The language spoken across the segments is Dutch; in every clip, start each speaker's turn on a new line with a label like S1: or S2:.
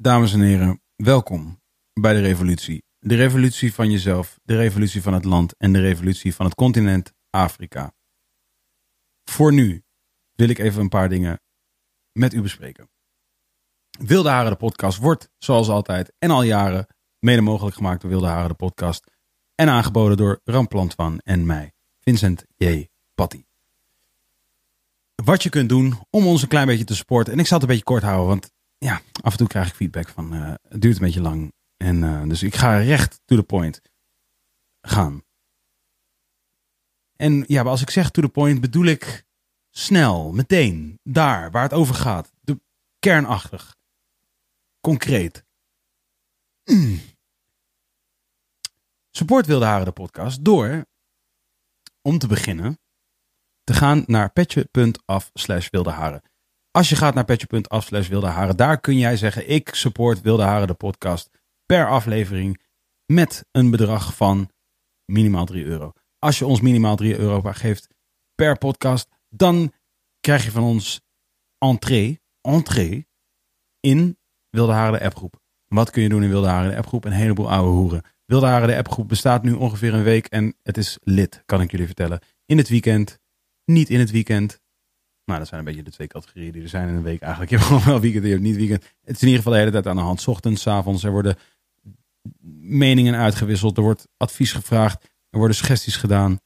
S1: Dames en heren, welkom bij de revolutie. De revolutie van jezelf, de revolutie van het land en de revolutie van het continent Afrika. Voor nu wil ik even een paar dingen met u bespreken. Wilde Haren de podcast wordt, zoals altijd en al jaren, mede mogelijk gemaakt door Wilde Haren de podcast. En aangeboden door Ramplantuan en mij, Vincent J. Patty. Wat je kunt doen om ons een klein beetje te supporten. En ik zal het een beetje kort houden, want ja, af en toe krijg ik feedback van eh, het duurt een beetje lang. En, eh, dus ik ga recht to the point gaan. En ja, maar als ik zeg to the point, bedoel ik snel, meteen, daar waar het over gaat. De kernachtig, concreet. Mm. Support Wilde Haren de podcast door, om te beginnen, te gaan naar petje.af slash wilde haren. Als je gaat naar petje.af slash wilde haren, daar kun jij zeggen: Ik support Wilde Haren de podcast per aflevering met een bedrag van minimaal 3 euro. Als je ons minimaal 3 euro geeft per podcast, dan krijg je van ons entree, entree in Wilde Haren de appgroep. Wat kun je doen in Wilde Haren de appgroep? Een heleboel oude hoeren. Wilde Haren de appgroep bestaat nu ongeveer een week en het is lid, kan ik jullie vertellen. In het weekend, niet in het weekend, nou, dat zijn een beetje de twee categorieën die er zijn in een week eigenlijk. Je hebt gewoon wel weekend, je hebt niet weekend. Het is in ieder geval de hele tijd aan de hand. 's Ochtends, 's avonds. Er worden meningen uitgewisseld. Er wordt advies gevraagd. Er worden suggesties gedaan.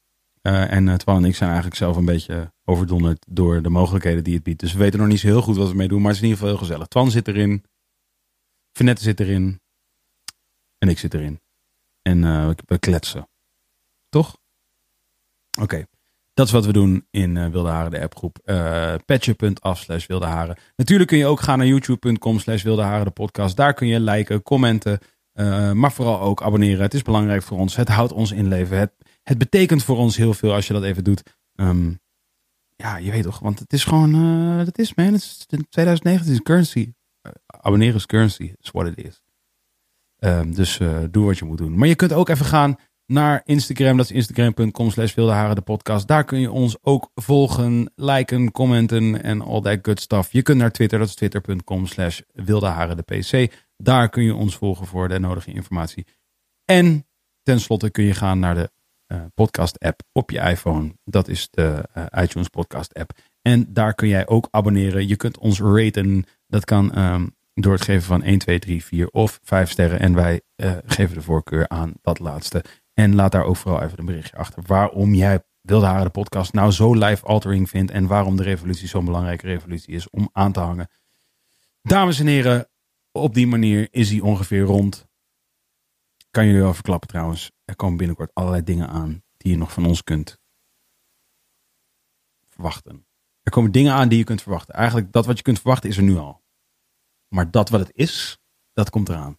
S1: Eh, en eh, Twan en ik zijn eigenlijk zelf een beetje overdonderd door de mogelijkheden die het biedt. Dus we weten nog niet zo heel goed wat we mee doen. Maar het is in ieder geval heel gezellig. Twan zit erin. Vanette zit erin. En ik zit erin. En eh, we- we kletsen. Toch? Oké. Dat is wat we doen in eh, Wilde Haren, de appgroep. eh Patje.af slash Wilde Haren. Natuurlijk kun je ook gaan naar youtube.com slash Wilde Haren, de podcast. Daar kun je liken, commenten, eh, maar vooral ook abonneren. Het is belangrijk voor ons. Het houdt ons in leven. Het, het betekent voor ons heel veel als je dat even doet. Ehm, ja, je weet toch, want het is gewoon, eh dat is man. Het is 2019 is currency. Eh, abonneren is currency, is what it is. Ehm, dus eh, doe wat je moet doen. Maar je kunt ook even gaan naar Instagram. Dat is instagram.com slash wildeharen de podcast. Daar kun je ons ook volgen, liken, commenten en all that good stuff. Je kunt naar Twitter, dat is twitter.com slash wildeharen de pc. Daar kun je ons volgen voor de nodige informatie. En tenslotte kun je gaan naar de eh, podcast app op je iPhone. Dat is de eh, iTunes podcast app. En daar kun jij ook abonneren. Je kunt ons raten. Dat kan ehm, door het geven van 1, 2, 3, 4 of 5 sterren. En wij eh, geven de voorkeur aan dat laatste. En laat daar ook vooral even een berichtje achter waarom jij Wilde Haren de podcast nou zo life-altering vindt en waarom de revolutie zo'n belangrijke revolutie is om aan te hangen. Dames en heren, op die manier is hij ongeveer rond. Kan jullie wel verklappen trouwens, er komen binnenkort allerlei dingen aan die je nog van ons kunt verwachten. Er komen dingen aan die je kunt verwachten. Eigenlijk dat wat je kunt verwachten is er nu al. Maar dat wat het is, dat komt eraan.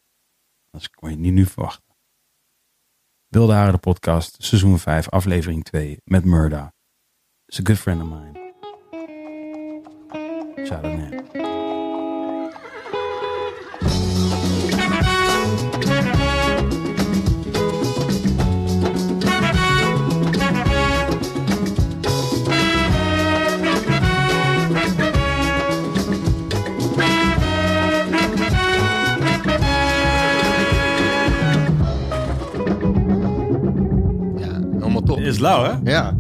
S1: Dat kon je niet nu verwachten. Wilde Haren de podcast, seizoen 5, aflevering 2 met Murda. It's a good friend of mine. Shout out man.
S2: Ja, helemaal top.
S1: Is lauw, hè?
S2: Ja.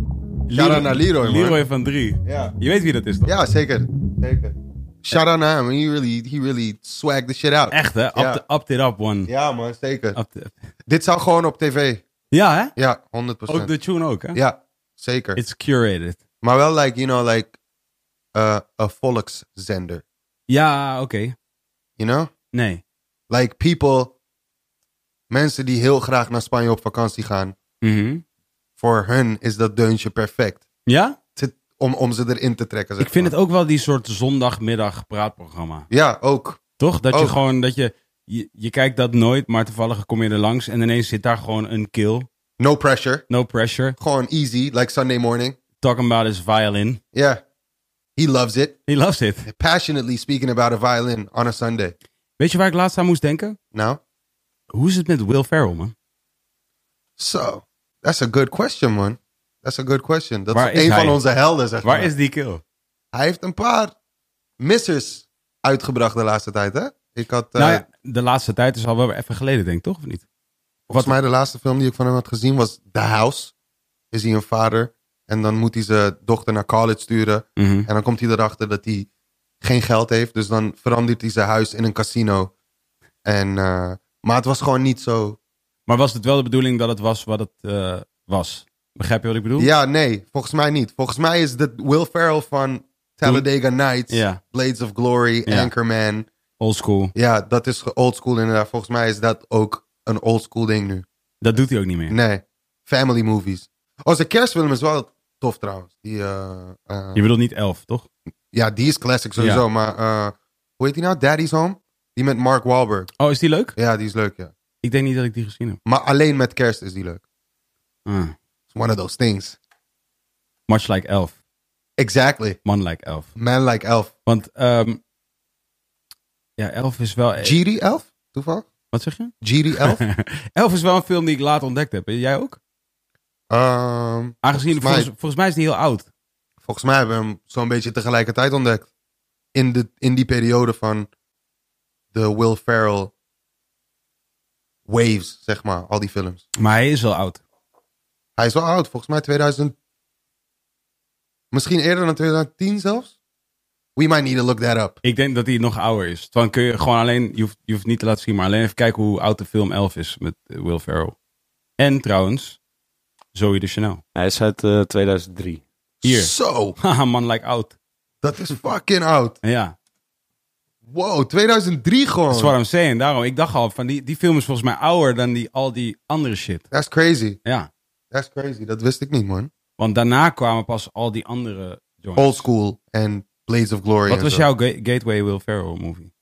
S2: Shout-out naar Leroy, man.
S1: Leroy van 3.
S2: Ja.
S1: Je weet wie dat is, toch?
S2: Ja, zeker. Zeker. Shout out naar hem. He really, he really swagged the shit out.
S1: Echt, Oh. hè? Up,
S2: Ja.
S1: the- up it up, one.
S2: Ja, man, zeker.
S1: Up the-
S2: Dit zou gewoon op tv.
S1: ja, hè?
S2: Ja, 100%.
S1: Ook de tune ook, hè?
S2: Ja, zeker.
S1: It's curated.
S2: Maar wel, like, you know, like eh, a volkszender.
S1: Ja, oké.
S2: You know?
S1: Nee.
S2: Like people, mensen die heel graag naar Spanje op vakantie gaan.
S1: Mhm.
S2: Voor hun is dat deuntje perfect.
S1: Ja?
S2: Zit- Om, om ze erin te trekken.
S1: Ik vind het ook wel die soort zondagmiddag praatprogramma.
S2: Ja, ook.
S1: Toch? Dat je
S2: Oh.
S1: gewoon, dat je, je, je kijkt dat nooit, maar toevallig kom je er langs en ineens zit daar gewoon een kill.
S2: No pressure.
S1: No pressure.
S2: Gewoon easy, like Sunday morning.
S1: Talking about his violin.
S2: Yeah. He loves it.
S1: He loves it.
S2: Passionately speaking about a violin on a Sunday.
S1: Weet je waar ik laatst aan moest denken?
S2: Now,
S1: Hoe is het met Will Ferrell, man?
S2: so that's a good question, man. That's a good question. Dat
S1: Waar
S2: is
S1: is
S2: een
S1: hij?
S2: van onze helden, zeg
S1: Waar
S2: maar.
S1: is die kill?
S2: Hij heeft een paar missers uitgebracht de laatste tijd, hè? Ik had, eh,
S1: nou ja, de laatste tijd is al wel even geleden, denk ik, toch? Of niet?
S2: volgens mij de laatste film die ik van hem had gezien was The House. Is hij een vader en dan moet hij zijn dochter naar college sturen.
S1: Mhm.
S2: En dan komt hij erachter dat hij geen geld heeft. Dus dan verandert hij zijn huis in een casino. En, eh, maar het was gewoon niet zo.
S1: Maar was het wel de bedoeling dat het was wat het eh, was? Begrijp je wat ik bedoel?
S2: Ja, nee, volgens mij niet. Volgens mij is dat Will Ferrell van Talladega Nights,
S1: Ja.
S2: Blades of Glory,
S1: Ja.
S2: Anchorman.
S1: Old school.
S2: Ja, dat is ge- old school inderdaad. Volgens mij is dat ook een old school ding nu.
S1: Dat doet hij ook niet meer.
S2: Nee, family movies. Oh, zijn kerstfilm is wel tof trouwens. Die, eh, eh,
S1: Je bedoelt niet elf, toch?
S2: ja, die is classic sowieso.
S1: Ja.
S2: Maar eh, hoe heet die nou? Daddy's Home? Die met Mark Wahlberg.
S1: Oh, is die leuk?
S2: Ja, die is leuk, ja.
S1: Ik denk niet dat ik die gezien heb.
S2: Maar alleen met kerst is die leuk.
S1: Ah.
S2: It's one of those things.
S1: Much like elf.
S2: Exactly.
S1: Man like elf.
S2: Man like elf.
S1: Want ehm, ja, elf is wel...
S2: Giri elf? Toeval?
S1: Wat zeg je?
S2: Giri elf?
S1: elf is wel een film die ik laat ontdekt heb. En Jij ook?
S2: Ehm,
S1: Aangezien,
S2: Volgens mij-
S1: volgens, volgens mij is die heel oud.
S2: volgens mij hebben we hem zo'n beetje tegelijkertijd ontdekt. In, de, in die periode van de Will Ferrell waves, zeg maar. Al die films.
S1: Maar hij is wel oud.
S2: Hij is wel oud. Volgens mij 2000... Misschien eerder dan 2010 zelfs? We might need to look that up.
S1: Ik denk dat hij nog ouder is. Dan kun je gewoon alleen, je hoeft, je hoeft niet te laten zien, maar alleen even kijken hoe oud de film Elf is met eh, Will Ferrell. En trouwens, Zoe de Chanel.
S3: Hij is uit eh, 2003.
S1: Hier.
S2: Zo,
S1: Haha, Ah, man, like oud.
S2: dat is fucking oud.
S1: Ja,
S2: Wow, 2003
S1: dat is
S2: gewoon.
S1: wat I'm saying. Daarom, ik dacht al, van die, die film is volgens mij ouder dan die, al die andere shit.
S2: That's crazy.
S1: Ja,
S2: That's crazy. Dat wist ik niet, man.
S1: want daarna kwamen pas al die andere joints.
S2: Old School en Blades of Glory.
S1: Wat
S2: en
S1: was
S2: Oh, zo.
S1: jouw ga- Gateway Will Ferrell movie?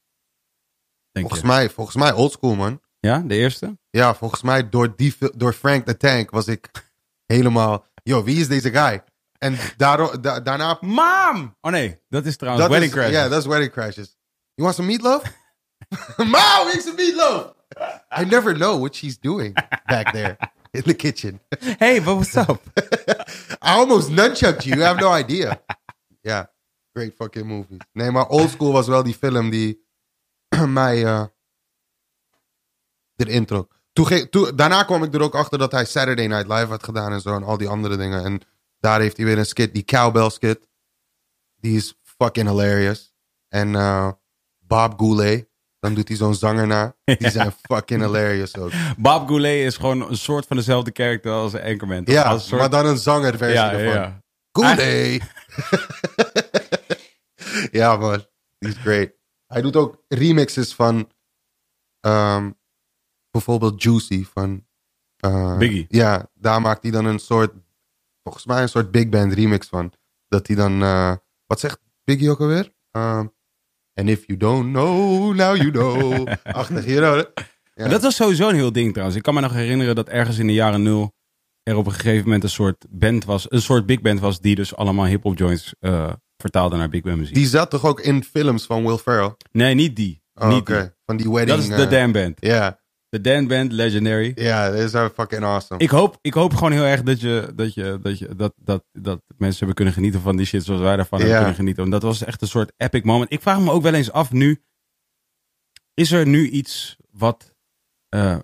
S1: Denk
S2: Volgens
S1: je?
S2: mij, volgens mij Old School, man.
S1: Ja, de eerste?
S2: Ja, volgens mij door, die, fil- door Frank the Tank was ik helemaal... Yo, wie is deze guy? En daardoor, da- daarna...
S1: Mam! Oh nee, dat is trouwens
S2: is-
S1: Wedding Crashers.
S2: Ja, dat is Wedding Crashes. You want some meatloaf? Mom, make some meatloaf! I never know what she's doing back there in the kitchen.
S1: Hey, but what's up?
S2: I almost nunchucked you. You have no idea. Ja, great fucking movies. Nee, maar Old School was wel die film die mij eh erin trok. Toen ging- toen- daarna kwam ik er ook achter dat hij Saturday Night Live had gedaan en zo en al die andere dingen. En daar heeft hij weer een skit, die Cowbell skit. Die is fucking hilarious. En eh, Bob Goulet, dan doet hij zo'n zanger na. Die zijn fucking hilarious ook.
S1: Bob Goulet is gewoon een soort van dezelfde karakter als Anchorman. toch?
S2: Ja,
S1: Als een soort-
S2: maar dan een zangerversie
S1: ja,
S2: ervan.
S1: ja, ja.
S2: Ah. Goulet. ja, man. Die is great. Hij doet ook remixes van ehm, bijvoorbeeld Juicy van eh,
S1: Biggie.
S2: Ja, daar maakt hij dan een soort, volgens mij een soort big band remix van. Dat hij dan, eh, wat zegt Biggie ook alweer? Ehm And if you don't know, now you know. Achtig hier, hoor. Ja.
S1: Maar Dat was sowieso een heel ding trouwens. Ik kan me nog herinneren dat ergens in de jaren nul er op een gegeven moment een soort band was, een soort big band was die dus allemaal hip-hop joints eh, vertaalde naar big band muziek.
S2: Die zat toch ook in films van Will Ferrell?
S1: Nee, niet die.
S2: Oh,
S1: niet
S2: oké. Van die
S1: die.
S2: wedding.
S1: Dat is de
S2: eh,
S1: Dan Band.
S2: Ja,
S1: De Dan Band, legendary.
S2: ja, is are fucking awesome.
S1: Ik hoop, ik hoop gewoon heel erg dat, je, dat, je, dat, je, dat, dat, dat mensen hebben kunnen genieten van die shit zoals wij daarvan hebben
S2: Ja.
S1: kunnen genieten. Want dat was echt een soort epic moment. Ik vraag me ook wel eens af nu, is er nu iets wat, eh,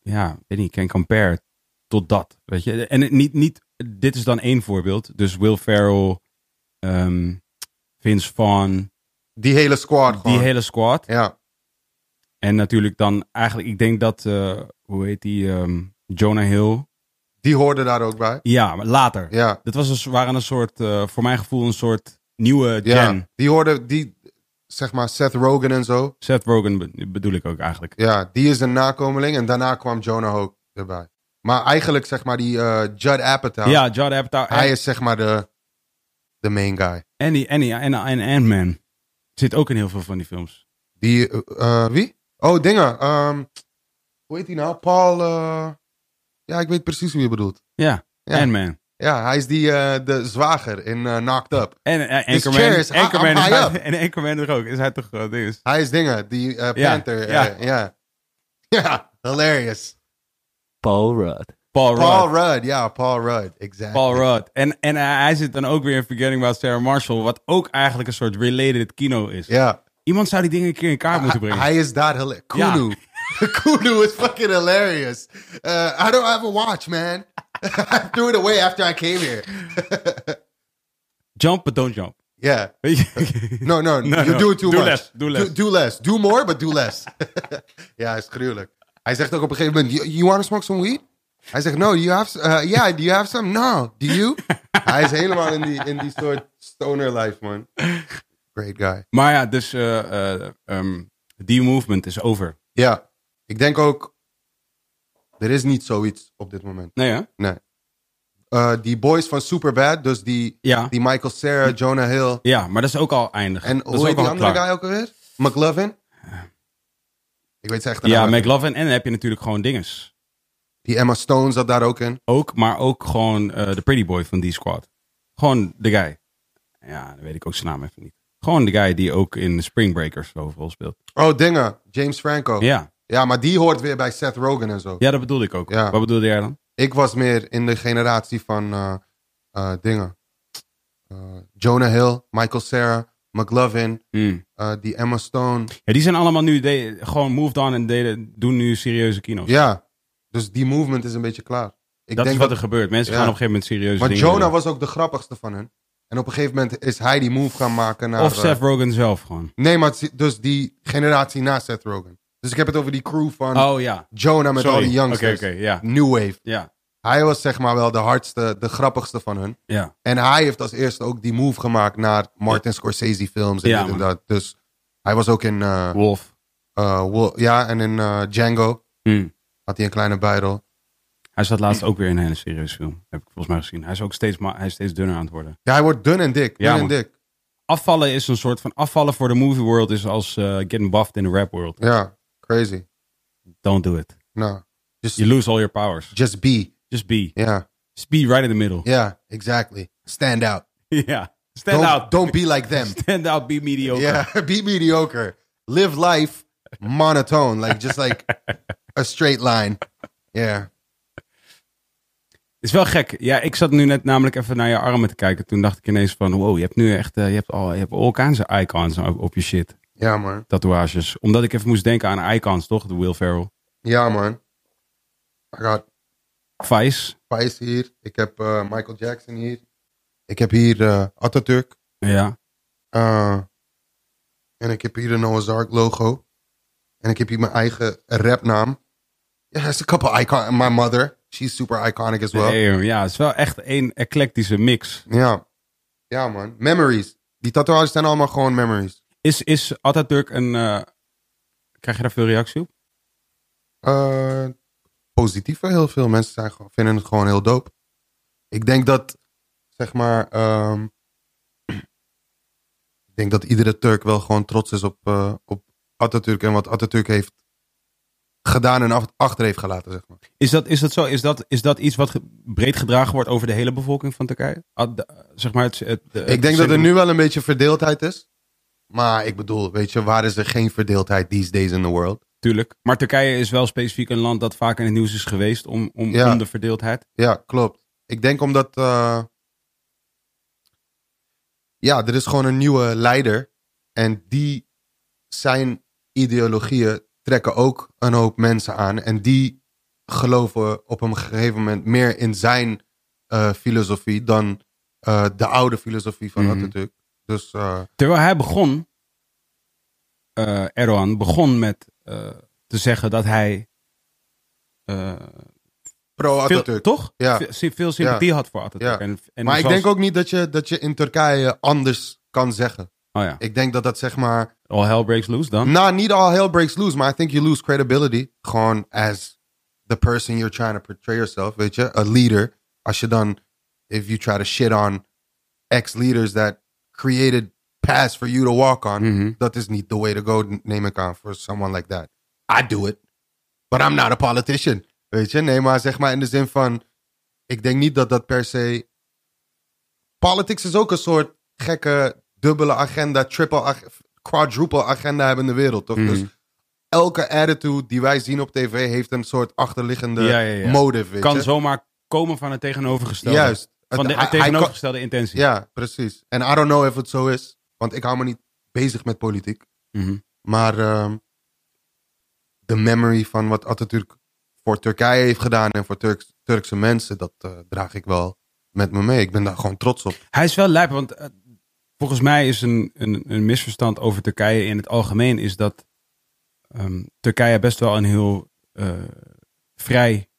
S1: ja, weet niet, can compare tot dat, weet je? En het niet, niet, dit is dan één voorbeeld. Dus Will Ferrell, ehm, Vince Vaughn,
S2: Die hele squad gewoon.
S1: die hele squad.
S2: Ja,
S1: En natuurlijk dan eigenlijk, ik denk dat, eh, hoe heet die, ehm, Jonah Hill.
S2: die hoorde daar ook bij.
S1: Ja, maar later.
S2: Ja,
S1: Dat was een, waren een soort, eh, voor mijn gevoel, een soort nieuwe
S2: ja.
S1: gen.
S2: die hoorde, die, zeg maar, Seth Rogen en zo.
S1: Seth Rogen be- bedoel ik ook eigenlijk.
S2: Ja, die is een nakomeling. En daarna kwam Jonah ook erbij. Maar eigenlijk, zeg maar, die eh, Judd Apatow.
S1: Ja, Judd Apatow
S2: Hij
S1: en,
S2: is, zeg maar, de, de main guy.
S1: en, die- en, die- en, en Ant-Man. Zit ook in heel veel van die films.
S2: Die, eh, eh, wie? Oh, dingen. ehm, hoe heet die nou? Paul, eh, ja, ik weet precies wie je bedoelt.
S1: Ja,
S2: Ja.
S1: Ant-Man.
S2: Ja, hij is die, eh, de zwager in eh, Knocked Up.
S1: En eh,
S2: This
S1: Anchorman-
S2: chair is high-
S1: Anchorman
S2: I'm
S1: is
S2: high
S1: hij-
S2: up.
S1: en Anchorman er ook. Is hij toch groot ding?
S2: Hij is dingen, die eh,
S1: Ja,
S2: Panther. eh,
S1: ja.
S2: Ja, ja. hilarious.
S3: Paul Rudd.
S1: Paul
S2: Paul
S1: Rudd.
S2: Rudd, ja, Paul Rudd, exactly.
S1: Paul Rudd. En, en hij hij zit dan ook weer in Forgetting About Sarah Marshall. Wat ook eigenlijk een soort related kino is.
S2: Ja.
S1: Iemand zou die dingen een keer in kaart moeten
S2: Hij-
S1: brengen.
S2: Hij is daar hilarious.
S1: Ja.
S2: Kunu. Kunu is fucking hilarious. Uh, I don't have a watch, man. I threw it away after I came here.
S1: Jump, but don't jump.
S2: Yeah.
S1: Weet je?
S2: No, no,
S1: No,
S2: you
S1: no.
S2: do it too
S1: Doe
S2: much.
S1: less, doe less.
S2: Do, do less. Do more, but do less. ja, is gruwelijk. Hij zegt ook op een gegeven moment, you, you want to smoke some weed? Hij zegt, no, do you have, s- eh, yeah, do you have some? No, do you? Hij is helemaal in die, in die soort stoner life, man. Great guy.
S1: Maar ja, dus eh, eh, ehm, die movement is over.
S2: Ja, ik denk ook, er is niet zoiets op dit moment.
S1: Nee, hè?
S2: Nee. Eh, die boys van Superbad, dus die,
S1: Ja.
S2: die Michael Cera, Jonah Hill.
S1: Ja, maar dat is ook al eindig.
S2: En
S1: dat is
S2: hoe heet
S1: ook
S2: die
S1: al
S2: andere
S1: klaar.
S2: guy ook alweer? McLovin? Ik weet zijn echte
S1: Ja,
S2: naam niet.
S1: McLovin. En dan heb je natuurlijk gewoon dinges.
S2: Die Emma Stone zat daar ook in.
S1: Ook, maar ook gewoon eh, de pretty boy van die squad. Gewoon de guy. Ja, dan weet ik ook zijn naam even niet. Gewoon de guy die ook in Spring Breakers overal speelt.
S2: Oh, dingen. James Franco.
S1: Ja,
S2: Ja, maar die hoort weer bij Seth Rogen en zo.
S1: ja dat bedoelde ik ook.
S2: Ja.
S1: Wat bedoelde jij dan?
S2: Ik was meer in de generatie van eh, eh, dingen. Eh, Jonah Hill, Michael Cera, McLovin,
S1: Hmm.
S2: eh, die Emma Stone.
S1: Ja, die zijn allemaal nu de- gewoon moved on en deden, doen nu serieuze kino's.
S2: Ja, dus die movement is een beetje klaar. Ik
S1: dat
S2: denk
S1: is wat er gebeurt. Mensen
S2: Ja.
S1: gaan op een gegeven moment serieuze
S2: Maar
S1: dingen
S2: Jonah
S1: doen.
S2: was ook de grappigste van hen. En op een gegeven moment is hij die move gaan maken naar...
S1: Of
S2: eh,
S1: Seth Rogen zelf gewoon.
S2: nee, maar het is dus die generatie na Seth Rogen. Dus ik heb het over die crew van
S1: Oh ja.
S2: Jonah met
S1: Sorry.
S2: al die
S1: Oké,
S2: youngsters.
S1: oké, ja.
S2: New Wave.
S1: Ja,
S2: Hij was zeg maar wel de hardste, de grappigste van hun.
S1: ja.
S2: En hij heeft als eerste ook die move gemaakt naar Martin Scorsese films en
S1: Ja,
S2: dit en
S1: man.
S2: dat. Dus hij was ook in... eh,
S1: Wolf.
S2: eh, Wo- ja, en in eh, Django
S1: Hmm.
S2: had hij een kleine battle.
S1: Hij zat laatst ook weer in een hele serieuze film. Heb ik volgens mij gezien. Hij is ook steeds, ma- hij is steeds dunner aan het worden.
S2: Ja, hij wordt dun en dik. Dun
S1: Ja,
S2: en
S1: man.
S2: dik.
S1: Afvallen is een soort van afvallen voor de movie world is als eh, getting buffed in the rap world.
S2: Ja, crazy.
S1: Don't do it.
S2: Nou, just,
S1: You lose all your powers.
S2: just be.
S1: Just be.
S2: Ja.
S1: Just be right in the middle.
S2: Yeah, exactly. Stand out.
S1: Ja. Stand
S2: don't,
S1: out.
S2: Don't be like them.
S1: Stand out, be mediocre.
S2: yeah, be mediocre. Live life monotone, like just like a straight line. Yeah.
S1: Is wel gek. Ja, ik zat nu net namelijk even naar je armen te kijken. Toen dacht ik ineens van, wow, je hebt nu echt, eh, je hebt al, je hebt all kinds of icons op, op je shit.
S2: Ja, man.
S1: Tatoeages. Omdat ik even moest denken aan icons, toch? De Will Ferrell.
S2: Ja, man. I got
S1: Vice.
S2: Vice hier. Ik heb eh, Michael Jackson hier. Ik heb hier eh, Atatürk.
S1: Ja.
S2: Eh, en ik heb hier de Noah's Ark logo. En ik heb hier mijn eigen rapnaam. Ja, there's a couple icon. My mother. She's super iconic as well.
S1: Nee, ja, het is wel echt een eclectische mix.
S2: Ja. Ja, man. Memories. Die tatoeages zijn allemaal gewoon memories.
S1: Is, is Atatürk een... eh, krijg je daar veel reactie op?
S2: Eh, positief voor heel veel mensen zijn, gewoon- vinden het gewoon heel dope. Ik denk dat, zeg maar, ehm, ik denk dat iedere Turk wel gewoon trots is op, eh, op Atatürk en wat Atatürk heeft gedaan en af- achter heeft gelaten, zeg maar.
S1: Is dat, is dat zo? Is dat, is dat iets wat ge- breed gedragen wordt over de hele bevolking van Turkije? Ad- de- zeg maar het, het- de-
S2: Ik denk dat er
S1: het-
S2: nu wel een beetje verdeeldheid is. Maar ik bedoel, weet je, waar is er geen verdeeldheid these days in the world?
S1: Tuurlijk. Maar Turkije is wel specifiek een land dat vaak in het nieuws is geweest om, om,
S2: Ja.
S1: om de verdeeldheid.
S2: Ja, klopt. Ik denk omdat. eh, ja, er is gewoon een nieuwe leider. En die zijn ideologieën trekken ook een hoop mensen aan. En die geloven op een gegeven moment meer in zijn eh, filosofie dan eh, de oude filosofie van
S1: Mhm.
S2: Atatürk. Dus eh,
S1: Terwijl hij begon, eh, Erdogan begon met eh, te zeggen dat hij eh, veel,
S2: pro-Atatürk.
S1: toch?
S2: Ja.
S1: Ve- si- veel sympathie had voor Atatürk.
S2: Ja.
S1: En, en
S2: Maar ik
S1: zoals-
S2: denk ook niet dat je, dat je in Turkije anders kan zeggen.
S1: Oh ja.
S2: Ik denk dat dat zeg maar.
S1: All hell breaks loose dan.
S2: Nou, niet all hell breaks loose, maar I think you lose credibility. Gewoon as the person you're trying to portray yourself, weet je? A leader. Als je dan, if you try to shit on ex-leaders that created pass for you to walk on.
S1: Mhm.
S2: Dat is niet the way to go, neem ik aan, for someone like that. I do it, but I'm not a politician. Eh, Weet je, nee, maar zeg maar in de zin van, ik denk niet dat dat per se... Politics is ook een soort gekke dubbele agenda, triple, ag- quadruple agenda hebben in de wereld, toch?
S1: Mhm.
S2: Dus elke attitude die wij zien op tv heeft een soort achterliggende
S1: Ja, ja, ja.
S2: motive, weet
S1: kan
S2: je?
S1: zomaar komen van het tegenovergestelde.
S2: Juist.
S1: Van de
S2: Het- hij- hij kan-
S1: tegenovergestelde intentie.
S2: ja, precies. En I don't know if het zo is. Want ik hou me niet bezig met politiek.
S1: Mhm.
S2: Maar ehm, de memory van wat Atatürk voor Turkije heeft gedaan en voor Turks- Turkse mensen, dat eh, draag ik wel met me mee. Ik ben daar gewoon trots op.
S1: Hij is wel lijp, want eh, volgens mij is een, een, een misverstand over Turkije in het algemeen is dat ehm, Turkije best wel een heel eh, vrij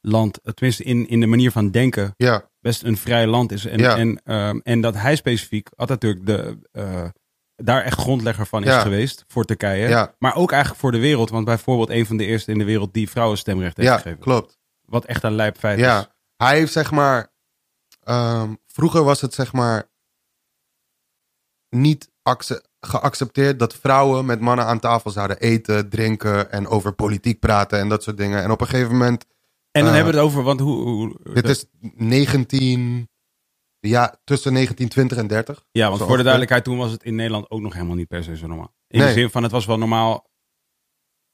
S1: land, eh, tenminste in, in de manier van denken,
S2: Ja,
S1: best een vrij land is. En,
S2: Ja.
S1: en, ehm, en dat hij specifiek, Atatürk, de, eh, daar echt grondlegger van is
S2: Ja.
S1: geweest voor Turkije.
S2: Ja.
S1: Maar ook eigenlijk voor de wereld, want bijvoorbeeld een van de eerste in de wereld die vrouwen stemrecht heeft
S2: ja
S1: gegeven.
S2: klopt.
S1: Wat echt een lijp feit is.
S2: Ja, hij heeft zeg maar. ehm, vroeger was het zeg maar. niet acce- geaccepteerd dat vrouwen met mannen aan tafel zouden eten, drinken en over politiek praten en dat soort dingen. En op een gegeven moment.
S1: En dan
S2: Eh,
S1: hebben we het over, want hoe... hoe
S2: Dit is 19. Ja, tussen 1920 en 30.
S1: Ja, want
S2: Zo
S1: voor de
S2: ongeveer.
S1: duidelijkheid, toen was het in Nederland ook nog helemaal niet per se zo normaal. In de
S2: Nee.
S1: zin van, het was wel normaal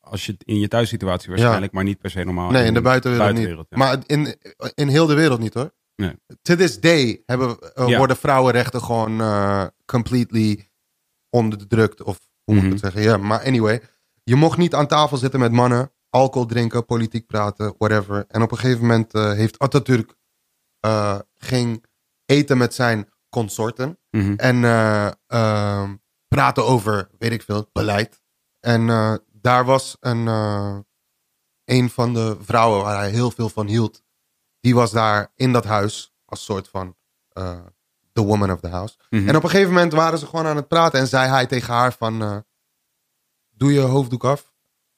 S1: als je het in je thuissituatie waarschijnlijk, maar niet per se normaal.
S2: Nee, in de buitenwereld,
S1: ja.
S2: niet. Maar in, in heel de wereld niet hoor.
S1: Nee.
S2: To this day hebben, we- eh,
S1: Ja.
S2: worden vrouwenrechten gewoon eh, completely onderdrukt. Of hoe moet ik
S1: Mhm.
S2: het zeggen? Ja, maar anyway. Je mocht niet aan tafel zitten met mannen. Alcohol drinken, politiek praten, whatever. En op een gegeven moment eh, heeft Atatürk eh, ging eten met zijn consorten.
S1: Mhm.
S2: En eh, ehm, praten over, weet ik veel, beleid. En eh, daar was een, eh, een van de vrouwen waar hij heel veel van hield. Die was daar in dat huis als soort van eh, the woman of the house.
S1: Mhm.
S2: En op een gegeven moment waren ze gewoon aan het praten. En zei hij tegen haar van, eh, doe je hoofddoek af.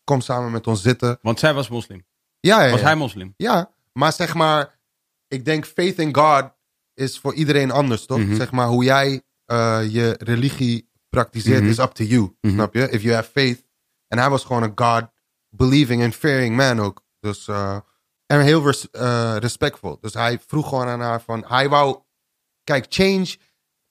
S2: Kom samen met ons zitten.
S1: Want zij was moslim.
S2: Ja, ja,
S1: Was
S2: ja.
S1: hij moslim?
S2: Ja, maar zeg maar, ik denk faith in God is voor iedereen anders, toch?
S1: Mhm.
S2: Zeg maar, hoe jij eh, je religie praktiseert
S1: Mhm.
S2: is up to you,
S1: Mhm.
S2: snap je? If you have faith. En hij was gewoon een God-believing and fearing man ook. Dus, eh, en heel res- eh, respectvol. Dus hij vroeg gewoon aan haar van, hij wou, kijk, change,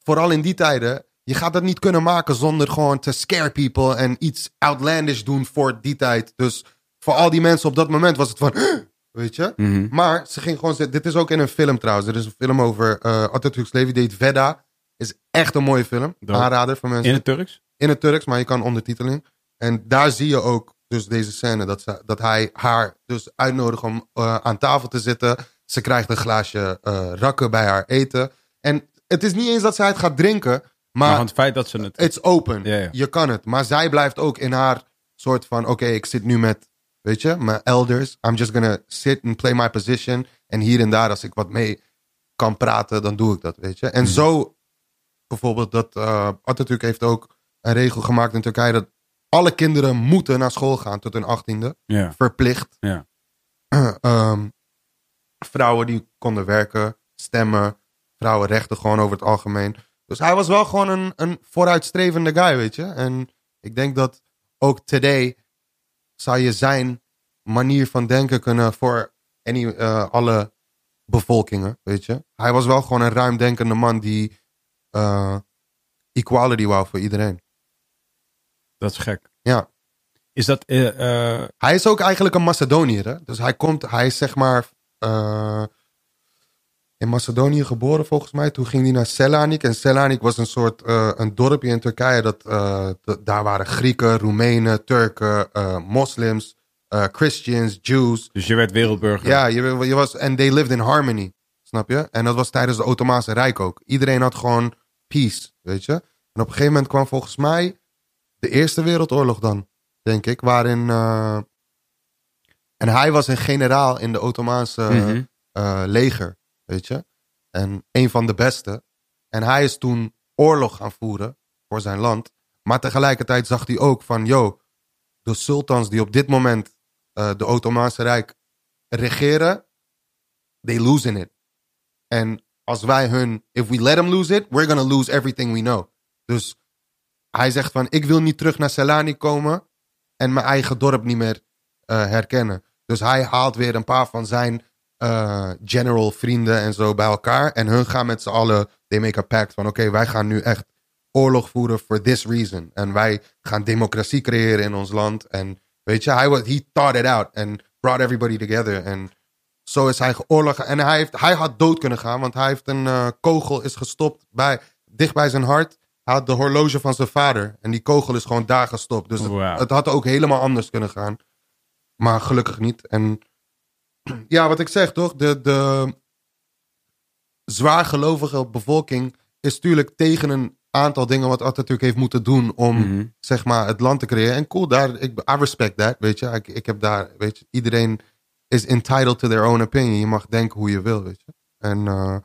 S2: vooral in die tijden, je gaat dat niet kunnen maken zonder gewoon te scare people en iets outlandish doen voor die tijd. Dus voor al die mensen op dat moment was het van, weet je?
S1: Mhm.
S2: Maar ze ging gewoon zitten. Dit is ook in een film trouwens. Er is een film over eh Atatürk's leven. Die heet Veda. Is echt een mooie film.
S1: Dope.
S2: Aanrader voor mensen.
S1: In
S2: In,
S1: het Turks?
S2: het Turks, maar je kan ondertiteling. En daar zie je ook dus deze scène. Dat, ze, dat hij haar dus uitnodigt om eh, aan tafel te zitten. Ze krijgt een glaasje eh, rakken bij haar eten. En het is niet eens dat zij het gaat drinken.
S1: Maar
S2: Maar Eh,
S1: van het feit dat ze het...
S2: It's open.
S1: Ja, ja.
S2: Je kan het. Maar zij blijft ook in haar soort van: oké, ik zit nu met, weet je, mijn elders. I'm just gonna sit and play my position. En hier en daar, als ik wat mee kan praten, dan doe ik dat, weet je. En
S1: Hmm.
S2: zo, bijvoorbeeld, dat eh Atatürk heeft ook een regel gemaakt in Turkije dat alle kinderen moeten naar school gaan tot hun achttiende
S1: Ja.
S2: verplicht.
S1: Ja.
S2: Ehm, vrouwen die konden werken, stemmen, vrouwenrechten gewoon over het algemeen. Dus hij was wel gewoon een, een vooruitstrevende guy, weet je. En ik denk dat ook today zou je zijn manier van denken kunnen voor any, eh, alle bevolkingen, weet je. Hij was wel gewoon een ruimdenkende man die eh, equality wou voor iedereen.
S1: Dat is gek.
S2: Ja.
S1: Is dat... eh, eh,
S2: Hij is ook eigenlijk een Macedoniër. Hè? Dus hij komt, hij is zeg maar eh, in Macedonië geboren volgens mij. Toen ging hij naar Selanik. En Selanik was een soort eh, een dorpje in Turkije. Dat, eh, d- daar waren Grieken, Roemenen, Turken, eh, moslims, eh, Christians, Jews.
S1: dus je werd wereldburger.
S2: Ja, je, je was, en they lived in harmony. Snap je? En dat was tijdens het Ottomaanse Rijk ook. Iedereen had gewoon peace, weet je? En op een gegeven moment kwam volgens mij de Eerste Wereldoorlog dan, denk ik. Waarin. eh, En hij was een generaal in de Ottomaanse
S1: Mhm.
S2: eh, leger, weet je? En een van de beste. En hij is toen oorlog gaan voeren voor zijn land. Maar tegelijkertijd zag hij ook van, yo, de sultans die op dit moment eh, de Ottomaanse Rijk regeren, they losing it. En als wij hun, if we let them lose it, we're gonna lose everything we know. Dus hij zegt van, ik wil niet terug naar Celani komen en mijn eigen dorp niet meer eh, herkennen. Dus hij haalt weer een paar van zijn eh, general vrienden en zo bij elkaar. En hun gaan met z'n allen, they make a pact van, oké, wij gaan nu echt oorlog voeren for this reason. En wij gaan democratie creëren in ons land. En weet je, hij was, he thought it out and brought everybody together. En zo is hij geoorlog. En hij, heeft, hij had dood kunnen gaan, want hij heeft een eh, kogel is gestopt bij, dicht bij zijn hart. Hij had de horloge van zijn vader. En die kogel is gewoon daar gestopt. Dus het-
S1: Wauw.
S2: het had ook helemaal anders kunnen gaan. Maar gelukkig niet. En ja, wat ik zeg toch, de, de zwaargelovige bevolking is natuurlijk tegen een aantal dingen wat Atatürk heeft moeten doen om
S1: Mhm.
S2: zeg maar het land te creëren. En cool, daar, ik, I respect that, weet je. Ik, ik heb daar, weet je, iedereen is entitled to their own opinion. Je mag denken hoe je wil, weet je. En, eh,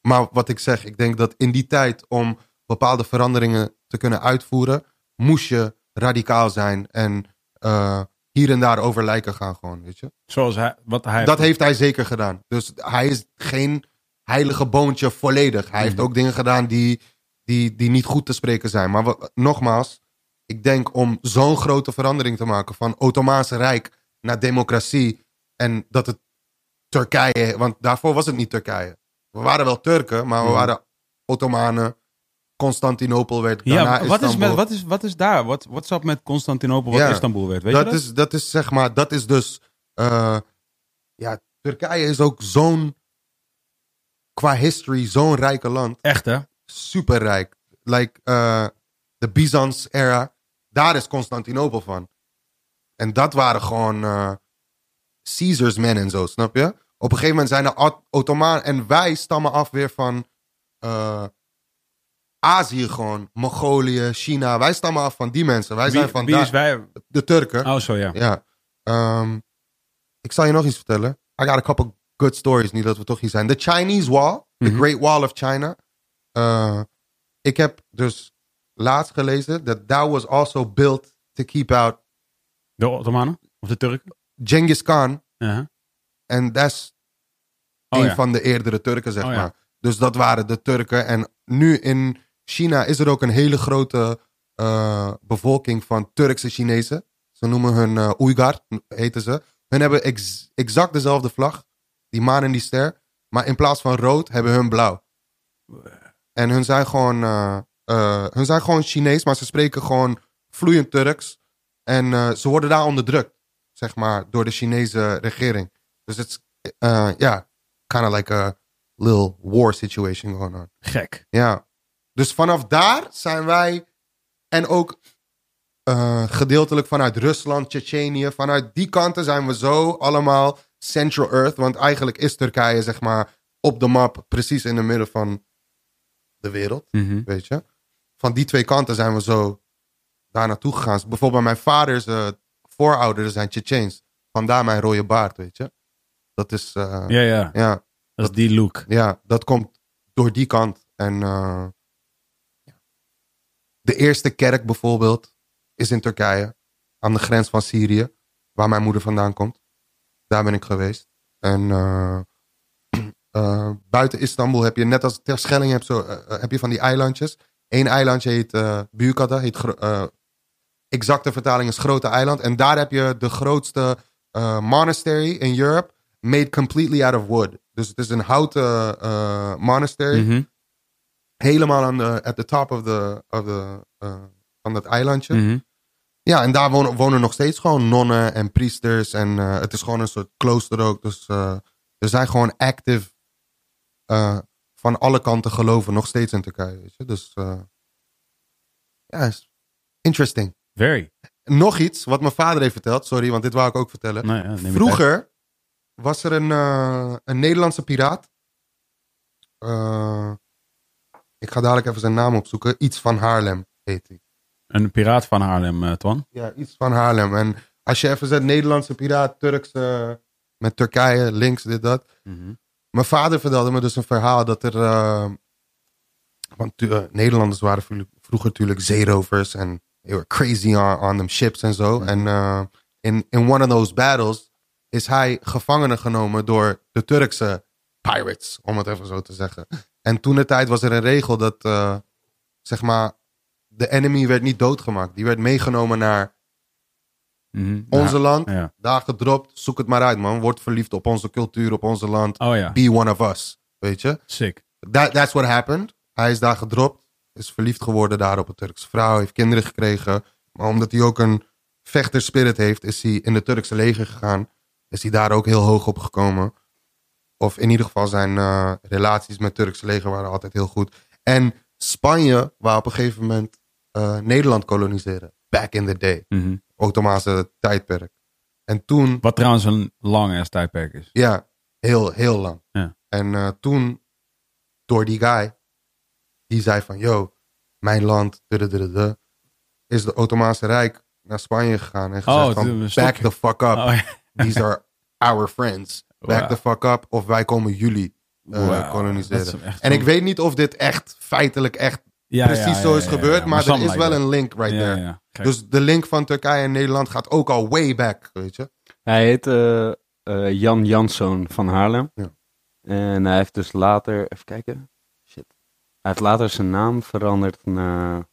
S2: maar wat ik zeg, ik denk dat in die tijd om bepaalde veranderingen te kunnen uitvoeren, moest je radicaal zijn en eh, hier en daar over lijken gaan gewoon, weet je.
S1: Zoals hij, wat hij
S2: Dat heeft hij zeker gedaan. Dus hij is geen heilige boontje volledig. Hij heeft
S1: Mhm.
S2: ook dingen gedaan die, die, die niet goed te spreken zijn. Maar wa- nogmaals, ik denk om zo'n grote verandering te maken van Ottomaanse Rijk naar democratie en dat het Turkije, want daarvoor was het niet Turkije. We waren wel Turken, maar we
S1: Mhm.
S2: waren Ottomanen. Constantinopel werd daarna
S1: Ja, wat is,
S2: Istanbul.
S1: met, wat, is, wat is daar? Wat, wat zat met Constantinopel, wat
S2: Ja,
S1: Istanbul werd? Weet
S2: dat,
S1: je dat?
S2: Is, dat is zeg maar, dat is dus. eh, ja, Turkije is ook zo'n. Qua history, zo'n rijke land.
S1: Echt, hè?
S2: Superrijk. Like eh, de Byzance-era. Daar is Constantinopel van. En dat waren gewoon. eh, Caesars men en zo, snap je? Op een gegeven moment zijn de Ottomanen. En wij stammen af weer van. eh, Azië gewoon, Mongolië, China. Wij stammen af van die mensen. Wij zijn
S1: Wie-
S2: van
S1: wie
S2: daar-
S1: is wij?
S2: de Turken.
S1: Oh, zo ja.
S2: Ja. Ehm, ik zal je nog iets vertellen. I got a couple good stories nu dat we toch hier zijn. The Chinese Wall,
S1: Mhm.
S2: the Great Wall of China. Eh, ik heb dus laatst gelezen dat that was also built to keep out
S1: De Ottomanen? Of de Turken?
S2: Genghis Khan.
S1: Ja.
S2: En that's
S1: Oh,
S2: een
S1: ja.
S2: van de eerdere Turken, zeg
S1: Oh, ja.
S2: maar. Dus dat waren de Turken. En nu in China is er ook een hele grote eh, bevolking van Turkse Chinezen. Ze noemen hun eh Oeigar, heten ze. Hun hebben ex- exact dezelfde vlag, die maan en die ster. Maar in plaats van rood hebben hun blauw. En hun zijn gewoon, eh, eh, hun zijn gewoon Chinees, maar ze spreken gewoon vloeiend Turks. En eh, ze worden daar onderdrukt, zeg maar, door de Chinese regering. Dus het is, eh, ja, kind of like a little war situation going on.
S1: Gek.
S2: Ja. Dus vanaf daar zijn wij. En ook eh, gedeeltelijk vanuit Rusland, Tsjetsjenië. Vanuit die kanten zijn we zo allemaal Central Earth. Want eigenlijk is Turkije, zeg maar, op de map precies in het midden van de wereld.
S1: Mhm.
S2: Weet je? Van die twee kanten zijn we zo daar naartoe gegaan. Bijvoorbeeld mijn vaders eh, voorouders zijn Tsjetsjeens. Vandaar mijn rode baard, weet je? Dat is. eh,
S1: Ja, ja.
S2: ja.
S1: Dat is die look.
S2: Ja, dat komt door die kant. En eh, de eerste kerk bijvoorbeeld is in Turkije, aan de grens van Syrië, waar mijn moeder vandaan komt. Daar ben ik geweest. En eh, eh, buiten Istanbul heb je, net als Terschelling, heb, zo, eh, eh, heb je van die eilandjes. Eén eilandje heet eh Büyükada, heet gro- eh, exacte vertaling is grote eiland. En daar heb je de grootste eh, monastery in Europe, made completely out of wood. Dus het is een houten eh monastery,
S1: Mhm.
S2: helemaal aan de, at the top of the, of the, eh, van dat eilandje.
S1: Mhm.
S2: Ja, en daar wonen, wonen nog steeds gewoon nonnen en priesters. En eh, het is gewoon een soort klooster ook. Dus eh, er zijn gewoon active eh, van alle kanten geloven nog steeds in Turkije. Weet je? Dus eh, ja, is interesting.
S1: Very.
S2: Nog iets wat mijn vader heeft verteld. Sorry, want dit wou ik ook vertellen.
S1: Nou ja, neem je tijd.
S2: Vroeger was er een, eh, een Nederlandse piraat. Eh, ik ga dadelijk even zijn naam opzoeken. Iets van Haarlem heet hij.
S1: Een piraat van Haarlem, eh, Twan.
S2: Ja, iets van Haarlem. En als je even zet Nederlandse piraat, Turkse, met Turkije, links, dit, dat.
S1: Mhm.
S2: Mijn vader vertelde me dus een verhaal dat er... eh, want tu- eh, Nederlanders waren vro- vroeger natuurlijk zeerovers en they were crazy on, on them ships en zo. En eh, in, in one of those battles is hij gevangenen genomen door de Turkse pirates, om het even zo te zeggen. En toen de tijd was er een regel dat, eh, zeg maar, de enemy werd niet doodgemaakt. Die werd meegenomen naar
S1: Mhm.
S2: onze land.
S1: Ja. Ja.
S2: Daar gedropt. Zoek het maar uit, man. Word verliefd op onze cultuur, op onze land.
S1: Oh ja,
S2: Be one of us. Weet je?
S1: sick.
S2: That, that's what happened. Hij is daar gedropt. Is verliefd geworden daar op een Turkse vrouw. Heeft kinderen gekregen. Maar omdat hij ook een vechterspirit heeft, is hij in de Turkse leger gegaan. Is hij daar ook heel hoog op gekomen. Of in ieder geval zijn eh, relaties met Turkse leger waren altijd heel goed. En Spanje wou op een gegeven moment eh, Nederland koloniseren. Back in the day.
S1: Mhm.
S2: Ottomaanse tijdperk. En toen
S1: Wat trouwens een lang ass tijdperk is.
S2: ja, heel, heel lang.
S1: Ja.
S2: En eh, toen, door die guy, die zei van, yo, mijn land, dududududu, is de Ottomaanse Rijk naar Spanje gegaan. En gezegd
S1: het is Oh,
S2: van,
S1: een
S2: back
S1: stokje."
S2: the fuck up.
S1: Oh, ja.
S2: These are our friends. Back
S1: Wow.
S2: the fuck up. Of wij komen jullie eh,
S1: Wow,
S2: koloniseren.
S1: dat is echt
S2: en ik
S1: zo-
S2: weet niet of dit echt feitelijk echt
S1: Ja,
S2: precies
S1: ja, ja,
S2: zo is
S1: ja, ja,
S2: gebeurd.
S1: ja,
S2: maar er
S1: something
S2: is
S1: like
S2: wel
S1: that.
S2: een link right
S1: Ja,
S2: there.
S1: ja, ja. Gek.
S2: Dus de link van Turkije en Nederland gaat ook al way back, weet je.
S3: Hij heet eh, eh, Jan Janszoon van Haarlem.
S2: Ja.
S3: En hij heeft dus later, even kijken. Shit. Hij heeft later zijn naam veranderd naar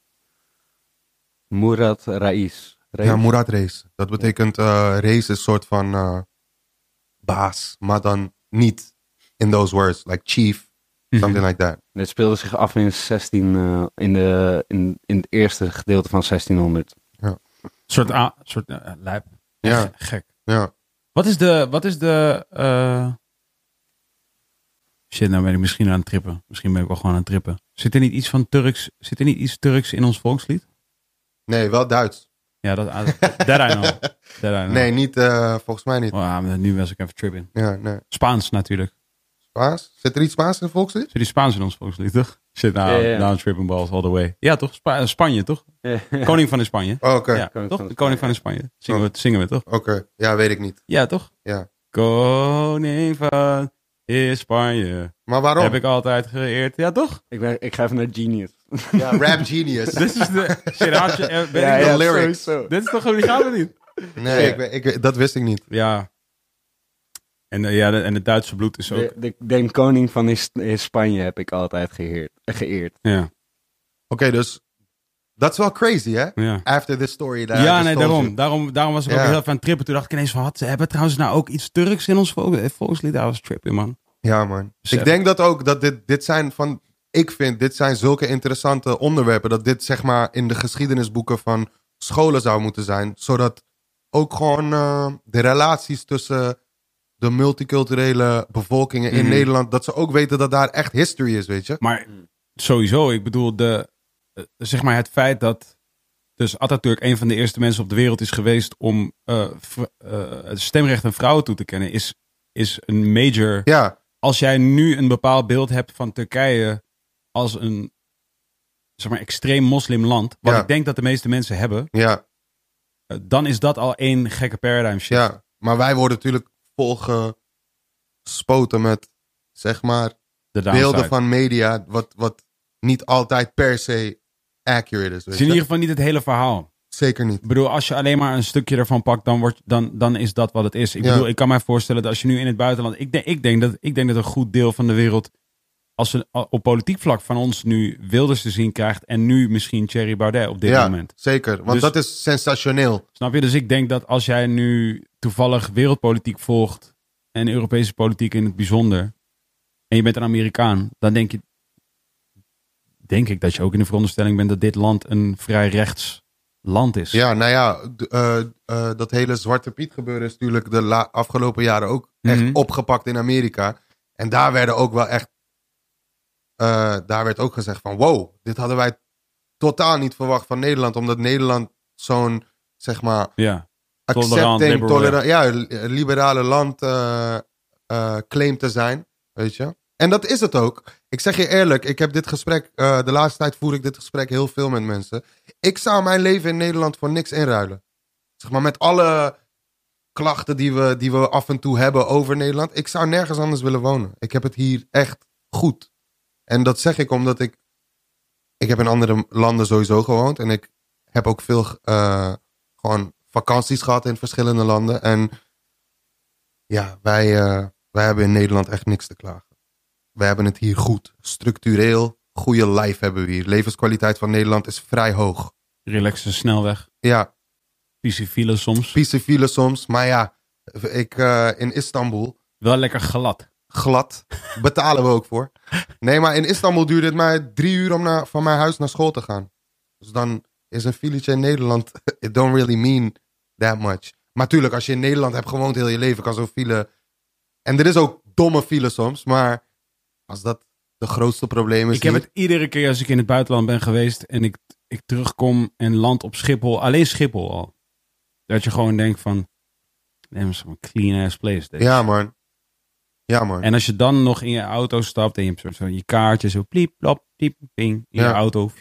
S3: Murat Rais. Rais?
S2: Ja, Murat Reis. Dat betekent eh Reis is een soort van eh, baas, maar dan niet in those words, like chief,
S1: Mhm.
S2: something like that.
S3: Dit speelde zich af in, 16, eh, in, de, in, in het eerste gedeelte van 1600.
S1: soort, a, soort eh, lijp.
S2: Ja.
S1: Echt Gek.
S2: Ja.
S1: Wat is de. Wat is de eh, Shit, nou ben ik misschien aan het trippen. Misschien ben ik wel gewoon aan het trippen. Zit er niet iets van Turks. Zit er niet iets Turks in ons volkslied?
S2: Nee, wel Duits.
S1: Ja, dat. That I know. That I know.
S2: Nee, niet, eh, volgens mij niet.
S1: Oh, ja, maar nu was ik even tripping.
S2: Ja, nee.
S1: Spaans natuurlijk.
S2: Spaans? Zit er iets Spaans in volkslied?
S1: Zit die Spaans in ons volkslied, toch? Shit, nou,
S3: Ja, ja, ja.
S1: nou tripping balls all the way. Ja, toch? Spa- eh, Spanje, toch? Koning van Spanje.
S2: Oh, Oké,
S1: ja,
S3: Koning
S1: toch?
S3: van
S1: De koning van Spanje. Zingen we, zingen we, toch?
S2: oké. Ja, weet ik niet.
S1: Ja, toch?
S2: Ja.
S1: Koning van Spanje.
S2: Maar waarom?
S1: Heb ik altijd geëerd. Ja, toch?
S3: ik, ben, ik ga even naar Genius.
S2: Ja, rap genius.
S1: Dit is de. Shit, had je- eh, ben ik
S2: ja.
S1: nog-
S2: lyrics.
S3: sowieso.
S1: Dit is toch obligatoir niet?
S2: Nee, ik, weet- ik, weet- dat wist ik niet.
S1: Ja. En, eh, ja, de- en het Duitse bloed is ook.
S3: De, de, de koning van Is- is Spanje heb ik altijd geëerd. geëerd.
S1: Ja.
S2: Oké, dus dat is wel crazy, hè?
S1: ja.
S2: After this story. that I
S1: Ja,
S2: just
S1: nee,
S2: told
S1: daarom.
S2: you.
S1: daarom. Daarom was ik
S2: Ja.
S1: ook heel even aan het trippen. Toen dacht ik ineens van, wat, hebben we trouwens nou ook iets Turks in ons volk- eh, volkslied? Daar was tripping, man.
S2: Ja, man.
S1: Besef.
S2: Ik denk dat ook dat dit, dit zijn van. Ik vind dit zijn zulke interessante onderwerpen. Dat dit zeg maar in de geschiedenisboeken van scholen zou moeten zijn. Zodat ook gewoon eh, de relaties tussen de multiculturele bevolkingen in
S1: Mhm.
S2: Nederland. Dat ze ook weten dat daar echt history is, weet je?
S1: Maar sowieso, ik bedoel, de, eh, zeg maar het feit dat dus Atatürk een van de eerste mensen op de wereld is geweest om eh, vr- eh, het stemrecht aan vrouwen toe te kennen, is, is een major...
S2: Ja,
S1: als jij nu een bepaald beeld hebt van Turkije als een zeg maar, extreem moslimland, wat
S2: Ja.
S1: ik denk dat de meeste mensen hebben,
S2: ja,
S1: eh, dan is dat al één gekke paradigm shift.
S2: ja. Maar wij worden natuurlijk volgespoten met zeg maar
S1: de
S2: beelden
S1: downside.
S2: van media. Wat, wat niet altijd per se accurate
S1: Het
S2: is, weet
S1: is Dus in ieder
S2: je?
S1: geval niet het hele verhaal.
S2: Zeker niet.
S1: Ik bedoel, als je alleen maar een stukje ervan pakt, dan, wordt, dan, dan is dat wat het is. Ik
S2: Ja.
S1: bedoel, ik kan mij voorstellen dat als je nu in het buitenland... Ik denk, ik denk, dat, ik denk dat een goed deel van de wereld, als we op politiek vlak van ons nu Wilders te zien krijgt... en nu misschien Thierry Baudet op dit
S2: ja,
S1: moment.
S2: zeker. Want
S1: Dus-
S2: dat is sensationeel.
S1: Snap je? Dus ik denk dat als jij nu toevallig wereldpolitiek volgt en Europese politiek in het bijzonder, en je bent een Amerikaan, dan denk je, denk ik dat je ook in de veronderstelling bent dat dit land een vrij rechts land is.
S2: Ja, nou ja, d- eh, eh, dat hele Zwarte Piet gebeuren is natuurlijk de la- afgelopen jaren ook echt
S1: Mhm.
S2: opgepakt in Amerika. En daar werden ook wel echt, eh, daar werd ook gezegd van wow, dit hadden wij totaal niet verwacht van Nederland. Omdat Nederland zo'n, zeg maar,
S1: Ja. Tolerant,
S2: accepting,
S1: liberal.
S2: tolerant, ja, li- liberale land eh, eh, claim te zijn, weet je. En dat is het ook. Ik zeg je eerlijk, ik heb dit gesprek, eh, de laatste tijd voer ik dit gesprek heel veel met mensen. Ik zou mijn leven in Nederland voor niks inruilen. Zeg maar met alle klachten die we, die we af en toe hebben over Nederland. Ik zou nergens anders willen wonen. Ik heb het hier echt goed. En dat zeg ik omdat ik, ik heb in andere landen sowieso gewoond. En ik heb ook veel eh, gewoon vakanties gehad in verschillende landen. En ja, wij, eh, wij hebben in Nederland echt niks te klagen. Wij hebben het hier goed. Structureel goede life hebben we hier. Levenskwaliteit van Nederland is vrij hoog.
S1: Relaxe snelweg.
S2: Ja,
S1: Vieze file soms.
S2: vieze file soms. Maar ja, ik, eh, in Istanbul,
S1: Wel lekker glad.
S2: glad, betalen we ook voor. Nee, maar in Istanbul duurde het mij drie uur om naar, van mijn huis naar school te gaan. Dus dan is een filetje in Nederland, it don't really mean that much. Maar tuurlijk, als je in Nederland hebt gewoond heel je leven, kan zo'n file... En er is ook domme file soms, maar als dat de grootste probleem is
S1: Ik heb
S2: hier-
S1: het iedere keer als ik in het buitenland ben geweest en ik, ik terugkom en land op Schiphol, alleen Schiphol al. Dat je gewoon denkt van, damn, zo'n clean ass place. dit.
S2: Ja, man. Ja, man.
S1: En als je dan nog in je auto stapt en je hebt zo- zo je kaartje zo pliep, plop, piep, ping, in
S2: Ja.
S1: je auto.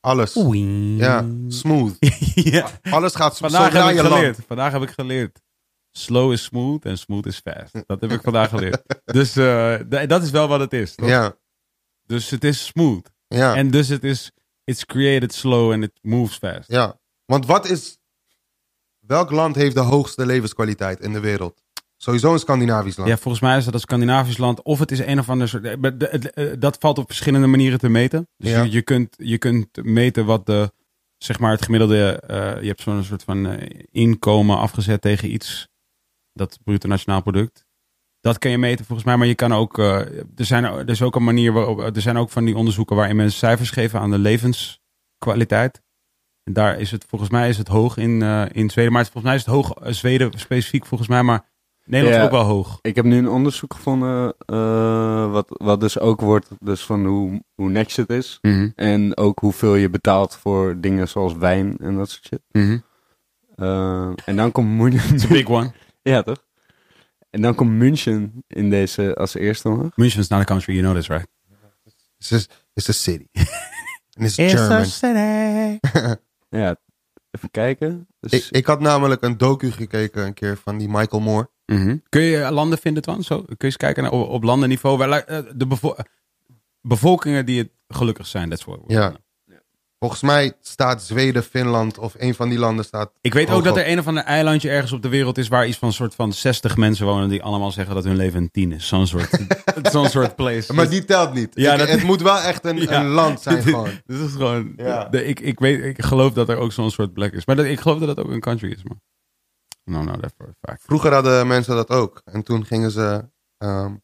S2: Alles.
S1: Oei.
S2: Ja, smooth.
S1: Ja.
S2: Alles gaat
S1: Vandaag
S2: zodra
S1: heb ik
S2: je
S1: geleerd.
S2: landt.
S1: Vandaag heb ik geleerd. Slow is smooth en smooth is fast. Dat heb ik vandaag geleerd. Dus eh, d- dat is wel wat het is. toch?
S2: Ja,
S1: Dus het is smooth.
S2: ja,
S1: En dus het is, it's created slow and it moves fast.
S2: ja. Want wat is... Welk land heeft de hoogste levenskwaliteit in de wereld? Sowieso een Scandinavisch land.
S1: Ja, volgens mij is dat een Scandinavisch land. Of het is een of ander soort. maar de- het- eh, Dat valt op verschillende manieren te meten. Dus
S2: Ja.
S1: je, je, kunt, je kunt meten wat de. Zeg maar het gemiddelde. eh, je hebt zo'n soort van eh, inkomen afgezet tegen iets. Dat bruto nationaal product. Dat kan je meten volgens mij. Maar je kan ook. eh, er, zijn, er is ook een manier waarop. Er zijn ook van die onderzoeken waarin mensen cijfers geven aan de levenskwaliteit. En daar is het volgens mij is het hoog in, eh, in Zweden. Maar het, volgens mij is het hoog eh, Zweden specifiek volgens mij. Maar Nederland is
S3: Ja.
S1: ook wel hoog.
S3: Ik heb nu een onderzoek gevonden, eh, wat, wat dus ook wordt dus van hoe, hoe niks het is. En ook hoeveel je betaalt voor dingen zoals wijn en dat soort shit.
S1: Mm-hmm.
S3: Eh, en dan komt
S1: It's a
S3: München.
S1: big one.
S3: ja, toch? En dan komt München in deze als eerste omhoog.
S1: München's not a country, you know this, right?
S2: It's, a, it's a city. And it's German.
S3: Ja, even kijken. Dus,
S2: Ik, ik had namelijk een docu gekeken een keer van die Michael Moore.
S1: Kun je eh, landen vinden, Twan? Zo, kun je eens kijken naar, op, op landenniveau? Waar, la- eh, de bevo- eh, bevolkingen die het gelukkig zijn, that's what
S2: Ja. Volgens mij staat Zweden, Finland of een van die landen staat...
S1: Ik weet ook
S2: hoog
S1: dat
S2: op.
S1: er een of ander eilandje ergens op de wereld is... waar iets van een soort van 60 mensen wonen... die allemaal zeggen dat hun leven een tien is. Zo'n soort, zo'n soort place.
S2: Maar die telt niet.
S1: Ja,
S2: Ik-
S1: dat-
S2: Het moet wel echt een,
S1: Ja.
S2: een land zijn gewoon.
S1: Dit is gewoon...
S2: Ja.
S1: de- ik, ik, weet, ik geloof dat er ook zo'n soort plek is. Maar dat, ik geloof dat dat ook een country is, man. No, no, that's for a fact.
S2: Vroeger hadden mensen dat ook. En toen gingen ze ehm,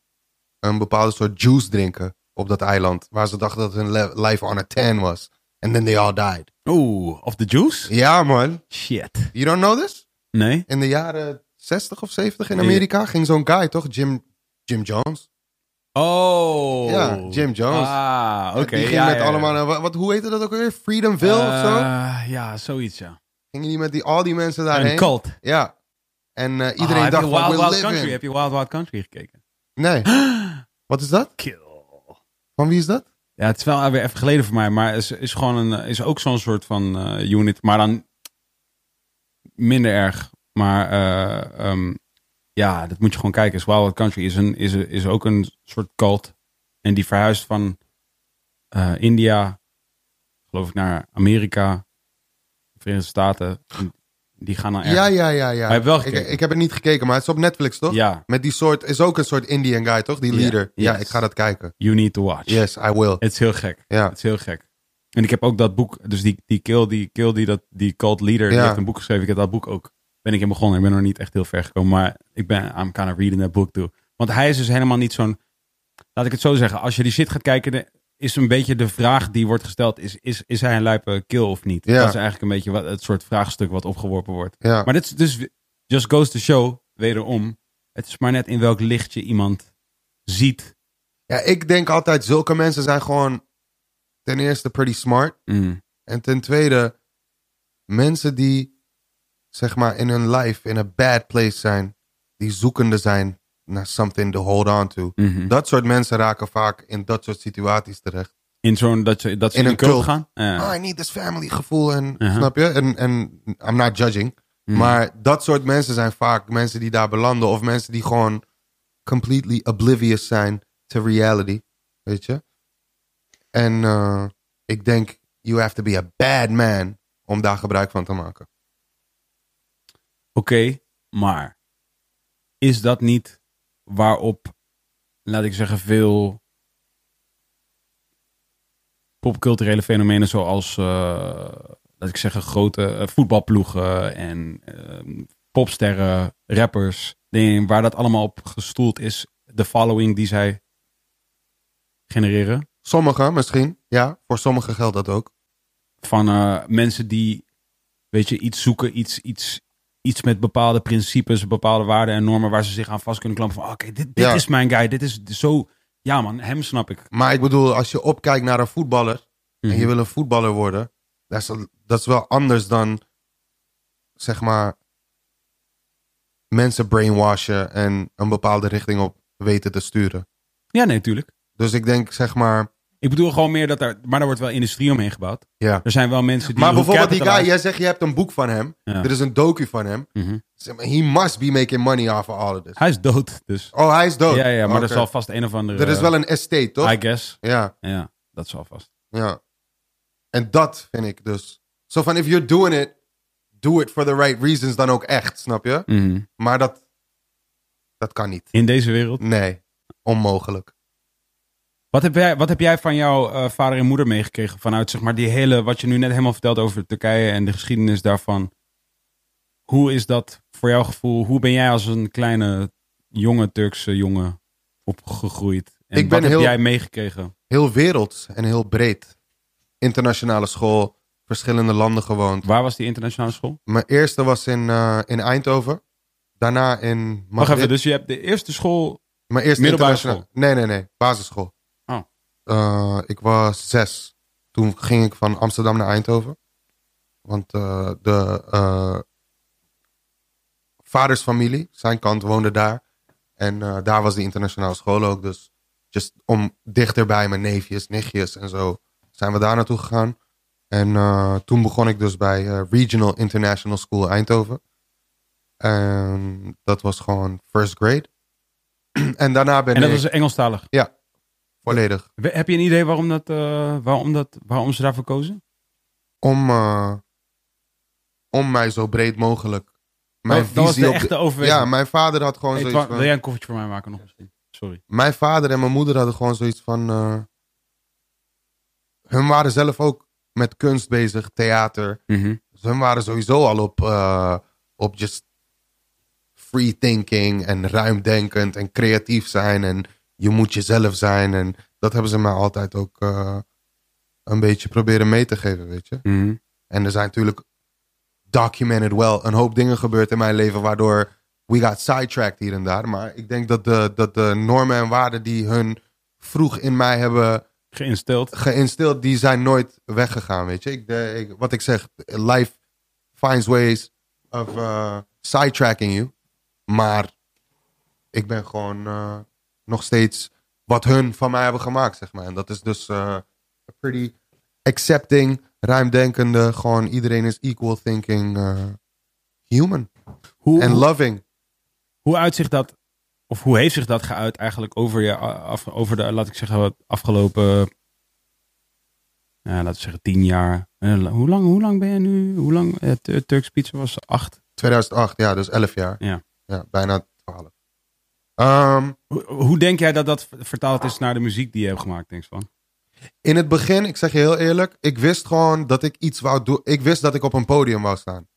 S2: een bepaalde soort juice drinken op dat eiland. Waar ze dachten dat hun le- life on a tan was. And then they all died.
S1: Oeh, of the juice?
S2: Ja man.
S1: Shit.
S2: You don't know this?
S1: Nee?
S2: In de jaren 60 of 70 in
S1: Nee.
S2: Amerika ging zo'n guy toch? Jim, Jim Jones.
S1: Oh.
S2: Ja, Jim Jones.
S1: Ah, oké.
S2: Die ging
S1: ja,
S2: met
S1: ja, ja.
S2: allemaal... naar- Wat, wat- hoe heette dat ook alweer? Freedomville of zo?
S1: Eh, Ja, zoiets, ja.
S2: Gingen die met die, al die mensen
S1: Een
S2: daarheen?
S1: cult.
S2: Ja. En eh,
S1: Ah,
S2: iedereen
S1: heb
S2: dacht
S1: je
S2: van,
S1: Wild
S2: we're
S1: Wild Country.
S2: living.
S1: Heb je Wild Wild Country gekeken?
S2: Nee. Wat is dat?
S1: Kill.
S2: Van wie is dat?
S1: Ja, het is wel weer even geleden voor mij, maar is, is gewoon een, eh, is ook zo'n soort van eh, unit, maar dan minder erg. Maar eh, ehm, ja, dat moet je gewoon kijken. Is Wild Wild Country is, een, is, een- is ook een soort cult. En die verhuist van eh, India, geloof ik, naar Amerika, Verenigde Staten. En Die gaan dan erg.
S2: Ja, ja, ja, ja.
S1: Maar je hebt wel
S2: ik,
S1: gekeken.
S2: ik heb het niet gekeken, maar het is op Netflix, toch?
S1: Ja,
S2: Met die soort, is ook een soort Indian guy, toch? Die
S1: Ja,
S2: leader. Ja,
S1: yes.
S2: ik ga dat kijken.
S1: you need to watch.
S2: Yes, I will.
S1: Het is heel gek.
S2: Ja.
S1: Het is heel gek. En ik heb ook dat boek, dus die, die kill, die kill, die, dat, die cult leader, die
S2: Ja.
S1: heeft een boek geschreven. Ik heb dat boek ook, ben ik in begonnen. Ik ben nog niet echt heel ver gekomen, maar ik ben, I'm kind of reading that book too. Want hij is dus helemaal niet zo'n, laat ik het zo zeggen, als je die shit gaat kijken, de- is een beetje de vraag die wordt gesteld, is, is, is hij een luipe kill of niet?
S2: Ja.
S1: Dat is eigenlijk een beetje wat, het soort vraagstuk wat opgeworpen wordt.
S2: Ja.
S1: Maar dit is dus, just goes to show, wederom, het is maar net in welk licht je iemand ziet.
S2: ja, ik denk altijd, zulke mensen zijn gewoon ten eerste pretty smart.
S1: Mm.
S2: En ten tweede, mensen die, zeg maar, in hun life in a bad place zijn. Die zoekende zijn naar something to hold on to.
S1: Mhm.
S2: Dat soort mensen raken vaak in dat soort situaties terecht.
S1: In zo'n dat ze, dat ze
S2: In
S1: in,
S2: een
S1: een cult,
S2: cult.
S1: gaan? Ja.
S2: Oh, I need this family gevoel. En,
S1: Uh-huh.
S2: Snap je? En, en I'm not judging.
S1: Mhm.
S2: Maar dat soort mensen zijn vaak mensen die daar belanden. Of mensen die gewoon completely oblivious zijn to reality. Weet je? En eh, ik denk, you have to be a bad man om daar gebruik van te maken.
S1: Oké, maar is dat niet waarop, laat ik zeggen, veel popculturele fenomenen zoals, eh, laat ik zeggen, grote eh, voetbalploegen en eh, popsterren, rappers, dingen waar dat allemaal op gestoeld is, de following die zij genereren.
S2: Sommigen misschien, ja. Voor sommigen geldt dat ook.
S1: van eh, mensen die, weet je, iets zoeken, iets, iets, iets met bepaalde principes, bepaalde waarden en normen waar ze zich aan vast kunnen klampen. Van, oké, dit, dit
S2: Ja.
S1: is mijn guy, dit is zo, ja man, hem snap ik.
S2: Maar ik bedoel, als je opkijkt naar een voetballer en je
S1: Mhm.
S2: wil een voetballer worden, dat is, dat is wel anders dan, zeg maar, mensen brainwashen en een bepaalde richting op weten te sturen.
S1: Ja, nee, tuurlijk.
S2: Dus ik denk, zeg maar,
S1: Ik bedoel gewoon meer dat er, maar er wordt wel industrie omheen gebouwd.
S2: ja.
S1: Er zijn wel mensen Dus die...
S2: Maar
S1: hoe
S2: bijvoorbeeld die guy,
S1: capitalize-
S2: jij zegt, je hebt een boek van hem,
S1: Ja.
S2: er is een docu van hem.
S1: Mhm.
S2: Zeg maar, He must be making money off of all of this.
S1: Hij is dood, dus.
S2: Oh, hij is dood.
S1: Ja, ja, maar er
S2: Oké.
S1: zal vast een of andere...
S2: Er is wel een estate, toch?
S1: I guess.
S2: Ja.
S1: Ja, dat zal vast.
S2: Ja. En dat vind ik dus. Zo van, if you're doing it, do it for the right reasons dan ook echt, snap je?
S1: Mhm.
S2: Maar dat, dat kan niet.
S1: In deze wereld.
S2: Nee, onmogelijk.
S1: Wat heb jij, wat heb jij van jouw eh, vader en moeder meegekregen vanuit zeg maar die hele, wat je nu net helemaal vertelt over Turkije en de geschiedenis daarvan? Hoe is dat voor jouw gevoel? Hoe ben jij als een kleine jonge Turkse jongen opgegroeid? En
S2: Ik ben
S1: wat
S2: heel-
S1: heb jij meegekregen?
S2: Heel werelds en heel breed. Internationale school, verschillende landen gewoond.
S1: Waar was die internationale school?
S2: Mijn eerste was in, eh, in Eindhoven. Daarna in
S1: Wacht
S2: Madrid.
S1: even, dus je hebt de eerste school.
S2: Mijn eerste
S1: Middelbare
S2: internationale- Nee, nee, nee. Basisschool.
S1: Oh.
S2: Eh, ik was zes. Toen ging ik van Amsterdam naar Eindhoven. Want eh, de eh vadersfamilie, zijn kant, woonde daar. En eh, daar was de internationale school ook. Dus just om dichterbij mijn neefjes, nichtjes en zo zijn we daar naartoe gegaan. En eh, toen begon ik dus bij eh, Regional International School Eindhoven. En dat was gewoon first grade. en daarna ben
S1: En dat
S2: ik
S1: was Engelstalig.
S2: volledig
S1: We- Heb je een idee waarom, dat, eh, waarom, dat, waarom ze daarvoor kozen?
S2: om, eh, om mij zo breed mogelijk mijn
S1: dat, dat was
S2: visie
S1: de
S2: op
S1: echte overweging.
S2: Ja, mijn vader had gewoon
S1: Hey,
S2: zoiets eh.
S1: Twan,
S2: van...
S1: wil jij een koffietje voor mij maken nog? misschien? Sorry.
S2: mijn vader en mijn moeder hadden gewoon zoiets van. eh, hun waren zelf ook met kunst bezig, theater. Dus hun waren sowieso al op, eh, op just free thinking en ruimdenkend en creatief zijn. En je moet jezelf zijn. En dat hebben ze mij altijd ook eh, een beetje proberen mee te geven, weet je. En er zijn natuurlijk documented wel een hoop dingen gebeurd in mijn leven waardoor we got sidetracked hier en daar. Maar ik denk dat de, dat de normen en waarden die hun vroeg in mij hebben
S1: Geïnsteld.
S2: geïnsteld, die zijn nooit weggegaan, weet je. Ik, de, ik- wat ik zeg, life finds ways of eh, sidetracking you. Maar ik ben gewoon eh, nog steeds wat hun van mij hebben gemaakt, zeg maar. En dat is dus eh, a pretty accepting, ruimdenkende, gewoon iedereen is equal thinking eh, human.
S1: Hoe,
S2: En loving.
S1: Hoe uitzicht dat, of hoe heeft zich dat geuit eigenlijk over, je, af, over de, laat ik zeggen, wat afgelopen, nou, laten we zeggen, tien jaar? Eh, Hoe lang, hoe lang ben je nu? Hoe lang? eh, Tur- Turks Pizza was acht.
S2: 2008, ja, dus 11 jaar.
S1: Ja.
S2: Ja, bijna 12. Ehm
S1: Hoe, hoe denk jij dat dat vertaald is naar de muziek die je hebt gemaakt, denk ik van?
S2: In het begin, ik zeg je heel eerlijk, ik wist gewoon dat ik iets wou doen. Ik wist dat ik op een podium wou staan.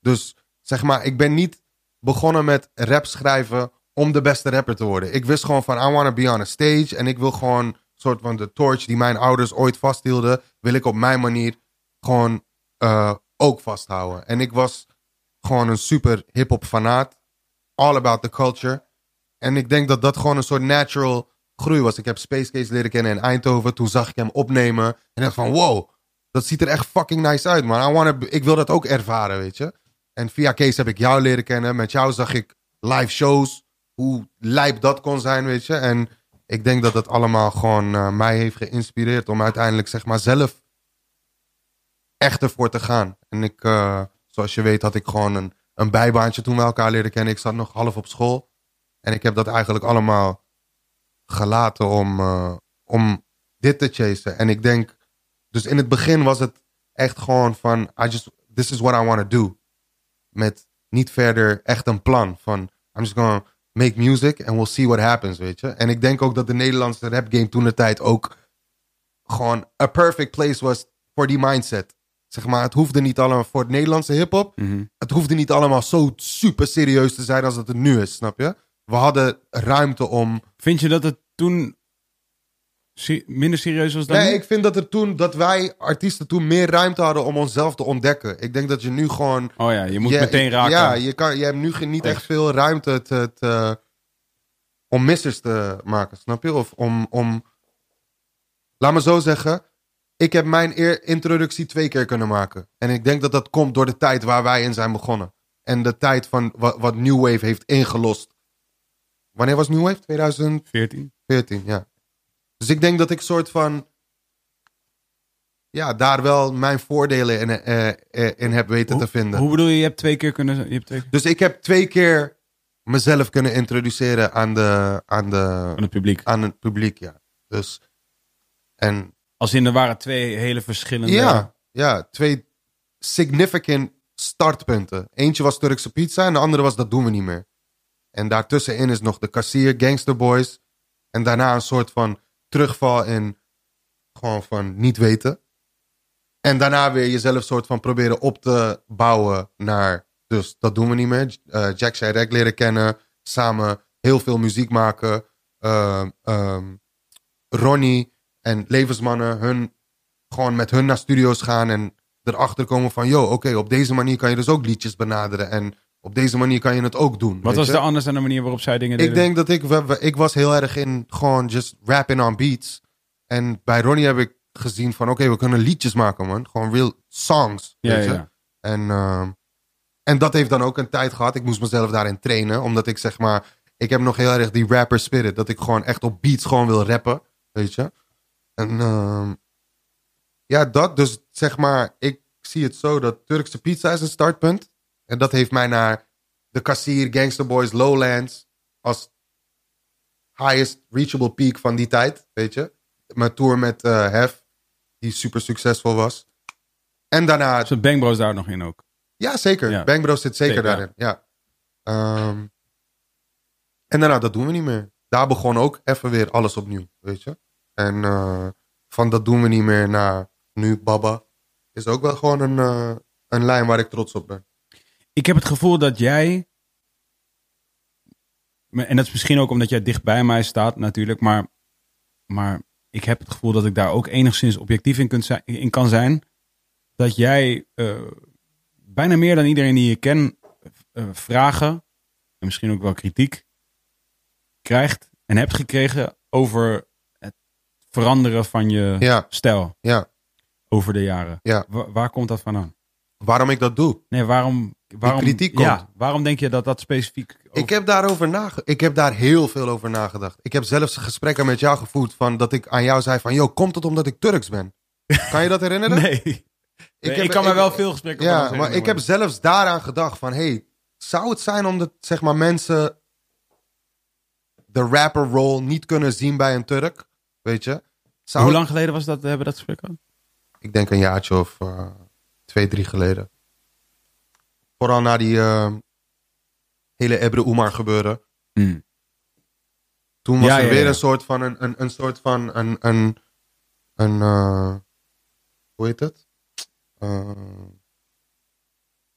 S2: Dus zeg maar, ik ben niet begonnen met rap schrijven om de beste rapper te worden. Ik wist gewoon van, I wanna be on a stage. En ik wil gewoon, soort van de torch die mijn ouders ooit vasthielden, wil ik op mijn manier gewoon eh, ook vasthouden. En ik was gewoon een super hip-hop fanaat. All about the culture. En ik denk dat dat gewoon een soort natural groei was. Ik heb Space Case leren kennen in Eindhoven. Toen zag ik hem opnemen. En dacht van wow, dat ziet er echt fucking nice uit man. I wanna, be- ik wil dat ook ervaren, weet je. En via Case heb ik jou leren kennen. Met jou zag ik live shows. Hoe lijp dat kon zijn, weet je. En ik denk dat dat allemaal gewoon eh, mij heeft geïnspireerd. Om uiteindelijk zeg maar zelf echt ervoor te gaan. En ik, eh, zoals je weet, had ik gewoon een, een bijbaantje toen we elkaar leerden kennen. Ik zat nog half op school. En ik heb dat eigenlijk allemaal gelaten om, eh, om dit te chasen. En ik denk, dus in het begin was het echt gewoon van, I just, this is what I want to do. Met niet verder echt een plan van, I'm just gonna make music and we'll see what happens, weet je. En ik denk ook dat de Nederlandse rap game toen de tijd ook gewoon a perfect place was voor die mindset. Zeg maar, het hoefde niet allemaal voor het Nederlandse hip-hop.
S1: Mhm.
S2: Het hoefde niet allemaal zo super serieus te zijn als het er nu is, snap je? We hadden ruimte om.
S1: Vind je dat het toen se- minder serieus was dan
S2: Nee,
S1: nu?
S2: ik vind dat, er toen, dat wij artiesten toen meer ruimte hadden om onszelf te ontdekken. Ik denk dat je nu gewoon.
S1: Oh ja, je moet
S2: Ja,
S1: meteen
S2: ik-
S1: raken.
S2: Ja, je, kan, je hebt nu geen- niet echt veel ruimte te, te- om missers te maken, snap je? Of om, om... Laat me zo zeggen, ik heb mijn eer- introductie twee keer kunnen maken. En ik denk dat dat komt door de tijd waar wij in zijn begonnen. En de tijd van wat, wat New Wave heeft ingelost. Wanneer was New Wave? 2014,
S1: 14.
S2: ja. Dus ik denk dat ik soort van... Ja, daar wel mijn voordelen in, eh, eh, in heb weten te vinden.
S1: Hoe bedoel je, je hebt twee keer kunnen... Je hebt twee keer...
S2: Dus ik heb twee keer mezelf kunnen introduceren aan, de, aan, de,
S1: Van het publiek.
S2: aan het publiek. Ja. Dus, en
S1: Als in, er waren twee hele verschillende...
S2: ja, ja, twee significant startpunten. Eentje was Turkse pizza en de andere was dat doen we niet meer. En daartussenin is nog de kassier, Gangster Boys. En daarna een soort van terugval in gewoon van niet weten. En daarna weer jezelf soort van proberen op te bouwen naar... Dus dat doen we niet meer. Eh, Jack Chirac leren kennen. Samen heel veel muziek maken. Ehm, ehm, Ronnie en Levensmannen. Hun, gewoon met hun naar studio's gaan. En erachter komen van... Yo, oké, op deze manier kan je dus ook liedjes benaderen. En op deze manier kan je het ook doen.
S1: Wat
S2: weet
S1: was
S2: je?
S1: er anders aan de manier waarop zij dingen deden?
S2: Ik denk dat ik, we- we- ik was heel erg in gewoon just rapping on beats. En bij Ronnie heb ik gezien van oké, we kunnen liedjes maken man. Gewoon real songs.
S1: Ja,
S2: weet
S1: ja,
S2: je?
S1: ja.
S2: En, ehm, en dat heeft dan ook een tijd gehad. Ik moest mezelf daarin trainen. Omdat ik zeg maar, ik heb nog heel erg die rapper spirit. Dat ik gewoon echt op beats gewoon wil rappen. Weet je. En ehm, ja, dat dus zeg maar, ik zie het zo dat Turkse pizza is een startpunt. En dat heeft mij naar de kassier, Gangster Boys, Lowlands als highest reachable peak van die tijd, weet je. Mijn tour met eh, Hef, die super succesvol was. En daarna,
S1: Zat Bang Bros daar nog in ook?
S2: ja zeker,
S1: Ja.
S2: Bang Bros zit zeker,
S1: Zeker, ja.
S2: daarin, ja. Ehm, en daarna, dat doen we niet meer. Daar begon ook even weer alles opnieuw, weet je. En eh, van dat doen we niet meer naar nu, Baba, is ook wel gewoon een, eh, een lijn waar ik trots op ben.
S1: Ik heb het gevoel dat jij. maar- En dat is misschien ook omdat jij dicht bij mij staat, natuurlijk. Maar, maar ik heb het gevoel dat ik daar ook enigszins objectief in, kunt zijn, in kan zijn. Dat jij eh, bijna meer dan iedereen die je kent eh, vragen. En misschien ook wel kritiek. krijgt en hebt gekregen over het veranderen van je
S2: Ja,
S1: stijl
S2: ja.
S1: over de jaren.
S2: Ja.
S1: Wa- waar komt dat vandaan?
S2: Waarom ik dat doe?
S1: Nee, waarom, waarom,
S2: kritiek
S1: ja,
S2: komt.
S1: waarom denk je dat dat specifiek... over-
S2: Ik heb, daarover nage- ik heb daar heel veel over nagedacht. Ik heb zelfs gesprekken met jou gevoerd. Van dat ik aan jou zei van... Yo, komt het omdat ik Turks ben? Kan je dat herinneren?
S1: Nee, Nee, ik,
S2: heb-
S1: kan me wel veel gesprekken
S2: Ja,
S1: over
S2: maar
S1: ons
S2: ik heb
S1: herinneren.
S2: zelfs daaraan gedacht van... Hey, zou het zijn omdat zeg maar, mensen de rapper role niet kunnen zien bij een Turk? Weet je? Zou
S1: Hoe
S2: het-
S1: lang geleden was dat, hebben we dat gesprek gehad?
S2: Ik denk een jaartje of eh, twee, drie geleden. Vooral na die eh, hele Ebre Oemar gebeuren.
S1: Hmm.
S2: Toen was
S1: Ja,
S2: er
S1: ja,
S2: weer
S1: ja.
S2: een soort van een, een, een soort van een, een, een eh, hoe heet het? Eh,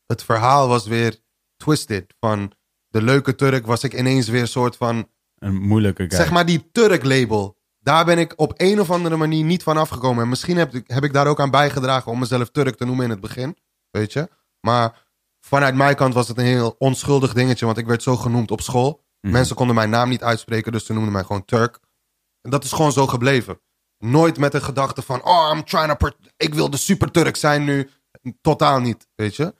S2: het verhaal was weer twisted. Van de leuke Turk was ik ineens weer een soort van
S1: Een moeilijke guy.
S2: Zeg maar die Turk-label. Daar ben ik op een of andere manier niet van afgekomen. En misschien heb ik, heb ik daar ook aan bijgedragen om mezelf Turk te noemen in het begin. Weet je? Maar vanuit mijn kant was het een heel onschuldig dingetje. Want ik werd zo genoemd op school.
S1: Mhm.
S2: Mensen konden mijn naam niet uitspreken, dus ze noemden mij gewoon Turk. En dat is gewoon zo gebleven. Nooit met de gedachte van, oh, I'm trying to... per- Ik wil de super Turk zijn nu. Totaal niet, weet je?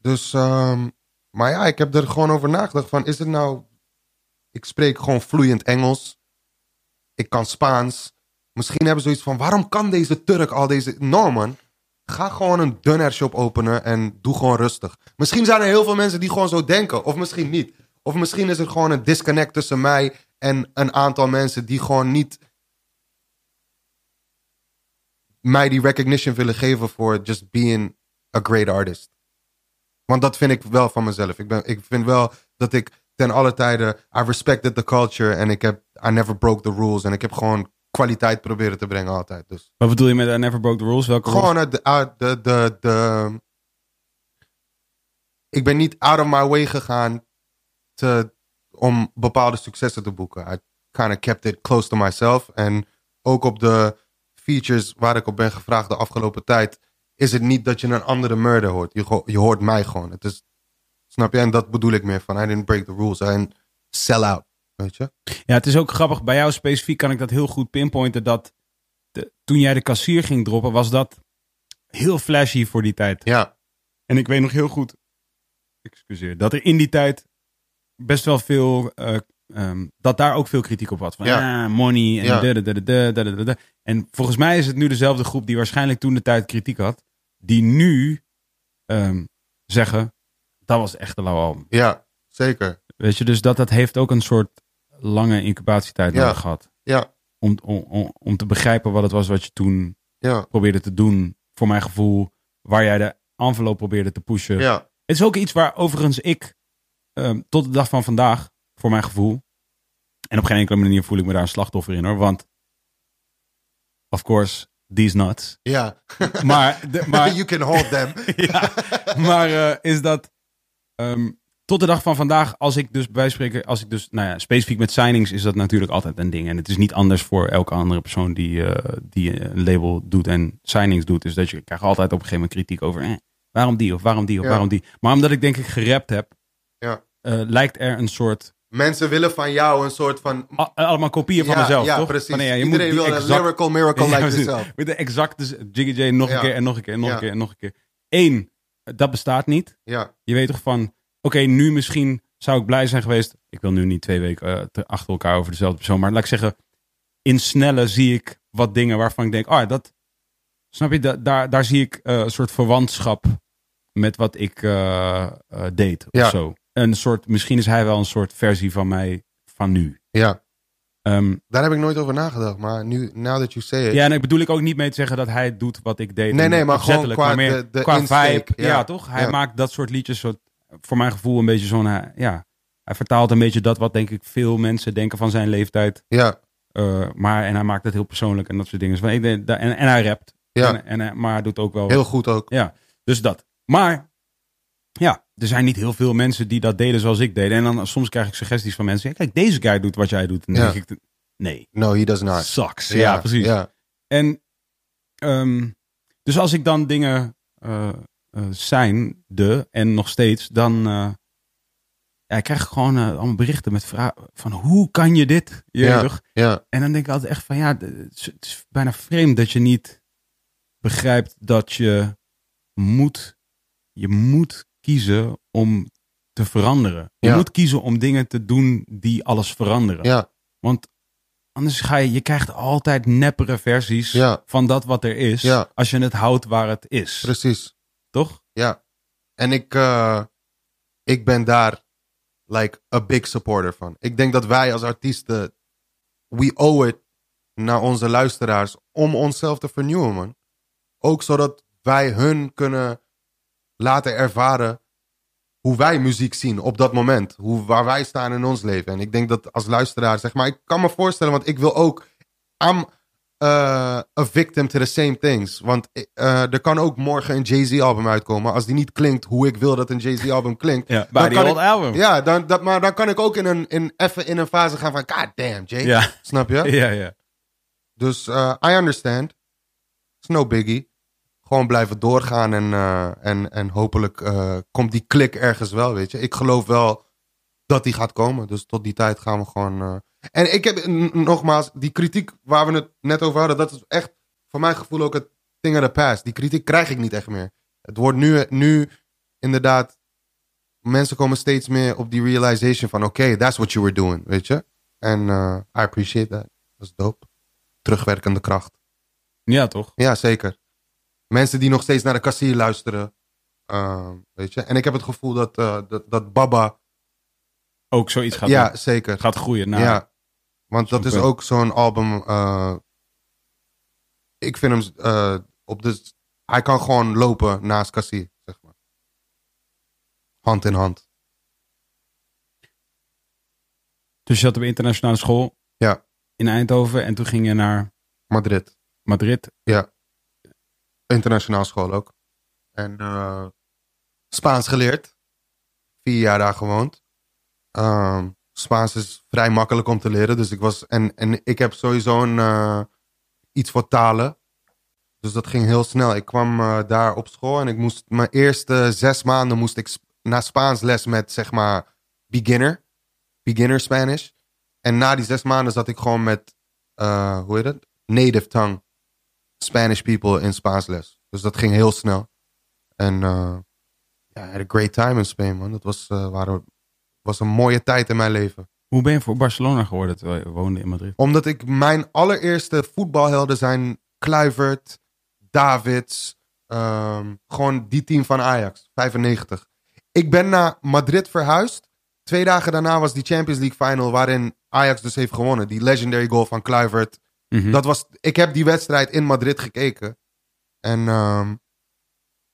S2: Dus, ehm, maar ja, ik heb er gewoon over nagedacht van, is het nou ik spreek gewoon vloeiend Engels. Ik kan Spaans. Misschien hebben ze zoiets van: waarom kan deze Turk al deze. Norman, ga gewoon een dunner shop openen en doe gewoon rustig. Misschien zijn er heel veel mensen die gewoon zo denken, of misschien niet. Of misschien is er gewoon een disconnect tussen mij en een aantal mensen die gewoon niet. mij die recognition willen geven voor just being a great artist. Want dat vind ik wel van mezelf. Ik, ben, ik vind wel dat ik ten alle tijden. I respected the culture. En ik heb. I never broke the rules. En ik heb gewoon kwaliteit proberen te brengen altijd. Dus
S1: Wat bedoel je met I Never Broke the Rules? Welke
S2: gewoon uit de, uit de, de, de... Ik ben niet out of my way gegaan te, om bepaalde successen te boeken. I kind of kept it close to myself. En ook op de features waar ik op ben gevraagd de afgelopen tijd... is het niet dat je een andere murder hoort. Je, go- je hoort mij gewoon. Het is, snap je? En dat bedoel ik meer van. I didn't break the rules. I didn't sell out. Weet je?
S1: Ja, het is ook grappig. Bij jou specifiek kan ik dat heel goed pinpointen. Dat de- toen jij de kassier ging droppen, was dat heel flashy voor die tijd.
S2: Ja.
S1: En ik weet nog heel goed, excuseer, dat er in die tijd best wel veel, eh, ehm, dat daar ook veel kritiek op was. Van
S2: Ja.
S1: ah, money en
S2: Ja.
S1: da, da, da, da, da, da, da, da. En volgens mij is het nu dezelfde groep die waarschijnlijk toen de tijd kritiek had, die nu ehm, zeggen, dat was echt een lauw album.
S2: Ja, zeker.
S1: Weet je, dus dat, dat heeft ook een soort lange incubatietijd
S2: Ja.
S1: nodig gehad.
S2: Ja.
S1: Om, om, om, om te begrijpen wat het was wat je toen
S2: Ja,
S1: probeerde te doen, voor mijn gevoel, waar jij de envelop probeerde te pushen.
S2: ja,
S1: Het is ook iets waar overigens ik ehm, tot de dag van vandaag, voor mijn gevoel, en op geen enkele manier voel ik me daar een slachtoffer in hoor, want of course, these nuts.
S2: ja.
S1: Maar, de- maar
S2: you can hold them.
S1: ja, maar eh, is dat ehm, tot de dag van vandaag, als ik dus bij spreken, als ik dus, nou ja, specifiek met signings is dat natuurlijk altijd een ding. En het is niet anders voor elke andere persoon die, eh, die een label doet en signings doet. Dus dat je krijgt altijd op een gegeven moment kritiek over, eh, waarom die of waarom die of
S2: Ja.
S1: waarom die. Maar omdat ik denk ik gerapt heb,
S2: Ja.
S1: eh, lijkt er een soort,
S2: Mensen willen van jou een soort van...
S1: a- allemaal kopieën van
S2: ja,
S1: mezelf,
S2: ja,
S1: toch?
S2: precies.
S1: Van, nee, ja, je
S2: Iedereen
S1: moet die
S2: wil een
S1: exact-
S2: lyrical miracle
S1: Ja,
S2: like
S1: precies.
S2: yourself.
S1: Met de exacte Jiggy J nog een
S2: Ja.
S1: keer en nog een keer en nog
S2: Ja.
S1: een keer en nog een keer. Eén, dat bestaat niet.
S2: Ja,
S1: Je weet toch van, oké, nu misschien zou ik blij zijn geweest. Ik wil nu niet twee weken eh, te- achter elkaar over dezelfde persoon. Maar laat ik zeggen, in snelle zie ik wat dingen waarvan ik denk, ah, dat, snap je, da- daar, daar zie ik eh, een soort verwantschap met wat ik eh, eh, deed of
S2: Ja.
S1: zo. Een soort, misschien is hij wel een soort versie van mij van nu.
S2: ja.
S1: Ehm,
S2: Daar heb ik nooit over nagedacht, maar nu, now that you say it...
S1: ja, en ik bedoel ik ook niet mee te zeggen dat hij doet wat ik deed.
S2: Nee, nee, maar
S1: Opzettelijk,
S2: gewoon qua
S1: maar meer
S2: de- de
S1: qua
S2: insteek,
S1: vibe. Ja,
S2: ja.
S1: toch? Hij
S2: Ja.
S1: maakt dat soort liedjes, soort, voor mijn gevoel, een beetje zo'n. eh, Ja, hij vertaalt een beetje dat wat denk ik veel mensen denken van zijn leeftijd.
S2: ja,
S1: Eh, maar, en hij maakt het heel persoonlijk en dat soort dingen. Dus van, ik denk dat- en, en hij rapt.
S2: ja.
S1: En, en, hij- maar hij doet ook wel.
S2: heel goed ook.
S1: Dus dat. Maar ja, er zijn niet heel veel mensen die dat deden zoals ik deed. En dan soms krijg ik suggesties van mensen. ja, Kijk, deze guy doet wat jij doet. En dan
S2: Ja.
S1: denk ik, nee,
S2: No, he does not.
S1: sucks. Ja, precies.
S2: Ja,
S1: En ehm, dus als ik dan dingen eh, eh, zijn, de en nog steeds, dan eh, ja, ik krijg ik gewoon eh, allemaal berichten met vragen van hoe kan je dit? Je weet
S2: Ja.
S1: toch?
S2: ja,
S1: En dan denk ik altijd echt van ja, d- het is, het is bijna vreemd dat je niet begrijpt dat je moet, je moet kiezen om te veranderen. Je
S2: Ja.
S1: moet kiezen om dingen te doen die alles veranderen.
S2: ja,
S1: Want anders ga je, je krijgt altijd neppere versies
S2: Ja.
S1: van dat wat er is.
S2: Ja.
S1: Als je het houdt waar het is.
S2: precies.
S1: Toch?
S2: Ja. En ik, eh, ik ben daar like a big supporter van. Ik denk dat wij als artiesten, we owe it naar onze luisteraars om onszelf te vernieuwen, man. Ook zodat wij hun kunnen laten ervaren hoe wij muziek zien op dat moment. Hoe, waar wij staan in ons leven. En ik denk dat als luisteraar, zeg maar, ik kan me voorstellen, want ik wil ook... I'm eh, a victim to the same things. Want eh, er kan ook morgen een Jay-Z-album uitkomen. Als die niet klinkt hoe ik wil dat een Jay-Z-album klinkt.
S1: Ja,
S2: dan
S1: bij die
S2: kan
S1: old
S2: ik-
S1: album.
S2: Ja, dan, dat, maar dan kan ik ook in een, in, even in een fase gaan van... God damn, Jay.
S1: Ja.
S2: Snap je?
S1: Ja, ja.
S2: Dus eh, I understand. It's no biggie. Gewoon blijven doorgaan en, eh, en, en hopelijk eh, komt die klik ergens wel, weet je. Ik geloof wel dat die gaat komen. Dus tot die tijd gaan we gewoon... eh, En ik heb n- nogmaals, die kritiek waar we het net over hadden... dat is echt voor mijn gevoel ook het thing of the past. Die kritiek krijg ik niet echt meer. Het wordt nu, nu inderdaad... Mensen komen steeds meer op die realization van... oké, that's what you were doing, weet je. En eh, I appreciate that. Dat is dope terugwerkende kracht.
S1: Ja, toch?
S2: Ja, zeker. Mensen die nog steeds naar de kassier luisteren. ehm, weet je? En ik heb het gevoel dat, eh, dat, dat Baba...
S1: Ook zoiets gaat,
S2: ja, zeker.
S1: gaat groeien. Nou,
S2: ja. Want dat
S1: zo'n
S2: is
S1: punt.
S2: ook zo'n album... eh, ik vind hem eh, op de... Hij kan gewoon lopen naast kassier, zeg maar. Hand in hand.
S1: Dus je zat op internationale school.
S2: Ja.
S1: in Eindhoven en toen ging je naar
S2: Madrid.
S1: Madrid.
S2: Internationaal school ook. En eh, Spaans geleerd. Vier jaar daar gewoond. Ehm, Spaans is vrij makkelijk om te leren. Dus ik was. En, en ik heb sowieso een, eh, iets voor talen. Dus dat ging heel snel. Ik kwam eh, daar op school en ik moest. Mijn eerste zes maanden moest ik Sp- naar Spaans les met zeg maar beginner. Beginner Spanish. En na die zes maanden zat ik gewoon met. eh, hoe heet het? Native tongue. Spanish people in Spaans les. Dus dat ging heel snel. En eh, ja, I had a great time in Spain, man. Dat was, eh, waren, was een mooie tijd in mijn leven.
S1: Hoe ben je voor Barcelona geworden terwijl je woonde in Madrid?
S2: Omdat ik mijn allereerste voetbalhelden zijn Kluivert, Davids, ehm, gewoon die team van Ajax, 95. Ik ben naar Madrid verhuisd. Twee dagen daarna was die Champions League final waarin Ajax dus heeft gewonnen. Die legendary goal van Kluivert.
S1: Mhm.
S2: Dat was, ik heb die wedstrijd in Madrid gekeken. En ehm,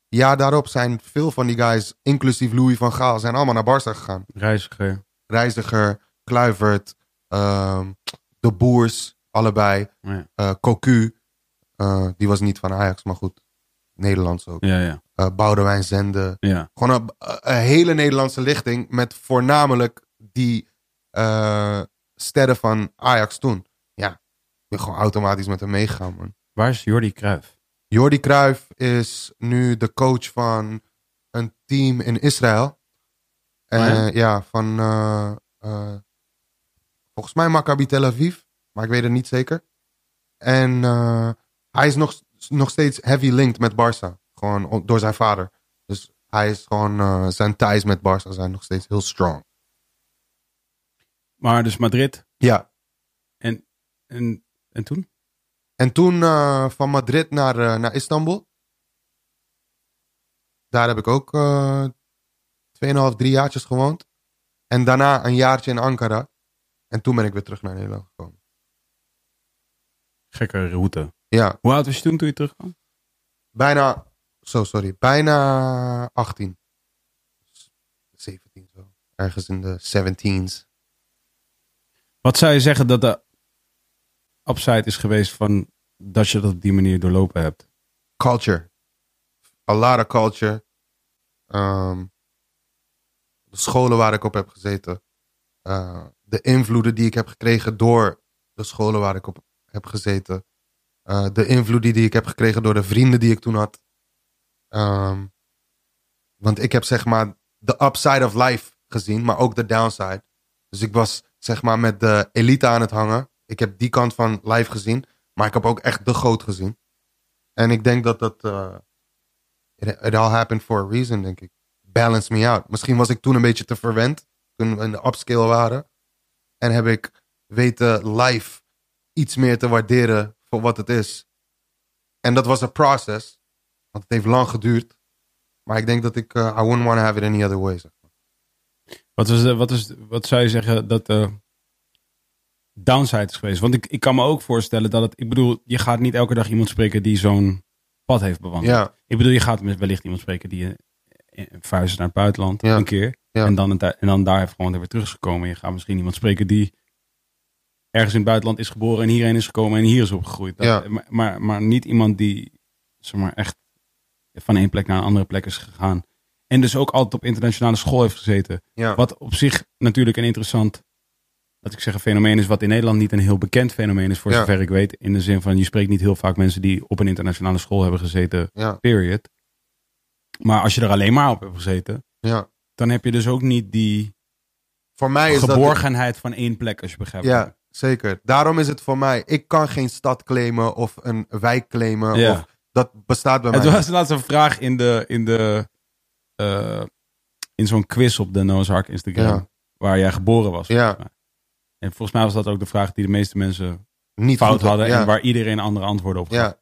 S2: ja, daarop zijn veel van die guys, inclusief Louis van Gaal, zijn allemaal naar Barça gegaan.
S1: Reiziger.
S2: Reiziger, Kluivert, ehm, De Boers, allebei.
S1: Ja.
S2: eh Cocu, eh, die was niet van Ajax, maar goed. Nederlands ook.
S1: Ja, ja,
S2: Eh Boudewijn Zende.
S1: ja.
S2: Gewoon een, een hele Nederlandse lichting met voornamelijk die eh, sterren van Ajax toen. Ja, ik ben gewoon automatisch met hem meegegaan, man.
S1: Waar is Jordi Cruijff?
S2: Jordi Cruijff is nu de coach van een team in Israël. En,
S1: Oh ja?
S2: eh, ja, van eh, eh, volgens mij Maccabi Tel Aviv, maar ik weet het niet zeker. En eh, hij is nog, nog steeds heavy linked met Barça, gewoon o- door zijn vader. Dus hij is gewoon, eh, zijn ties met Barça zijn nog steeds heel strong.
S1: Maar dus Madrid.
S2: Ja,
S1: En, en toen?
S2: En toen eh, van Madrid naar, eh, naar Istanbul. Daar heb ik ook eh 2,5, 3 jaartjes gewoond. En daarna een jaartje in Ankara. En toen ben ik weer terug naar Nederland gekomen.
S1: Gekke route.
S2: Ja,
S1: Hoe oud was je toen toen je terugkwam?
S2: bijna. Zo, sorry. Bijna 18. 17 zo. Ergens in de 17s.
S1: Wat zou je zeggen dat de upside is geweest van dat je dat op die manier doorlopen hebt?
S2: culture. A lot of culture. Ehm, de scholen waar ik op heb gezeten. Eh, de invloeden die ik heb gekregen door de scholen waar ik op heb gezeten. Eh, de invloeden die ik heb gekregen door de vrienden die ik toen had. Ehm, want ik heb zeg maar de upside of life gezien, maar ook de downside. Dus ik was zeg maar met de elite aan het hangen. Ik heb die kant van life gezien, maar ik heb ook echt de goot gezien. En ik denk dat dat. eh, it, it all happened for a reason, denk ik. Balance me out. Misschien was ik toen een beetje te verwend. Toen we in de upscale waren. En heb ik weten live iets meer te waarderen voor wat het is. En dat was een process. Want het heeft lang geduurd. Maar ik denk dat ik. eh, I wouldn't want to have it any other way. zeg maar.
S1: Wat, was de, wat, is, wat zou je zeggen dat de downside is geweest? Want ik, ik kan me ook voorstellen dat het... Ik bedoel, je gaat niet elke dag iemand spreken die zo'n pad heeft bewandeld.
S2: Ja,
S1: Ik bedoel, je gaat met wellicht iemand spreken die eh, verhuisd is naar het buitenland
S2: Ja.
S1: een keer.
S2: Ja.
S1: En, dan een tij- en dan daar heeft gewoon weer terug is gekomen. Je gaat misschien iemand spreken die ergens in het buitenland is geboren en hierheen is gekomen en hier is opgegroeid. Dat- eh,
S2: Ja.
S1: maar, maar, maar niet iemand die zeg maar, echt van één plek naar een andere plek is gegaan. En dus ook altijd op internationale school heeft gezeten.
S2: ja.
S1: Wat op zich natuurlijk een interessant, laat ik zeggen, fenomeen is. Wat in Nederland niet een heel bekend fenomeen is, voor
S2: Ja.
S1: zover ik weet. In de zin van, je spreekt niet heel vaak mensen die op een internationale school hebben gezeten
S2: ja,
S1: period. Maar als je er alleen maar op hebt gezeten,
S2: ja.
S1: dan heb je dus ook niet die
S2: Voor mij is dat.
S1: geborgenheid van één plek, als je begrijpt. wat ik
S2: Ja, zeker. Daarom is het voor mij. Ik kan geen stad claimen of een wijk claimen.
S1: Ja.
S2: Of, dat bestaat bij
S1: Het
S2: mij. niet.
S1: was laatst een vraag in de. In de eh, in zo'n quiz op de Noah's Ark Instagram.
S2: Ja.
S1: Waar jij geboren was.
S2: Ja.
S1: volgens mij. En volgens mij was dat ook de vraag die de meeste mensen
S2: niet
S1: fout
S2: goed,
S1: hadden.
S2: Ja.
S1: En waar iedereen andere antwoorden op gaf.
S2: ja.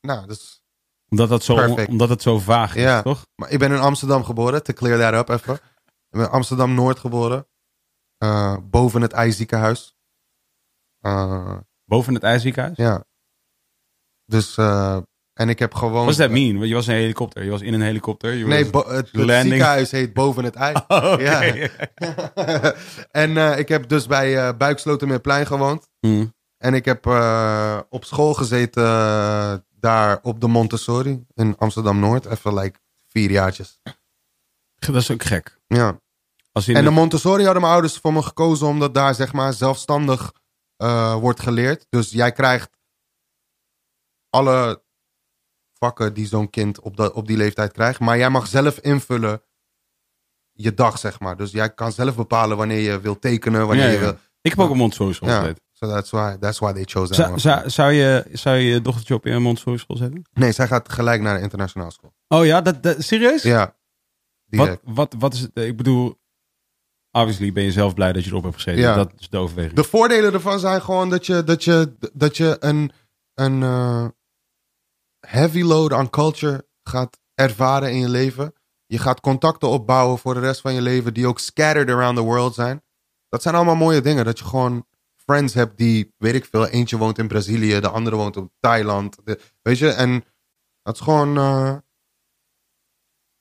S2: Nou, dus,
S1: Omdat, dat zo,
S2: Perfect.
S1: omdat het zo vaag is,
S2: Ja.
S1: toch?
S2: maar ik ben in Amsterdam geboren, to clear that up even. Ik ben in Amsterdam Noord geboren, eh, boven het IJziekenhuis. Eh,
S1: Boven het ijsziekenhuis.
S2: ja. Dus, eh, en ik heb gewoon.
S1: Wat does that mean? Want Je was in een helikopter. Je was in een helikopter. Je
S2: Nee,
S1: was-
S2: bo- het, het
S1: landing.
S2: ziekenhuis heet Boven het IJ.
S1: Oké.
S2: Ja. en eh, ik heb dus bij eh Buikslotermeerplein gewoond.
S1: Hmm.
S2: En ik heb eh, op school gezeten eh, daar op de Montessori in Amsterdam-Noord. Even like vier jaartjes.
S1: Dat is ook gek.
S2: Ja.
S1: Als in
S2: En de
S1: het-
S2: Montessori hadden mijn ouders voor me gekozen omdat daar zeg maar zelfstandig eh, wordt geleerd. Dus jij krijgt alle vakken die zo'n kind op, dat, op die leeftijd krijgt. Maar jij mag zelf invullen je dag zeg maar. Dus jij kan zelf bepalen wanneer je wil tekenen, wanneer
S1: Ja,
S2: je
S1: ja.
S2: wil...
S1: ik heb ook een Montessori school
S2: Ja.
S1: gezeten.
S2: So that's why, that's why they chose
S1: Zou,
S2: that.
S1: zou, zou je, zou je dochtertje op een Montessori school zetten?
S2: Nee, zij gaat gelijk naar de internationale school.
S1: Oh ja, dat, dat- serieus?
S2: Ja,
S1: wat,
S2: direct.
S1: wat, wat is het? Ik bedoel, obviously ben je zelf blij dat je erop hebt geschreven.
S2: Ja.
S1: Dat is de overweging.
S2: De voordelen ervan zijn gewoon dat je, dat je, dat je een, een eh, heavy load aan culture gaat ervaren in je leven. Je gaat contacten opbouwen voor de rest van je leven die ook scattered around the world zijn. Dat zijn allemaal mooie dingen. Dat je gewoon friends hebt die, weet ik veel, eentje woont in Brazilië, de andere woont in Thailand. De- weet je, en dat is gewoon... eh,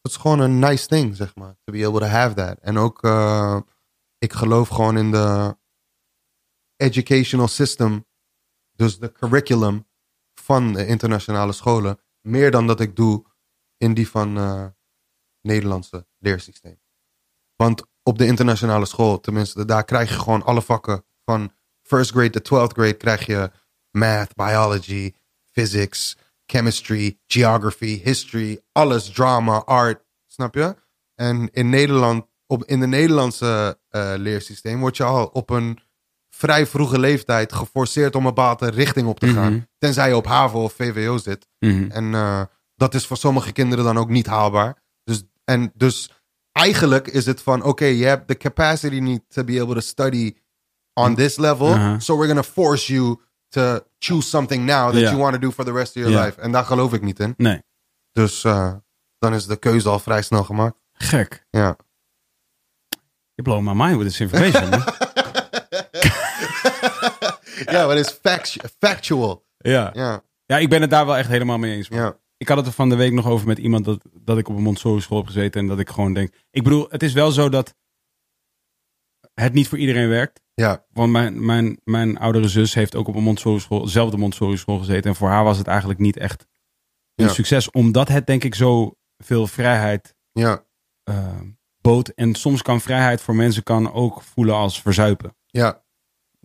S2: dat is gewoon een nice thing, zeg maar. To be able to have that. En ook, eh, ik geloof gewoon in de educational system, dus de curriculum van de internationale scholen, meer dan dat ik doe in die van eh Nederlandse leersysteem. Want op de internationale school, tenminste, daar krijg je gewoon alle vakken van first grade to twelfth grade krijg je math, biology, physics, chemistry, geography, history, alles, drama, art, snap je? En in Nederland, op, in de Nederlandse eh, leersysteem word je al op een vrij vroege leeftijd geforceerd om een bepaalde richting op te gaan.
S1: Mhm.
S2: Tenzij je op HAVO of VWO zit.
S1: Mhm.
S2: En eh, dat is voor sommige kinderen dan ook niet haalbaar. Dus, en dus eigenlijk is het van, oké, je hebt de capacity niet to be able to study on this level.
S1: Aha.
S2: So we're going to force you to choose something now that
S1: Ja.
S2: you want to do for the rest of your
S1: Ja.
S2: life. En daar geloof ik niet in.
S1: Nee,
S2: Dus eh, dan is de keuze al vrij snel gemaakt.
S1: gek.
S2: Ja.
S1: Je blow my mind with this information. man.
S2: Ja, maar het is fact- factual.
S1: ja.
S2: Ja,
S1: ja, ik ben het daar wel echt helemaal mee eens. man.
S2: ja.
S1: Ik had het er van de week nog over met iemand dat, dat ik op een Montessori school heb gezeten. En dat ik gewoon denk... Ik bedoel, het is wel zo dat het niet voor iedereen werkt.
S2: Ja,
S1: Want mijn, mijn, mijn oudere zus heeft ook op een Montessori school, zelfde Montessori school gezeten. En voor haar was het eigenlijk niet echt een
S2: Ja.
S1: succes. Omdat het denk ik zo veel vrijheid
S2: ja,
S1: eh, bood. En soms kan vrijheid voor mensen kan ook voelen als verzuipen.
S2: ja,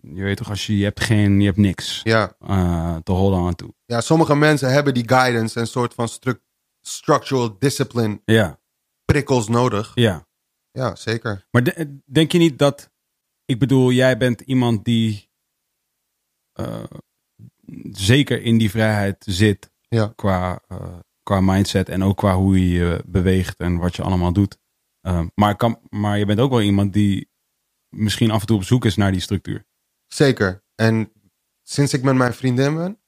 S1: Je weet toch, als je, je hebt geen, je hebt niks
S2: ja.
S1: eh, te hollen aan toe.
S2: Ja, sommige mensen hebben die guidance en soort van stru- structural discipline
S1: Ja,
S2: prikkels nodig.
S1: ja.
S2: Ja, zeker.
S1: Maar de- denk je niet dat, ik bedoel, jij bent iemand die eh, zeker in die vrijheid zit
S2: Ja.
S1: qua, eh, qua mindset en ook qua hoe je je beweegt en wat je allemaal doet. Eh, maar, kan, maar je bent ook wel iemand die misschien af en toe op zoek is naar die structuur.
S2: Zeker. En sinds ik met mijn vriendin ben,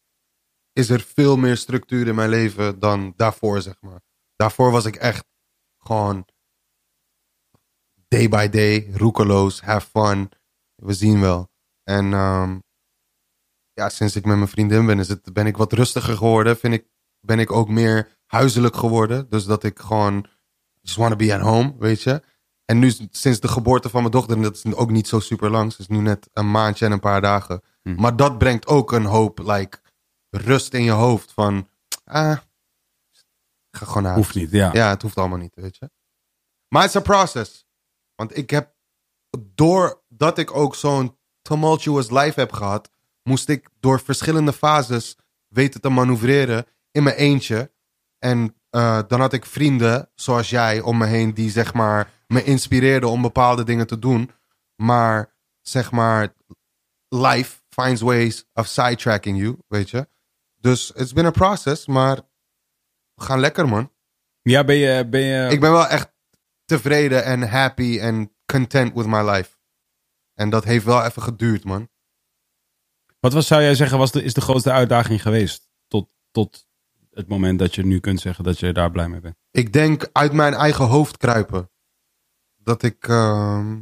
S2: is er veel meer structuur in mijn leven dan daarvoor, zeg maar. Daarvoor was ik echt gewoon day by day, roekeloos, have fun. We zien wel. En ehm, ja, sinds ik met mijn vriendin ben, is het, ben ik wat rustiger geworden. Vind ik, ben ik ook meer huiselijk geworden. Dus dat ik gewoon just want to be at home, weet je. En nu sinds de geboorte van mijn dochter, en dat is ook niet zo super lang. Ze is nu net een maandje en een paar dagen.
S1: Hm.
S2: Maar dat brengt ook een hoop like, rust in je hoofd. Van, ah, ik ga gewoon naar huis.
S1: Hoeft niet, ja.
S2: Ja, het hoeft allemaal niet, weet je. Maar het is een process. Want ik heb, doordat ik ook zo'n tumultuous life heb gehad, moest ik door verschillende fases weten te manoeuvreren in mijn eentje. En eh, dan had ik vrienden zoals jij om me heen die zeg maar me inspireerden om bepaalde dingen te doen. Maar zeg maar, life finds ways of sidetracking you, weet je. Dus it's been a process, maar we gaan lekker man.
S1: Ja, ben je, ben je,
S2: Ik ben wel echt tevreden en happy en content with my life. En dat heeft wel even geduurd, man.
S1: wat was, zou jij zeggen, was de, is de grootste uitdaging geweest tot, tot het moment dat je nu kunt zeggen dat je daar blij mee bent?
S2: Ik denk uit mijn eigen hoofd kruipen. Dat ik. ehm,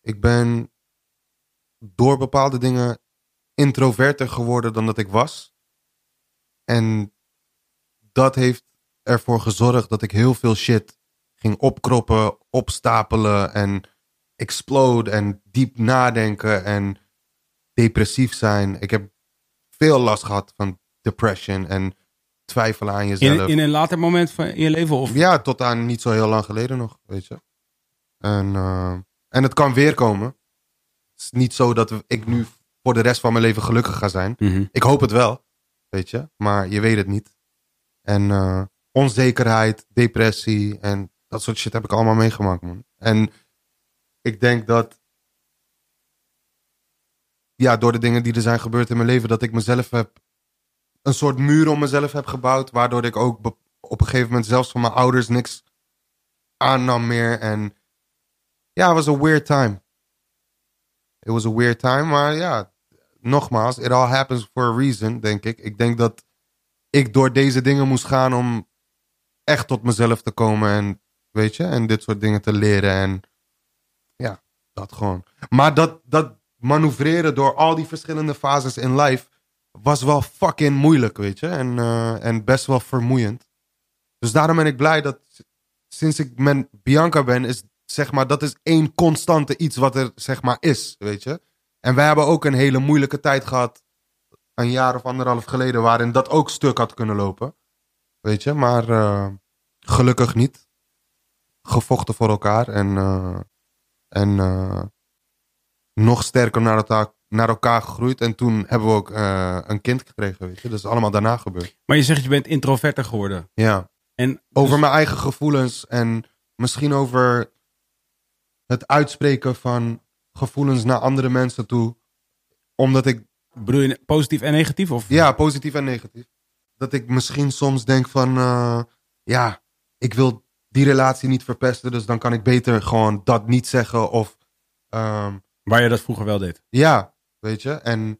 S2: ik ben door bepaalde dingen introverter geworden dan dat ik was. En dat heeft ervoor gezorgd dat ik heel veel shit ging opkroppen, opstapelen en explode en diep nadenken en depressief zijn. Ik heb veel last gehad van depression en twijfelen aan jezelf.
S1: In, in een later moment van in je leven? Of,
S2: Ja, tot aan niet zo heel lang geleden nog, weet je. En, eh, en het kan weer komen. Het is niet zo dat ik nu voor de rest van mijn leven gelukkig ga zijn.
S1: Mhm.
S2: Ik hoop het wel, weet je. Maar je weet het niet. En eh, onzekerheid, depressie en dat soort shit heb ik allemaal meegemaakt, man. En ik denk dat... Ja, door de dingen die er zijn gebeurd in mijn leven... dat ik mezelf heb... een soort muur om mezelf heb gebouwd... waardoor ik ook be- op een gegeven moment zelfs van mijn ouders niks aannam meer. En ja, het was een weird time. It was a weird time, maar ja, nogmaals, it all happens for a reason, denk ik. Ik denk dat ik door deze dingen moest gaan om echt tot mezelf te komen en weet je, en dit soort dingen te leren en ja, dat gewoon. Maar dat, dat manoeuvreren door al die verschillende fases in life was wel fucking moeilijk, weet je, en, eh, en best wel vermoeiend. Dus daarom ben ik blij dat sinds ik met Bianca ben, is zeg maar, dat is één constante iets wat er zeg maar is, weet je. En wij hebben ook een hele moeilijke tijd gehad. Een jaar of anderhalf geleden, waarin dat ook stuk had kunnen lopen. Weet je, maar eh, gelukkig niet. Gevochten voor elkaar en, eh, en eh, nog sterker naar elkaar, naar elkaar gegroeid. En toen hebben we ook eh, een kind gekregen, weet je. Dat is allemaal daarna gebeurd.
S1: Maar je zegt je bent introverter geworden.
S2: Ja.
S1: En
S2: Over
S1: dus-
S2: mijn eigen gevoelens en misschien over het uitspreken van gevoelens naar andere mensen toe. Omdat ik
S1: bedoel je positief en negatief? Of?
S2: Ja, positief en negatief. Dat ik misschien soms denk van, eh, ja, ik wil die relatie niet verpesten, dus dan kan ik beter gewoon dat niet zeggen. Of ehm,
S1: Waar je dat vroeger wel deed.
S2: ja, weet je. En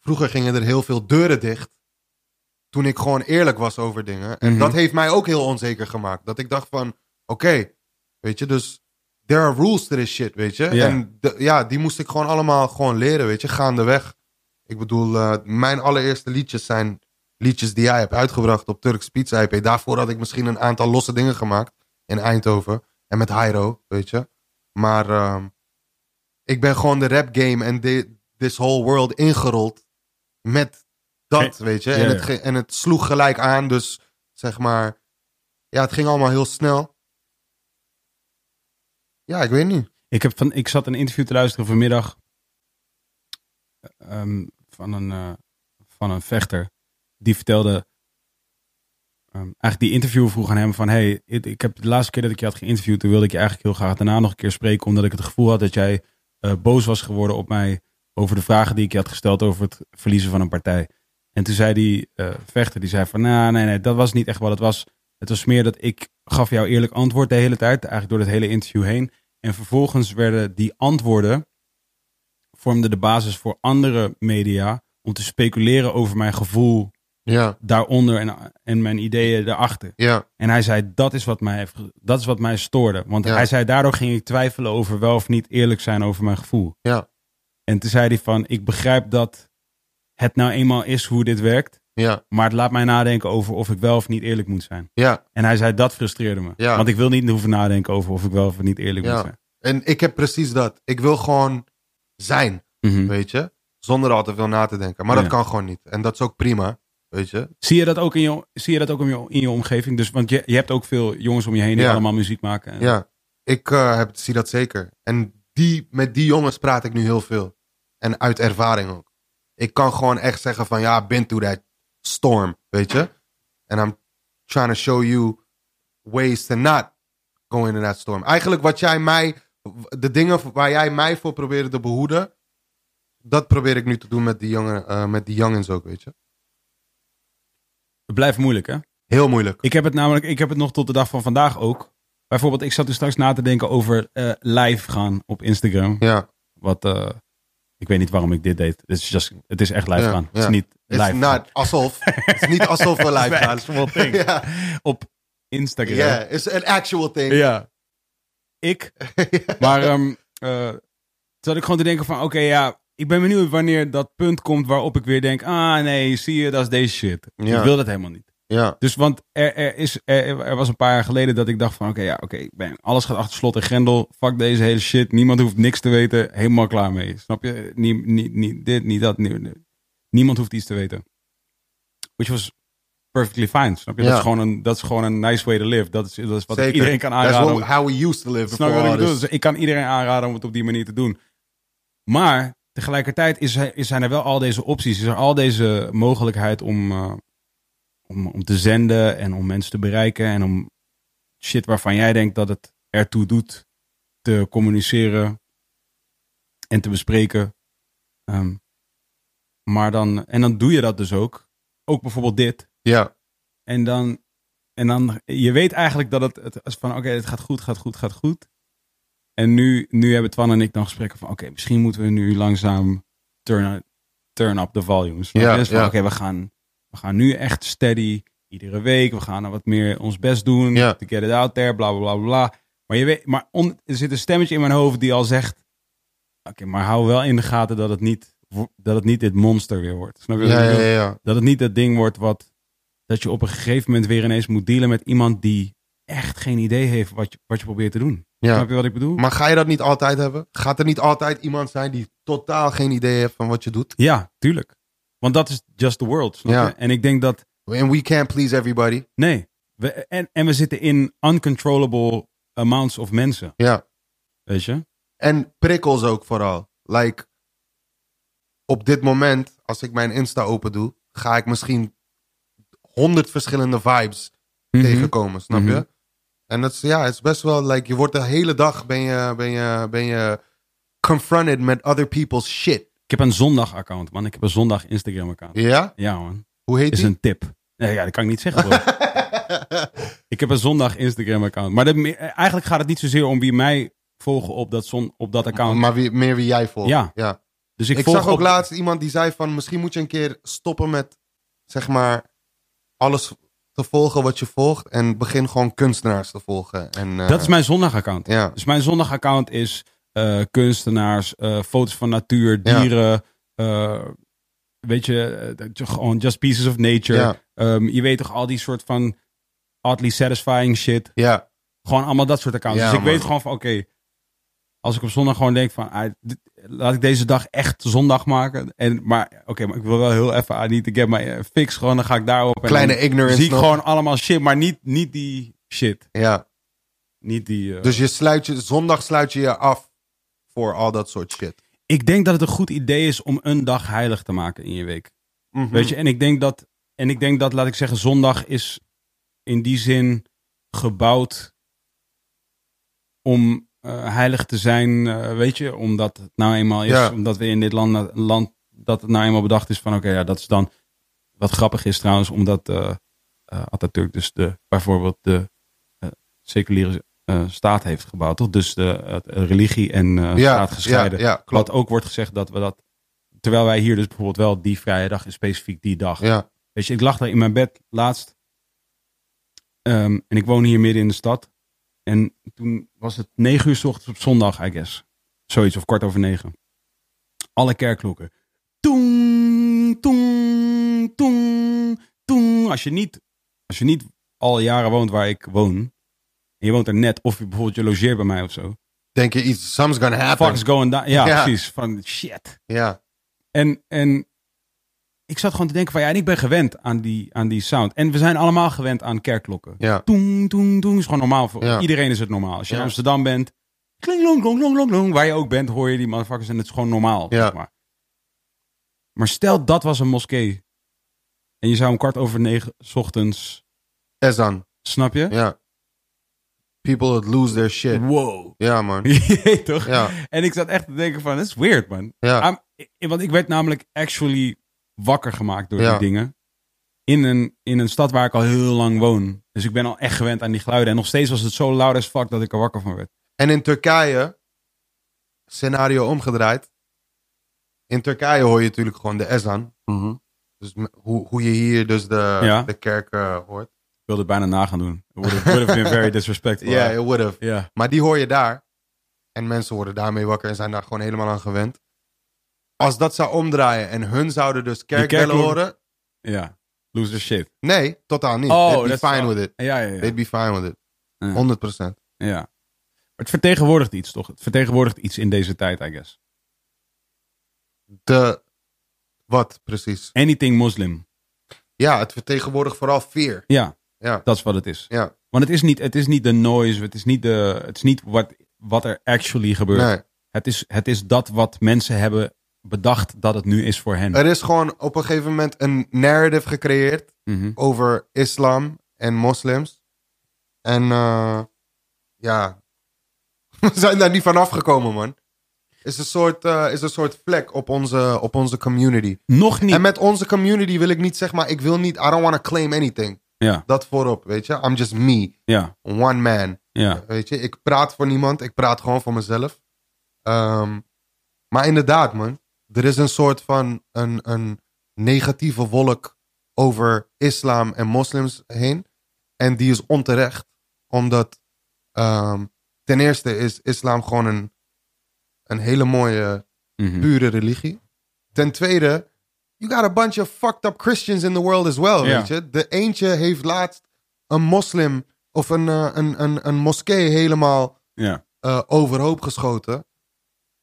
S2: vroeger gingen er heel veel deuren dicht. Toen ik gewoon eerlijk was over dingen. En
S1: Mhm.
S2: dat heeft mij ook heel onzeker gemaakt. Dat ik dacht van, oké, weet je, dus there are rules to this shit, weet je.
S1: Ja.
S2: En de- ja, die moest ik gewoon allemaal gewoon leren, weet je, gaandeweg. Ik bedoel, eh, mijn allereerste liedjes zijn liedjes die jij hebt uitgebracht op Turks Pizza IP. Daarvoor had ik misschien een aantal losse dingen gemaakt in Eindhoven. En met Hyro, weet je. Maar ehm, ik ben gewoon de rap game en de- this whole world ingerold met dat, weet je.
S1: ja,
S2: En, het
S1: ja.
S2: ge- en het sloeg gelijk aan, dus zeg maar... Ja, het ging allemaal heel snel. Ja, ik weet niet.
S1: Ik, heb van, ik zat een interview te luisteren vanmiddag ehm, van, een, eh, van een vechter. Die vertelde, ehm, eigenlijk die interviewer vroeg aan hem van... Hey, ik, ik heb de laatste keer dat ik je had geïnterviewd, toen wilde ik je eigenlijk heel graag daarna nog een keer spreken. Omdat ik het gevoel had dat jij eh, boos was geworden op mij over de vragen die ik je had gesteld over het verliezen van een partij. En toen zei die eh, vechter, die zei van, nou nee, nee, dat was niet echt wat het was. Het was meer dat ik gaf jou eerlijk antwoord de hele tijd, eigenlijk door het hele interview heen. En vervolgens werden die antwoorden vormden de basis voor andere media om te speculeren over mijn gevoel
S2: Ja.
S1: daaronder en, en mijn ideeën daarachter.
S2: Ja,
S1: En hij zei, dat is wat mij, heeft ge- dat is wat mij stoorde. Want
S2: Ja.
S1: hij zei, daardoor ging ik twijfelen over wel of niet eerlijk zijn over mijn gevoel.
S2: Ja.
S1: En toen zei hij van, ik begrijp dat het nou eenmaal is hoe dit werkt,
S2: ja,
S1: maar het laat mij nadenken over of ik wel of niet eerlijk moet zijn.
S2: ja.
S1: En hij zei, dat frustreerde me.
S2: Ja.
S1: Want ik wil niet hoeven nadenken over of ik wel of niet eerlijk
S2: Ja.
S1: moet zijn.
S2: En ik heb precies dat. Ik wil gewoon zijn,
S1: Mhm.
S2: weet je. Zonder al te veel na te denken. Maar
S1: Ja.
S2: dat kan gewoon niet. En dat is ook prima, weet je.
S1: Zie je dat ook in je, zie je dat ook in je, in je omgeving? Dus, want je, je hebt ook veel jongens om je heen die
S2: Ja.
S1: allemaal muziek maken. En,
S2: Ja, ik eh, heb, zie dat zeker. En die, met die jongens praat ik nu heel veel. En uit ervaring ook. Ik kan gewoon echt zeggen van ja, I've been through that storm, weet je. And I'm trying to show you ways to not go into that storm. Eigenlijk wat jij mij, de dingen waar jij mij voor probeerde te behoeden, dat probeer ik nu te doen met die, jongen, eh, met die jongens ook, weet je.
S1: Het blijft moeilijk, hè?
S2: Heel moeilijk.
S1: Ik heb het namelijk, ik heb het nog tot de dag van vandaag ook. Bijvoorbeeld, ik zat dus straks na te denken over eh, live gaan op Instagram.
S2: Ja,
S1: Wat, eh, ik weet niet waarom ik dit deed. Het is, just, het is echt live
S2: Ja,
S1: gaan. Het is
S2: ja.
S1: niet live.
S2: it's
S1: gaan.
S2: not alsof. Het is niet alsof we live
S1: It's an
S2: gaan.
S1: actual thing.
S2: Ja.
S1: Op Instagram.
S2: Ja, is een actual thing.
S1: Ja. Ik. Maar ehm eh, toen zat ik gewoon te denken van, oké, ja, ik ben benieuwd wanneer dat punt komt waarop ik weer denk, ah nee, zie je, dat is deze shit.
S2: Ja.
S1: Ik wil dat helemaal niet.
S2: Ja.
S1: Dus want er, er, is, er, er was een paar jaar geleden dat ik dacht van oké, ja, oké, ik ben- alles gaat achter slot en grendel. Fuck deze hele shit. Niemand hoeft niks te weten. Helemaal klaar mee. Snap je? Niet, niet, niet dit, niet dat. nie- nie- niemand hoeft iets te weten. Which was perfectly fine. Snap je?
S2: Ja.
S1: Dat, is gewoon een, dat is gewoon een nice way to live. Dat is, dat is wat ik
S2: Zeker.
S1: iedereen kan
S2: That's
S1: aanraden.
S2: what- how we used to live.
S1: Snap je
S2: before
S1: wat ik
S2: all
S1: bedoel?
S2: this.
S1: Dus ik kan iedereen aanraden om het op die manier te doen. Maar tegelijkertijd is, er- is- zijn er wel al deze opties. Is er al deze mogelijkheid om, eh, om, om te zenden en om mensen te bereiken. En om shit waarvan jij denkt dat het ertoe doet te communiceren en te bespreken. Ehm, maar dan, en dan doe je dat dus ook. Ook bijvoorbeeld dit.
S2: Ja.
S1: En dan, en dan, je weet eigenlijk dat het, het is van, oké, het gaat goed, gaat goed, gaat goed. En nu, nu hebben Twan en ik dan gesprekken van, oké, misschien moeten we nu langzaam turn, turn up the volumes.
S2: Ja,
S1: dus van,
S2: ja.
S1: oké, we, gaan, we gaan nu echt steady, iedere week. We gaan er wat meer ons best doen,
S2: Ja.
S1: to get it out there, bla, bla, bla, bla. Maar, je weet, maar on, er zit een stemmetje in mijn hoofd die al zegt, oké, maar hou wel in de gaten dat het niet, wo- dat het niet dit monster weer wordt. Snap je
S2: Ja,
S1: wat ik
S2: ja,
S1: bedoel?
S2: ja, ja.
S1: Dat het niet dat ding wordt wat. dat je op een gegeven moment weer ineens moet dealen met iemand die echt geen idee heeft wat je, wat je probeert te doen.
S2: ja.
S1: Snap je wat ik bedoel?
S2: Maar ga je dat niet altijd hebben? Gaat er niet altijd iemand zijn die totaal geen idee heeft van wat je doet?
S1: Ja, tuurlijk. Want dat is just the world. Snap
S2: Ja.
S1: je? En ik denk dat.
S2: And we can't please everybody.
S1: Nee. We, en, en we zitten in uncontrollable amounts of mensen.
S2: Ja.
S1: Weet je?
S2: En prikkels ook vooral. Like, op dit moment, als ik mijn Insta open doe, ga ik misschien honderd verschillende vibes tegenkomen, snap
S1: Mhm.
S2: je? En dat is, ja, het is best wel, like, je wordt de hele dag, ben je, ben je, ben je confronted met other people's shit.
S1: Ik heb een zondag-account, man. Ik heb een zondag Instagram-account. Ja,
S2: Ja?
S1: man.
S2: Hoe heet
S1: Is
S2: die?
S1: een tip. Nee, ja, dat kan ik niet zeggen. Bro. Ik heb een zondag Instagram-account. Maar dat, me- eigenlijk gaat het niet zozeer om wie mij volgen op dat, zon, op dat account.
S2: maar wie, meer wie jij volgt.
S1: Ja.
S2: ja.
S1: dus
S2: Ik,
S1: volg
S2: zag ook
S1: op-
S2: laatst iemand die zei van misschien moet je een keer stoppen met zeg maar alles te volgen wat je volgt en begin gewoon kunstenaars te volgen. En, eh,
S1: Dat is mijn zondag-account.
S2: ja.
S1: Dus mijn zondag-account is eh, kunstenaars, eh, foto's van natuur, dieren. eh, weet je, eh, dat je gewoon just pieces of nature.
S2: Ja.
S1: Ehm, je weet toch al die soort van oddly satisfying shit.
S2: Ja,
S1: Gewoon allemaal dat soort accounts.
S2: Ja,
S1: dus ik
S2: man.
S1: weet gewoon van, oké. als ik op zondag gewoon denk van, ah, dit- laat ik deze dag echt zondag maken. En, maar oké, maar ik wil wel heel even, ah, niet, ik heb mijn eh, fix gewoon, dan ga ik daarop. en
S2: kleine
S1: dan
S2: ignorance
S1: Zie ik
S2: nog.
S1: gewoon allemaal shit, maar niet, niet die shit.
S2: Ja.
S1: Niet die... eh,
S2: Dus je sluit je, zondag sluit je je af voor al dat soort shit.
S1: Ik denk dat het een goed idee is om een dag heilig te maken in je week.
S2: Mhm.
S1: Weet je, en ik denk dat, en ik denk dat, laat ik zeggen, zondag is in die zin gebouwd om eh, heilig te zijn. eh, weet je, omdat het nou eenmaal is,
S2: Ja.
S1: omdat we in dit land, land dat het nou eenmaal bedacht is van, oké, ja, dat is dan wat grappig is trouwens, omdat eh eh, Atatürk dus de, bijvoorbeeld de eh, seculiere eh, staat heeft gebouwd, toch? Dus de eh, religie en eh,
S2: ja,
S1: staat gescheiden.
S2: Ja, ja, klopt.
S1: Wat ook wordt gezegd dat we dat. Terwijl wij hier dus bijvoorbeeld wel die vrije dag is, specifiek die dag.
S2: Ja,
S1: Weet je, ik lag daar in mijn bed laatst. Ehm, en ik woon hier midden in de stad. En toen was het negen uur 's ochtends op zondag, I guess. Zoiets, of kwart over negen. Alle kerkklokken. Toeng, toeng, toeng, toeng. Als je niet, als je niet al jaren woont waar ik woon. En je woont er net, of je bijvoorbeeld je logeert bij mij of zo.
S2: denk je iets, something's gonna happen.
S1: Fuck's going down. Ja,
S2: Ja.
S1: precies. Van shit.
S2: Ja,
S1: En, en ik zat gewoon te denken van ja, en ik ben gewend aan die, aan die sound. En we zijn allemaal gewend aan kerkklokken.
S2: ja,
S1: Toeng, toeng, toeng is gewoon normaal. Voor
S2: Ja.
S1: iedereen is het normaal. Als je
S2: Ja.
S1: in Amsterdam bent, kling, long, long, long, long, long, waar je ook bent, hoor je die motherfuckers en het is gewoon normaal.
S2: Ja.
S1: zeg maar. maar stel dat was een moskee. En je zou om kwart over negen 's ochtends,
S2: Ezan.
S1: snap je?
S2: Ja. People that lose their shit.
S1: Wow.
S2: Ja, man.
S1: Je weet toch?
S2: Ja,
S1: En ik zat echt te denken van, dat is weird man.
S2: ja,
S1: I'm- want ik werd namelijk actually wakker gemaakt door
S2: Ja.
S1: die dingen. In een, in een stad waar ik al heel lang woon. Dus ik ben al echt gewend aan die geluiden. En nog steeds was het zo loud as fuck dat ik er wakker van werd.
S2: En in Turkije, scenario omgedraaid. In Turkije hoor je natuurlijk gewoon de ezan. Dus m- hoe, hoe je hier dus de,
S1: Mhm. Ja.
S2: de kerk eh, hoort.
S1: Ik wilde het bijna na gaan doen. It would have, would have been very disrespectful.
S2: Ja, it would have.
S1: Ja.
S2: Maar die hoor je daar. En mensen worden daarmee wakker en zijn daar gewoon helemaal aan gewend. Als dat zou omdraaien en hun zouden dus kerkbellen
S1: kerkklok-
S2: horen,
S1: ja. Loser shit.
S2: Nee, totaal niet.
S1: Oh,
S2: They'd
S1: that's
S2: be fine
S1: not-
S2: with it.
S1: Ja, ja, ja.
S2: They'd be fine with it.
S1: Ja.
S2: 100%.
S1: ja. Maar het vertegenwoordigt iets, toch? Het vertegenwoordigt iets in deze tijd, I guess.
S2: De, wat precies?
S1: Anything moslim.
S2: Ja, het vertegenwoordigt vooral fear.
S1: Ja,
S2: Ja,
S1: dat is wat het is.
S2: ja.
S1: Want het is niet, het is niet de noise, het is niet, de, het is niet wat, wat er actually gebeurt.
S2: Nee.
S1: Het, is, het is dat wat mensen hebben bedacht dat het nu is voor hen.
S2: Er is gewoon op een gegeven moment een narrative gecreëerd
S1: Mhm.
S2: over islam en moslims. En eh, ja, we zijn daar niet van afgekomen, man. Is een soort, eh, is een soort vlek op onze, op onze community.
S1: Nog niet.
S2: En met onze community wil ik niet zeg maar, ik wil niet, I don't want to claim anything.
S1: Ja,
S2: Dat voorop, weet je. I'm just me,
S1: ja,
S2: one man.
S1: ja.
S2: Weet je, ik praat voor niemand, ik praat gewoon voor mezelf. Ehm, maar inderdaad, man, er is een soort van een, een negatieve wolk over islam en moslims heen. En die is onterecht, omdat ehm, ten eerste is islam gewoon een, een hele mooie,
S1: Mhm.
S2: pure religie. Ten tweede, you got a bunch of fucked up Christians in the world as well,
S1: Ja.
S2: weet je. De eentje heeft laatst een moslim of een, eh, een, een, een moskee helemaal
S1: ja.
S2: eh, overhoop geschoten.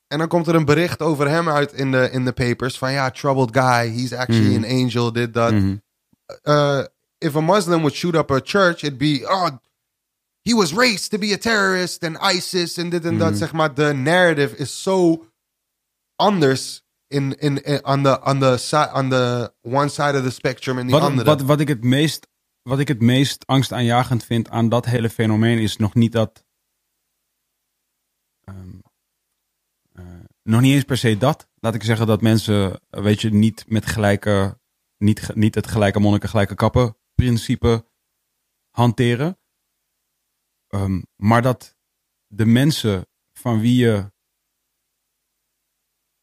S2: En dan komt er een bericht over hem uit in de, in de papers. Van ja, troubled guy. He's actually
S1: Hmm.
S2: an angel, dit, dat.
S1: Mhm.
S2: Uh, if a Muslim would shoot up a church, it'd be... Oh, he was raised to be a terrorist and ISIS en dit en
S1: Hmm.
S2: dat. Zeg maar, de narrative is zo anders... In, in, in- on, the, on, the, si- on the one side of the spectrum en die
S1: Wat,
S2: andere.
S1: wat, wat, ik het meest, wat ik het meest angstaanjagend vind aan dat hele fenomeen is nog niet dat. ehm, eh, nog niet eens per se dat. Laat ik zeggen dat mensen, eh, weet je, niet met gelijke. Niet, ge- niet het gelijke monniken, gelijke kappen principe hanteren. Ehm, maar dat de mensen van wie je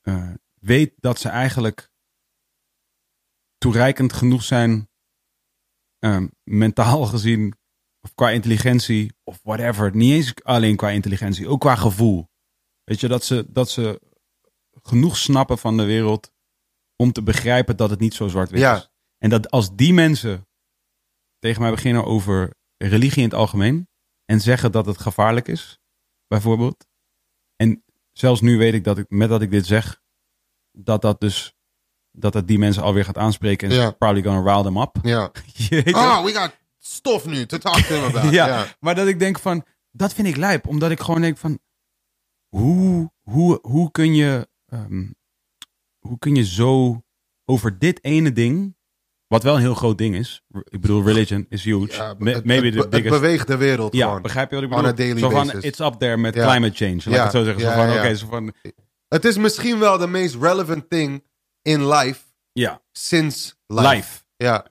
S1: eh, weet dat ze eigenlijk toereikend genoeg zijn, ehm, mentaal gezien, of qua intelligentie, of whatever. Niet eens alleen qua intelligentie, ook qua gevoel. Weet je, dat ze, dat ze genoeg snappen van de wereld om te begrijpen dat het niet zo zwart-wit
S2: Ja.
S1: is. En dat als die mensen tegen mij beginnen over religie in het algemeen en zeggen dat het gevaarlijk is, bijvoorbeeld. En zelfs nu weet ik dat ik, met dat ik dit zeg, dat dat dus, dat dat die mensen alweer gaat aanspreken en
S2: Ja.
S1: it's probably gonna rile them up.
S2: ja.
S1: Je weet toch?
S2: Oh, we got stof nu to talk to him about.
S1: ja,
S2: ja.
S1: maar dat ik denk van, dat vind ik lijp. Omdat ik gewoon denk van, hoe, hoe, hoe, kun, je, ehm, hoe kun je zo over dit ene ding, wat wel een heel groot ding is. re- Ik bedoel, religion is huge.
S2: Ja,
S1: Ma-
S2: het-
S1: Maybe
S2: het-
S1: the
S2: het
S1: biggest.
S2: beweegt de wereld
S1: ja,
S2: gewoon.
S1: begrijp je wat ik
S2: on
S1: bedoel?
S2: a daily
S1: zo van,
S2: basis.
S1: it's up there met
S2: Ja.
S1: climate change. Laat ik
S2: Ja,
S1: het zo zeggen. Zo
S2: ja,
S1: van,
S2: ja, ja.
S1: oké, zo van,
S2: Het is misschien wel de meest relevant thing in life
S1: ja,
S2: sinds life.
S1: life.
S2: Ja.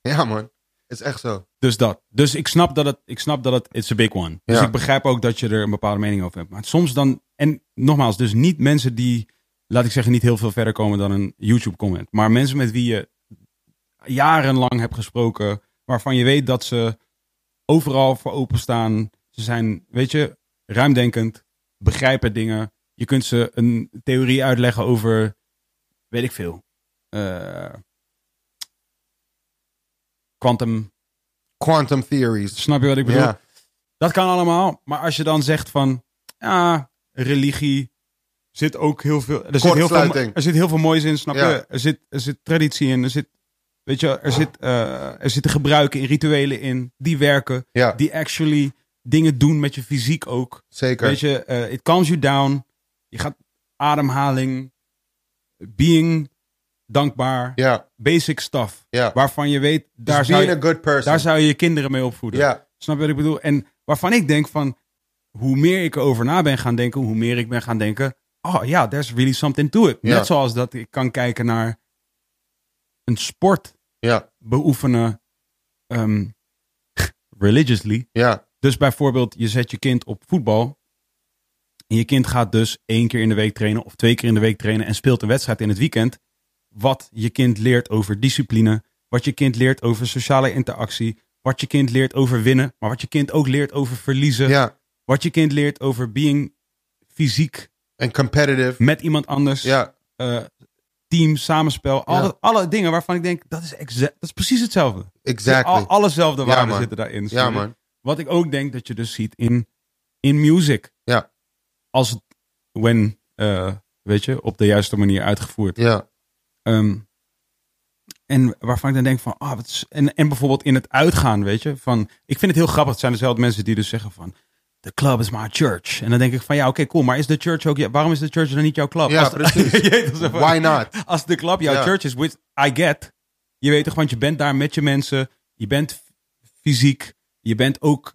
S2: ja, man. Het is echt zo.
S1: Dus dat. Dus ik snap dat het, ik snap dat het, it's a big one. Dus
S2: Ja.
S1: ik begrijp ook dat je er een bepaalde mening over hebt. Maar soms dan, en nogmaals, dus niet mensen die, laat ik zeggen, niet heel veel verder komen dan een YouTube comment. Maar mensen met wie je jarenlang hebt gesproken, waarvan je weet dat ze overal voor openstaan. Ze zijn, weet je, ruimdenkend, begrijpen dingen. Je kunt ze een theorie uitleggen over, weet ik veel, eh, quantum
S2: Quantum theories.
S1: Snap je wat ik bedoel?
S2: Ja.
S1: Dat kan allemaal. Maar als je dan zegt van, ja, religie zit ook heel veel. Er zit heel veel,
S2: Kortsluiting.
S1: er zit heel veel moois in, snap
S2: Ja.
S1: je? Er zit, er zit traditie in. Er zit, weet je, er, zit, eh, er zitten gebruiken in, rituelen in, die werken,
S2: Ja,
S1: die actually dingen doen met je fysiek ook.
S2: zeker.
S1: Weet je, eh, it calms you down. Je gaat ademhaling, being dankbaar,
S2: ja,
S1: basic stuff.
S2: ja.
S1: Waarvan je weet, daar
S2: Just
S1: zou
S2: being
S1: je,
S2: a good person.
S1: daar zou je je kinderen mee opvoeden.
S2: ja,
S1: Snap je wat ik bedoel? En waarvan ik denk van, hoe meer ik erover na ben gaan denken, hoe meer ik ben gaan denken, oh ja, there's really something to it.
S2: Ja.
S1: Net zoals dat ik kan kijken naar een sport
S2: ja,
S1: beoefenen ehm, religiously.
S2: ja,
S1: Dus bijvoorbeeld, je zet je kind op voetbal. En je kind gaat dus één keer in de week trainen of twee keer in de week trainen en speelt een wedstrijd in het weekend. Wat je kind leert over discipline, wat je kind leert over sociale interactie, wat je kind leert over winnen, maar wat je kind ook leert over verliezen,
S2: ja.
S1: wat je kind leert over being fysiek
S2: En competitive.
S1: met iemand anders,
S2: Ja,
S1: eh, team, samenspel. Alle,
S2: Ja.
S1: alle dingen waarvan ik denk, dat is, exact, dat is precies hetzelfde.
S2: Exactly.
S1: Al, allezelfde
S2: Ja,
S1: waarden
S2: man.
S1: zitten daarin.
S2: ja, man.
S1: Wat ik ook denk dat je dus ziet in, in music.
S2: Ja.
S1: Als het, when, eh, weet je, op de juiste manier uitgevoerd.
S2: Ja.
S1: Ehm, en waarvan ik dan denk van, ah, wat is, en, en bijvoorbeeld in het uitgaan, weet je. Van, ik vind het heel grappig, het zijn dezelfde mensen die dus zeggen van, the club is my church. En dan denk ik van, ja, oké, cool, maar is de church ook, je- waarom is de church dan niet jouw club?
S2: Ja,
S1: Als de-
S2: precies.
S1: Je weet toch zo van-
S2: Why not?
S1: als de club jouw
S2: Ja.
S1: church is, which I get. Je weet toch, want je bent daar met je mensen. Je bent f- fysiek. Je bent ook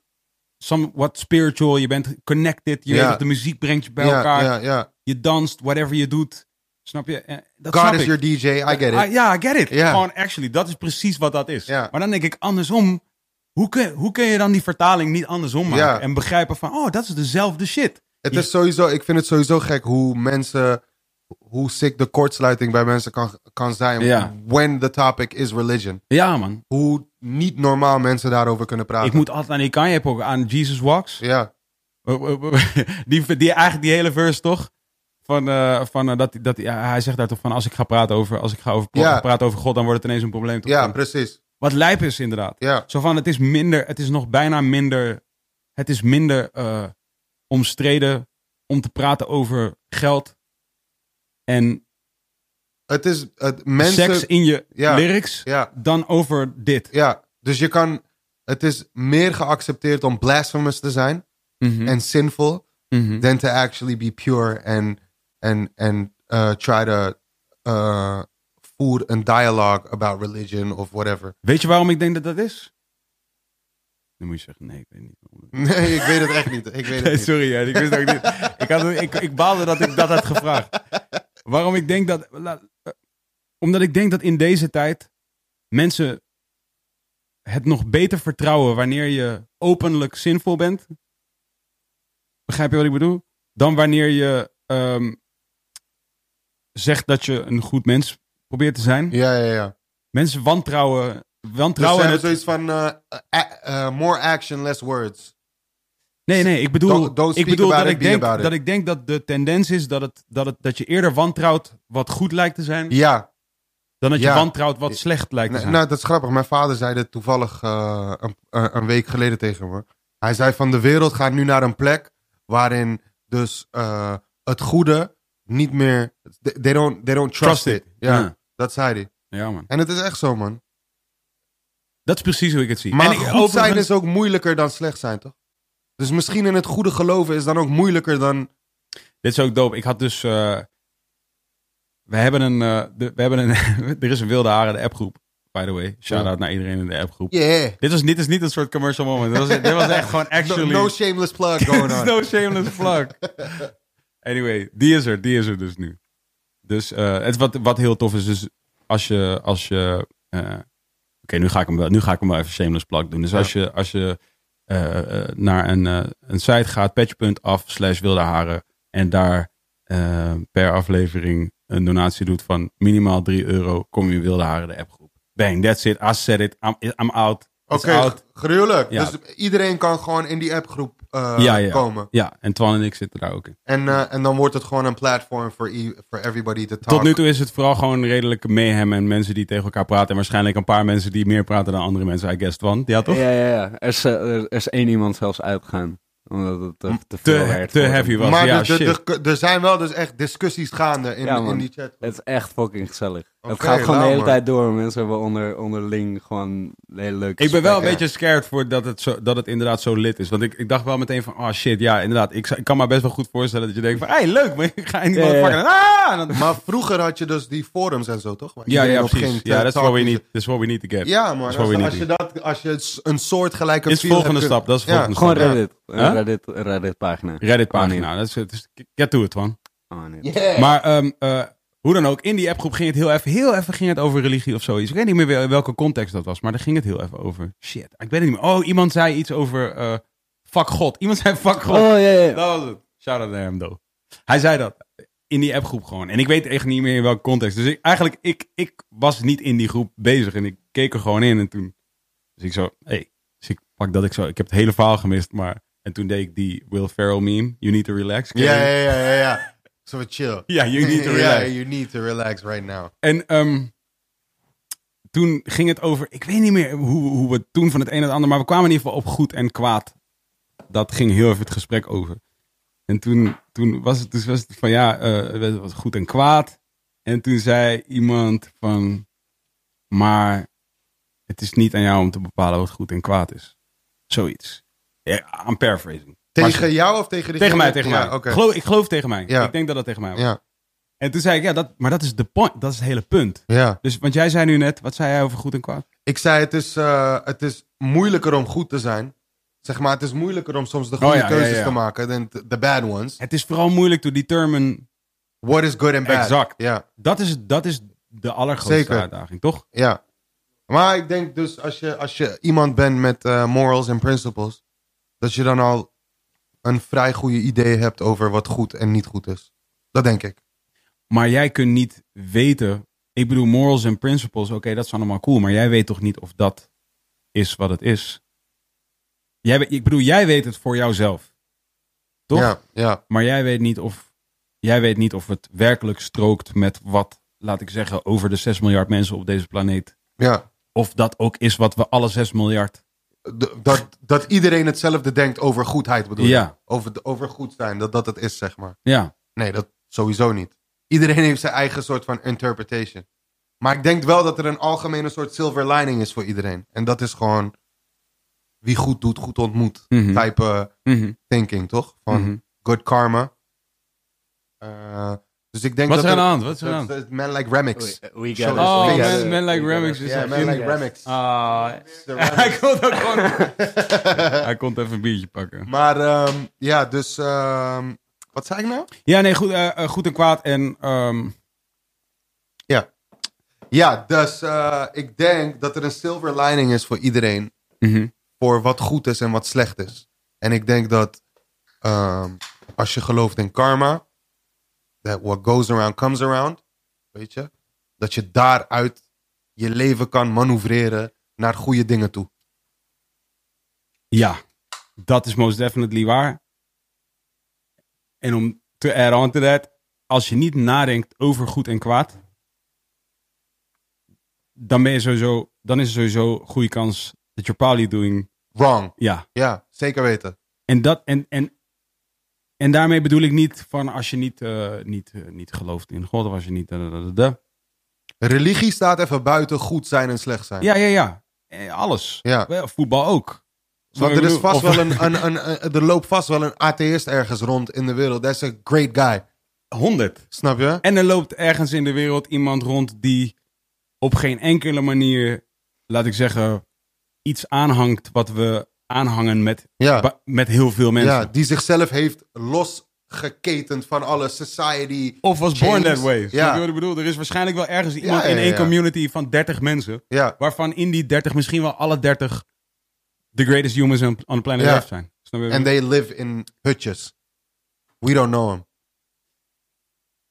S1: somewhat spiritual. Je bent connected. Je
S2: Ja.
S1: weet toch, de muziek brengt je bij
S2: ja,
S1: elkaar.
S2: ja, ja.
S1: Je danst, whatever je doet. Snap je? Eh, Dat
S2: God
S1: snap
S2: is
S1: ik.
S2: your DJ, I get it.
S1: Ah, ja, I get it.
S2: Ja.
S1: Gewoon actually, dat is precies wat dat is.
S2: Ja.
S1: Maar dan denk ik andersom. Hoe kun, hoe kun je dan die vertaling niet andersom maken?
S2: Ja.
S1: En begrijpen van, oh, dat is dezelfde shit.
S2: Het
S1: Je-
S2: is sowieso, ik vind het sowieso gek hoe mensen, hoe sick de kortsluiting bij mensen kan, kan zijn.
S1: Ja.
S2: When the topic is religion.
S1: Ja, man.
S2: Hoe niet normaal mensen daarover kunnen praten.
S1: Ik moet altijd aan die Kanye ook aan Jesus Walks.
S2: Ja,
S1: Eh, die, die, eigenlijk die hele verse toch? Van, eh, van, eh, dat, dat, ja, hij zegt daar toch van als ik ga praten over, als ik ga over,
S2: Ja.
S1: praten over God, dan wordt het ineens een probleem. Toch?
S2: ja
S1: Van-
S2: precies.
S1: Wat lijp is inderdaad.
S2: Ja,
S1: Zo van het is minder, het is nog bijna minder, het is minder eh, omstreden om te praten over geld en
S2: het is, het, mensen...
S1: seks in je
S2: Ja.
S1: lyrics
S2: Ja,
S1: dan over dit.
S2: ja, dus je kan, het is meer geaccepteerd om blasphemous te zijn
S1: Mhm,
S2: en sinful,
S1: mhm.
S2: than to actually be pure and, and, and uh, try to uh, food and dialogue about religion of whatever.
S1: Weet je waarom ik denk dat dat is? Dan moet je zeggen, nee, ik weet niet.
S2: Nee, ik weet het echt niet. Ik weet het
S1: Nee,
S2: niet.
S1: sorry, hè, ik wist ook niet. Ik, had, ik, ik baalde dat ik dat had gevraagd. Waarom ik denk dat. la- eh, omdat ik denk dat in deze tijd mensen het nog beter vertrouwen wanneer je openlijk zinvol bent. Begrijp je wat ik bedoel? Dan wanneer je ehm, zegt dat je een goed mens probeert te zijn.
S2: Ja, ja, ja.
S1: Mensen wantrouwen.
S2: Dus ze
S1: wantrouwen
S2: hebben
S1: het-
S2: zoiets van eh, a- eh, more action, less words.
S1: Nee, nee, ik bedoel,
S2: Don't- don't
S1: ik
S2: speak
S1: bedoel
S2: about
S1: dat,
S2: it,
S1: ik
S2: be
S1: denk,
S2: about it.
S1: dat ik denk dat de tendens is dat, het, dat, het, dat je eerder wantrouwt wat goed lijkt te zijn,
S2: Ja,
S1: dan dat je
S2: ja.
S1: wantrouwt wat slecht lijkt te
S2: nou,
S1: zijn.
S2: nou, dat is grappig. Mijn vader zei dit toevallig eh, een, een een week geleden tegen me. Hij zei van de wereld gaat nu naar een plek waarin dus eh, het goede niet meer... They don't, they don't trust,
S1: Trust it.
S2: it. Ja,
S1: Ja.
S2: dat zei hij.
S1: ja, man.
S2: En het is echt zo, man.
S1: Dat is precies hoe ik het zie.
S2: Maar
S1: ik-
S2: goed zijn
S1: overigens-
S2: is ook moeilijker dan slecht zijn, toch? Dus misschien in het goede geloven is dan ook moeilijker dan...
S1: Dit is ook dope. Ik had dus. eh, we hebben een. eh, de- we hebben een er is een Wilde Haren, de appgroep. By the way. Shout out naar iedereen in de appgroep.
S2: Yeah.
S1: Dit, was, dit is niet een soort commercial moment. Dit was, dit was echt gewoon
S2: No,
S1: actually.
S2: no shameless plug going
S1: There's
S2: on.
S1: no shameless plug. Anyway, die is er. Die is er dus nu. Dus eh, het, wat, wat heel tof is, is als je... Als je eh, Oké, nu ga ik hem wel. nu ga ik hem wel even shameless plug doen. Dus als je, als je eh, eh, naar een, eh, een site gaat, patch.af slash wilde haren. En daar eh, per aflevering een donatie doet van minimaal 3 euro, kom je in wilde haren de appgroep. Bang, that's it. I said it. I'm, I'm out. It's
S2: Oké,
S1: out.
S2: g- gruwelijk.
S1: Ja.
S2: Dus iedereen kan gewoon in die appgroep eh,
S1: Ja, ja.
S2: komen.
S1: Ja, en Twan en ik zitten daar ook in.
S2: En, eh, en dan wordt het gewoon een platform voor e- voor everybody to talk.
S1: Tot nu toe is het vooral gewoon redelijk mayhem en mensen die tegen elkaar praten. En waarschijnlijk een paar mensen die meer praten dan andere mensen, I guess. Want, ja toch?
S3: Ja, ja, ja. Er is, eh, er is één iemand zelfs uitgegaan. Omdat het te, te veel
S1: te,
S3: werd
S1: te
S3: voor hem.
S1: heavy was.
S2: maar
S1: ja,
S2: dus de-
S1: shit.
S2: de- de- er zijn wel dus echt discussies gaande in,
S3: Ja, man.
S2: in die chat.
S3: Het is echt fucking gezellig. het
S2: Oké,
S3: gaat gewoon de
S2: lauw,
S3: hele
S2: man.
S3: tijd door. Mensen hebben onder, onderling gewoon hele leuke
S1: ik ben wel een beetje
S3: gesprekken.
S1: scared voor dat het, zo, dat het inderdaad zo lit is. Want ik, ik dacht wel meteen van, oh shit, ja, inderdaad. Ik, zou- ik kan me best wel goed voorstellen dat je denkt van, hey, leuk, maar ik ga in die
S3: Ja, ja.
S1: motherfucker. Ah! En dan-
S2: Maar vroeger had je dus die forums en zo, toch? Waar
S1: ja,
S2: iedereen
S1: ja,
S2: op
S1: precies.
S2: ging te
S1: Ja, that's what, we
S2: talken.
S1: need, that's what we need to get.
S2: dus- Ja, man.
S1: That's
S2: Als,
S1: what we
S2: als
S1: need
S2: je
S1: to
S2: dat, als je s- een soortgelijke
S1: Is
S2: feel hebt
S1: volgende
S2: kunnen-
S1: stap, dat is
S2: Ja.
S1: volgende
S3: Gewoon
S1: stap.
S3: Reddit. Een
S1: Huh?
S3: Reddit, een Reddit pagina.
S1: Reddit
S3: Oh,
S1: pagina. Dat is, het is- get to it, man.
S3: nee. Oh, nee.
S2: Yeah.
S1: Maar ehm, eh, hoe dan ook, in die appgroep ging het heel even, heel even ging het over religie of zoiets. Ik weet niet meer wel- welke context dat was, maar daar ging het heel even over. Shit, ik weet het niet meer. Oh, iemand zei iets over eh fuck God. Iemand zei fuck God.
S3: Oh, ja, ja. ja.
S1: Dat was het. Shout out naar hem, though. Hij zei dat eh, in die appgroep gewoon. En ik weet echt niet meer in welke context. Dus ik, eigenlijk, ik, ik was niet in die groep bezig en ik keek er gewoon in. En toen, dus ik zo, hey. Dus ik pak dat ik zo, ik heb het hele verhaal gemist, maar... En toen deed ik die Will Ferrell meme, You Need to Relax. Ken je
S2: Ja,
S1: die?
S2: ja, ja, ja, ja. Zo van chill.
S1: Ja, you need to relax.
S2: Yeah, you need to relax right now.
S1: En ehm, toen ging het over, ik weet niet meer hoe, hoe we toen van het een naar het ander, maar we kwamen in ieder geval op goed en kwaad. Dat ging heel even het gesprek over. En toen, toen was het dus was het van ja, eh, het was goed en kwaad. En toen zei iemand van, maar het is niet aan jou om te bepalen wat goed en kwaad is. Zoiets. Ja, aan paraphrasing. Maar-
S2: Tegen jou of tegen de
S1: tegen mij, tegen
S2: ja,
S1: mij.
S2: oké.
S1: Geloof, ik geloof tegen mij.
S2: Ja.
S1: Ik denk dat dat tegen mij was.
S2: Ja,
S1: En toen zei ik, ja, dat, maar dat is de point. Dat is het hele punt.
S2: ja.
S1: Dus, want jij zei nu net, wat zei jij over goed en kwaad?
S2: Ik zei, het is, eh, het is moeilijker om goed te zijn. Zeg maar, het is moeilijker om soms de goede
S1: Oh ja, ja,
S2: keuzes
S1: ja.
S2: te maken dan t- the bad ones.
S1: Het is vooral moeilijk te determine.
S2: What is good and bad?
S1: Exact.
S2: Ja,
S1: Dat is, dat is de allergrootste
S2: Zeker.
S1: uitdaging, toch?
S2: ja. Maar ik denk dus, als je, als je iemand bent met eh, morals en principles, dat je dan al een vrij goede idee hebt over wat goed en niet goed is. Dat denk ik.
S1: Maar jij kunt niet weten. Ik bedoel, morals en principles, oké, dat is allemaal cool. Maar jij weet toch niet of dat is wat het is? Jij, weet- ik bedoel, jij weet het voor jouzelf. Toch?
S2: Ja, ja.
S1: Maar jij weet, niet of, jij weet niet of het werkelijk strookt met wat, laat ik zeggen, over de 6 miljard mensen op deze planeet.
S2: ja.
S1: Of dat ook is wat we alle 6 miljard.
S2: D- dat, dat iedereen hetzelfde denkt over goedheid bedoel je?
S1: Ja.
S2: Over, de- over goed zijn, dat dat het is, zeg maar.
S1: Ja.
S2: Nee, dat sowieso niet. Iedereen heeft zijn eigen soort van interpretation. Maar ik denk wel dat er een algemene soort silver lining is voor iedereen. En dat is gewoon wie goed doet, goed ontmoet.
S1: Mhm.
S2: Type
S1: Mhm.
S2: thinking, toch? Van
S1: Mhm.
S2: good karma. Eh, dus ik denk
S1: Wat
S2: dat
S1: is er aan
S2: er-
S1: de hand? Wat is er aan
S2: dat-
S1: de hand?
S2: dat- Man like Remix.
S3: We
S2: get it.
S1: Oh,
S2: We
S1: man,
S2: get it.
S1: man like Remix is
S2: Ja,
S1: een
S2: Man like
S1: kind.
S2: Remix.
S1: Ah,
S2: De
S1: hij
S2: Remix.
S1: kon ook gewoon. hij kon even een biertje pakken.
S2: Maar ehm, ja, dus... ehm, wat zei ik nou?
S1: Ja, nee, goed, eh, eh, goed en kwaad. En ehm,
S2: Ja. Ja, dus eh, ik denk dat er een silver lining is voor iedereen. Voor wat goed is en wat slecht is. En ik denk dat ehm, als je gelooft in karma, that what goes around comes around, weet je, dat je daaruit je leven kan manoeuvreren naar goede dingen toe.
S1: ja, dat is most definitely waar. En om te add on to that, als je niet nadenkt over goed en kwaad, dan ben je sowieso, dan is er sowieso goede kans dat you're probably doing,
S2: Wrong.
S1: ja,
S2: Ja, zeker weten.
S1: En, dat, en, en, en daarmee bedoel ik niet van als je niet, eh, niet, eh, niet gelooft in God of als je niet. eh, da, da, da, da, da.
S2: Religie staat even buiten goed zijn en slecht zijn.
S1: Ja, ja, ja. Eh, Alles.
S2: Ja.
S1: Wel, Voetbal ook.
S2: Want
S1: Ik
S2: er, is
S1: bedoel,
S2: vast
S1: of-
S2: wel een, een, een, een- er loopt vast wel een atheïst ergens rond in de wereld. That's a great guy.
S1: 100.
S2: Snap je?
S1: En er loopt ergens in de wereld iemand rond die op geen enkele manier, laat ik zeggen, iets aanhangt wat we aanhangen met,
S2: Ja.
S1: ba- met heel veel mensen.
S2: Ja, die zichzelf heeft losgeketend van alle society.
S1: Of was born
S2: James.
S1: that way. Snap je
S2: Ja.
S1: wat ik bedoel? Er is waarschijnlijk wel ergens iemand
S2: ja,
S1: in één
S2: ja.
S1: community van 30 mensen.
S2: Ja,
S1: waarvan in die 30 misschien wel alle 30 de greatest humans on on the planet
S2: Ja.
S1: Earth zijn. Snap je?
S2: and they live in hutjes. We don't know them.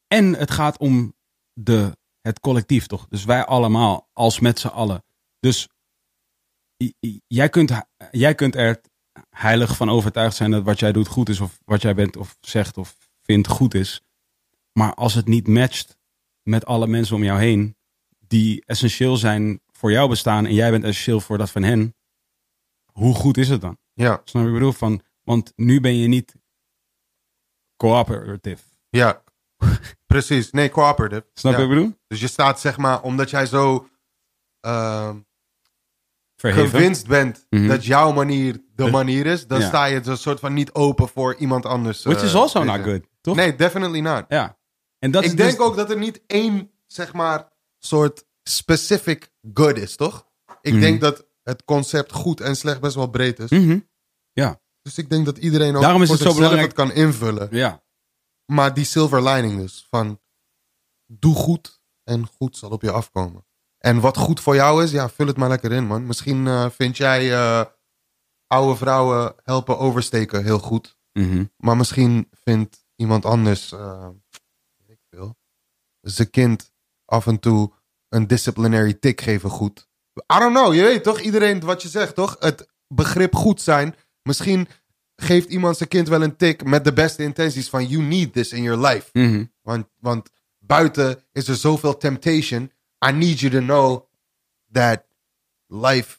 S1: En het gaat om de, het collectief, toch? Dus wij allemaal, als met z'n allen. Dus i- i- jij kunt, jij kunt er heilig van overtuigd zijn dat wat jij doet goed is, of wat jij bent of zegt of vindt goed is. Maar als het niet matcht met alle mensen om jou heen, die essentieel zijn voor jouw bestaan en jij bent essentieel voor dat van hen, hoe goed is het dan?
S2: Ja,
S1: Snap je wat ik bedoel? Van, want nu ben je niet cooperative.
S2: ja. Precies. Nee, cooperative.
S1: Snap je
S2: Ja.
S1: wat ik bedoel?
S2: Dus je staat zeg maar, omdat jij zo ehm,
S1: Verheven.
S2: gewinst bent
S1: Mhm.
S2: dat jouw manier de
S1: Dus-
S2: manier is, dan
S1: Ja.
S2: sta je een soort van niet open voor iemand anders.
S1: Which
S2: eh,
S1: is also
S2: weet
S1: not
S2: je.
S1: good, toch?
S2: Nee, definitely not.
S1: Ja. En dat is
S2: ik denk
S1: dus-
S2: ook dat er niet één, zeg maar, soort specific good is, toch? Ik
S1: Mhm.
S2: denk dat het concept goed en slecht best wel breed is.
S1: Mhm.
S2: Dus ik denk dat iedereen ook
S1: Daarom is
S2: voor
S1: het zo
S2: zichzelf
S1: belangrijk-
S2: het kan invullen.
S1: Ja.
S2: Maar die silver lining dus, van doe goed en goed zal op je afkomen. En wat goed voor jou is, ja, vul het maar lekker in, man. Misschien eh, vind jij eh, oude vrouwen helpen oversteken heel goed.
S1: Mhm.
S2: Maar misschien vindt iemand anders, eh, weet ik veel, zijn kind af en toe een disciplinary tik geven goed. I don't know, je weet toch? Iedereen wat je zegt, toch? Het begrip goed zijn. Misschien geeft iemand zijn kind wel een tik met de beste intenties van you need this in your life.
S1: Mhm.
S2: Want, want buiten is er zoveel temptation. I need you to know that life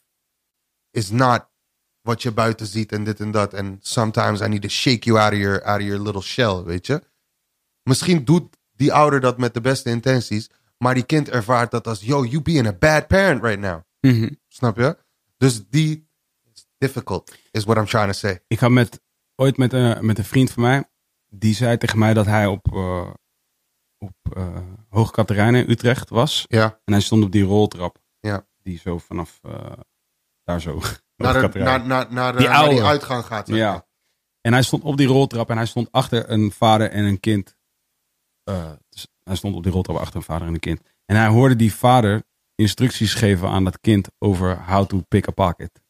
S2: is not wat je buiten ziet en dit en dat. En sometimes I need to shake you out of your, out of your little shell, weet je. Misschien doet die ouder dat met de beste intenties. Maar die kind ervaart dat als, yo, you being a bad parent right now.
S1: Mhm.
S2: Snap je? Dus die is difficult, is what I'm trying to say.
S1: Ik had met, ooit met, een met een vriend van mij, die zei tegen mij dat hij op, eh op eh Hoog Katerijnen in Utrecht was.
S2: Ja.
S1: En hij stond op die roltrap.
S2: Ja.
S1: Die zo vanaf eh, daar zo.
S2: Naar, de-
S1: Hoogkaterijnen.
S2: naar, naar, naar, de-
S1: Die
S2: naar die
S1: oude.
S2: uitgang gaat. zeg maar.
S1: Ja. En hij stond op die roltrap en hij stond achter een vader en een kind. Eh, dus hij stond op die roltrap achter een vader en een kind. En hij hoorde die vader instructies geven aan dat kind over how to pick a pocket.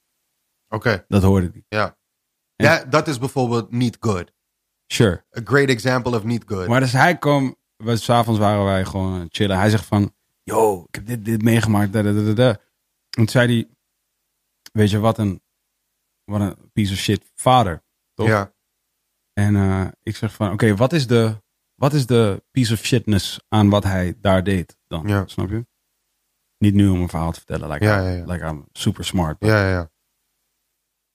S2: Oké,
S1: Dat hoorde hij.
S2: ja.
S1: En-
S2: Ja, dat is bijvoorbeeld niet good.
S1: Sure.
S2: A great example of niet good.
S1: Maar dus hij kwam, we, s'avonds waren wij gewoon aan het chillen. Hij zegt van, yo, ik heb dit, dit meegemaakt. Da, da, da, da, da. En toen zei hij, weet je, wat een, wat een piece of shit vader. Toch?
S2: Ja,
S1: En eh, ik zeg van, oké, wat is de, wat is de piece of shitness aan wat hij daar deed dan?
S2: Ja.
S1: Snap je? Niet nu om een verhaal te vertellen, like,
S2: Ja,
S1: I'm,
S2: ja, ja.
S1: like I'm super smart. but-
S2: ja, ja. ja.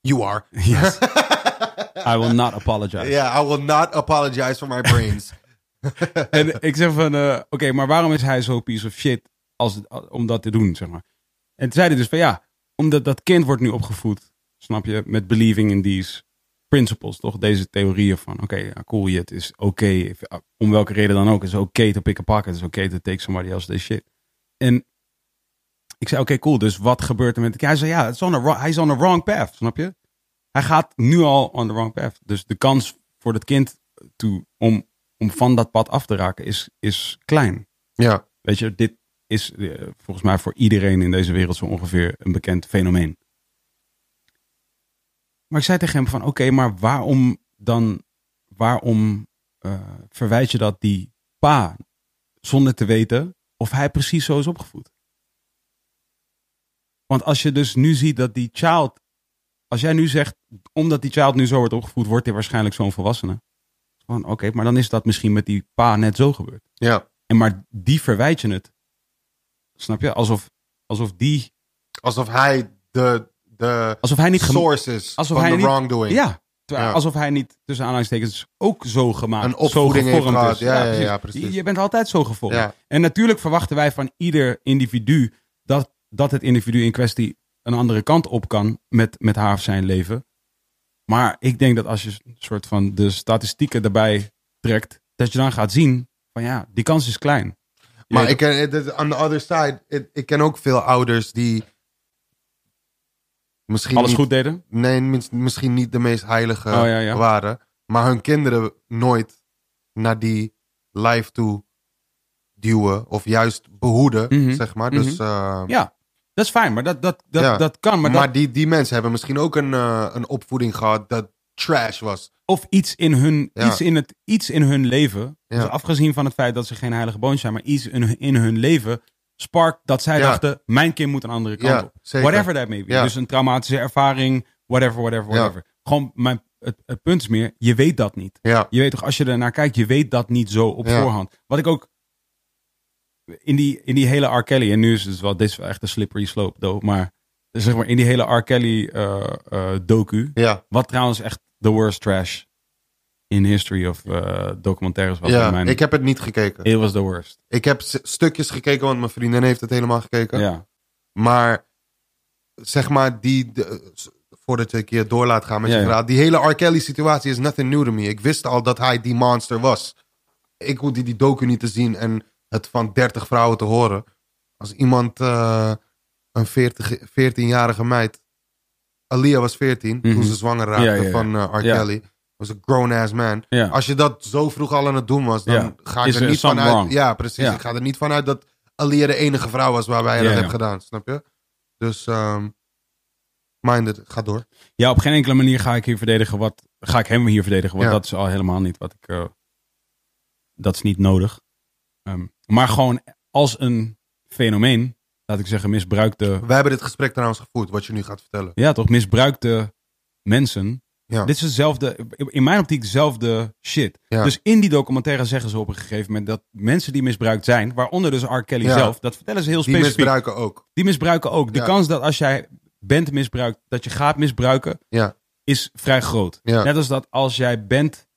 S2: You are.
S1: Yes, I will not apologize.
S2: Yeah, I will not apologize for my brains.
S1: En ik zeg van, eh, oké, maar waarom is hij zo piece of shit als, om dat te doen, zeg maar? En toen zei hij dus van, ja, omdat dat kind wordt nu opgevoed, snap je, met believing in these principles, toch? Deze theorieën van, oké, ja, cool, je- het is oké, if- om welke reden dan ook, het is oké te pick a pocket, het is oké te take somebody else this shit. En ik zei, oké, cool, dus wat gebeurt er met de kind? Hij zei, ja, it's on a wrong- hij is on the wrong path, snap je? Hij gaat nu al on the wrong path. Dus de kans voor dat kind to, om om van dat pad af te raken is, is klein.
S2: ja,
S1: Weet je, dit is eh, volgens mij voor iedereen in deze wereld zo ongeveer een bekend fenomeen. Maar ik zei tegen hem van, oké, maar waarom dan, waarom eh, verwijt je dat die pa zonder te weten of hij precies zo is opgevoed? Want als je dus nu ziet dat die child, als jij nu zegt, omdat die child nu zo wordt opgevoed, wordt hij waarschijnlijk zo'n volwassene. Van oké, maar dan is dat misschien met die pa net zo gebeurd.
S2: ja.
S1: En maar die verwijt je het. Snap je? Alsof, alsof die.
S2: Alsof hij de, de
S1: Alsof hij niet gem-
S2: source is
S1: alsof
S2: van
S1: hij
S2: de
S1: niet-
S2: wrongdoing.
S1: Ja. Terwijl-
S2: Ja.
S1: Alsof hij niet tussen aanhalingstekens ook zo gemaakt
S2: Een opvoeding
S1: zo
S2: heeft
S1: gevormd
S2: gehad.
S1: is.
S2: Ja, ja, ja,
S1: Je,
S2: precies.
S1: je bent altijd zo gevormd.
S2: Ja.
S1: En natuurlijk verwachten wij van ieder individu dat, dat het individu in kwestie een andere kant op kan met, met haar of zijn leven. Maar ik denk dat als je een soort van de statistieken daarbij trekt, dat je dan gaat zien van ja, die kans is klein. Je
S2: Maar
S1: weet
S2: ik ken, het is- on the other side, het- ik ken ook veel ouders die misschien
S1: alles
S2: niet-
S1: goed deden?
S2: nee, mis- misschien niet de meest heilige
S1: Oh, ja, ja.
S2: waren, maar hun kinderen nooit naar die life toe duwen of juist behoeden,
S1: Mhm.
S2: zeg maar.
S1: Mhm.
S2: Dus, eh,
S1: Ja, dat is fijn, maar dat, dat, dat,
S2: Ja.
S1: dat kan. Maar
S2: maar
S1: dat,
S2: die, die mensen hebben misschien ook een, eh, een opvoeding gehad dat trash was.
S1: of iets in, hun,
S2: Ja.
S1: iets, in het, iets in hun leven,
S2: Ja.
S1: dus afgezien van het feit dat ze geen heilige boontjes zijn, maar iets in, in hun leven sparkt dat zij
S2: Ja.
S1: dachten, mijn kind moet een andere kant
S2: Ja,
S1: op.
S2: zeker.
S1: Whatever that may be.
S2: Ja.
S1: Dus een traumatische ervaring, whatever, whatever,
S2: Ja.
S1: whatever. Gewoon, mijn, het, het punt is meer, je weet dat niet.
S2: Ja,
S1: Je weet toch, als je ernaar kijkt, je weet dat niet zo op
S2: Ja.
S1: voorhand. Wat ik ook in die, in die hele R. Kelly, en nu is het wel, dit is wel echt een slippery slope, though, maar zeg maar in die hele R. Kelly eh, eh, docu,
S2: ja,
S1: wat trouwens echt the worst trash in history of eh, documentaires was. in
S2: ja.
S1: mijn,
S2: ik heb het niet gekeken.
S1: It was the worst.
S2: Ik heb s- stukjes gekeken, want mijn vriendin heeft het helemaal gekeken.
S1: Ja.
S2: Maar zeg maar, die, de- s- voordat ik je door laat gaan met
S1: Ja,
S2: je
S1: ja.
S2: verhaal, die hele R. Kelly situatie is nothing new to me. Ik wist al dat hij die monster was. Ik hoefde die docu niet te zien en het van 30 vrouwen te horen. Als iemand, eh, een 40 14-jarige meid, Alia was 14
S1: Mhm.
S2: toen ze zwanger raakte
S1: Ja, ja, ja.
S2: van eh, R.
S1: Ja.
S2: Kelly. Was een grown-ass man.
S1: Ja.
S2: Als je dat zo vroeg al aan het doen was, dan
S1: Ja.
S2: ga ik
S1: Is
S2: er
S1: er
S2: niet
S1: something
S2: vanuit.
S1: wrong?
S2: Ja, precies.
S1: Ja.
S2: Ik ga er niet vanuit dat Alia de enige vrouw was waarbij je
S1: Ja,
S2: dat
S1: ja.
S2: hebt gedaan, snap je? Dus, ehm minded, ga door.
S1: ja, op geen enkele manier ga ik hier verdedigen wat, ga ik hem hier verdedigen, want
S2: Ja.
S1: dat is al helemaal niet wat ik, eh, dat is niet nodig. Ehm, maar gewoon als een fenomeen, laat ik zeggen, misbruikte
S2: We hebben dit gesprek trouwens gevoerd, wat je nu gaat vertellen.
S1: Ja, toch? Misbruikte mensen
S2: Ja.
S1: Dit is hetzelfde, in mijn optiek dezelfde shit.
S2: Ja.
S1: Dus in die documentaire zeggen ze op een gegeven moment dat mensen die misbruikt zijn, waaronder dus R. Kelly
S2: Ja.
S1: zelf, dat vertellen ze heel
S2: Die
S1: specifiek.
S2: misbruiken ook.
S1: die misbruiken ook. De
S2: Ja.
S1: kans dat als jij bent misbruikt, dat je gaat misbruiken,
S2: Ja.
S1: is vrij groot.
S2: Ja.
S1: Net als dat als jij bent,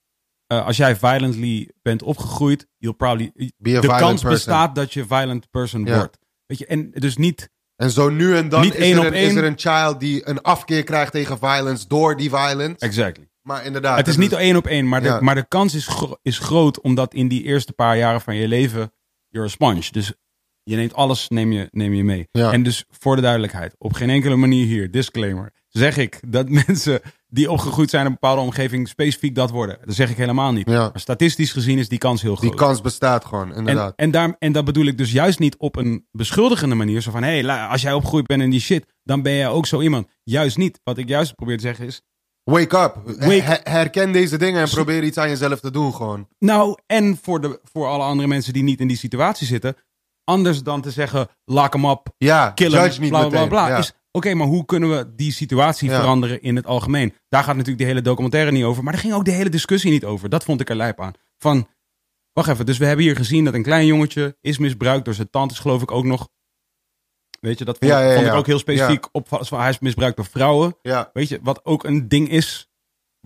S1: eh, als jij violently bent opgegroeid, you'll probably,
S2: Be a
S1: de
S2: violent
S1: kans
S2: person.
S1: bestaat dat je violent person
S2: Ja.
S1: wordt. Weet je, en dus niet
S2: En zo nu en dan
S1: Niet
S2: is,
S1: één
S2: er
S1: op
S2: een, is
S1: één.
S2: er een child die een afkeer krijgt tegen violence door die violence.
S1: exactly.
S2: maar inderdaad.
S1: het is
S2: Ah, dat
S1: niet één op één, maar de,
S2: Ja.
S1: maar de kans is, gro- is groot omdat in die eerste paar jaren van je leven you're a sponge. Dus je neemt alles neem je, neem je mee.
S2: Ja.
S1: En dus voor de duidelijkheid, op geen enkele manier hier, disclaimer, zeg ik dat mensen die opgegroeid zijn in een bepaalde omgeving specifiek dat worden. Dat zeg ik helemaal niet.
S2: Ja.
S1: Maar statistisch gezien is die kans heel groot.
S2: Die kans bestaat gewoon,
S1: En,
S2: inderdaad.
S1: en, daar, en dat bedoel ik dus juist niet op een beschuldigende manier. Zo van, hé, hey, als jij opgegroeid bent in die shit, dan ben jij ook zo iemand. Juist niet. Wat ik juist probeer te zeggen is...
S2: Wake up.
S1: Wake-
S2: Her- herken deze dingen en probeer iets aan jezelf te doen gewoon.
S1: Nou, en voor, de, voor alle andere mensen die niet in die situatie zitten... Anders dan te zeggen, lock hem op,
S2: Ja,
S1: kill hem,
S2: judge
S1: bla
S2: niet
S1: bla bla.
S2: meteen.
S1: bla,
S2: ja.
S1: is, Oké, maar hoe kunnen we die situatie
S2: Ja.
S1: veranderen in het algemeen? Daar gaat natuurlijk de hele documentaire niet over. Maar daar ging ook de hele discussie niet over. Dat vond ik er lijp aan. Van, wacht even. Dus we hebben hier gezien dat een klein jongetje is misbruikt door zijn tantes, geloof ik ook nog. Weet je, dat vond,
S2: Ja, ja,
S1: vond
S2: ja.
S1: ik ook heel specifiek. Op, van, hij is misbruikt door vrouwen.
S2: ja.
S1: Weet je, wat ook een ding is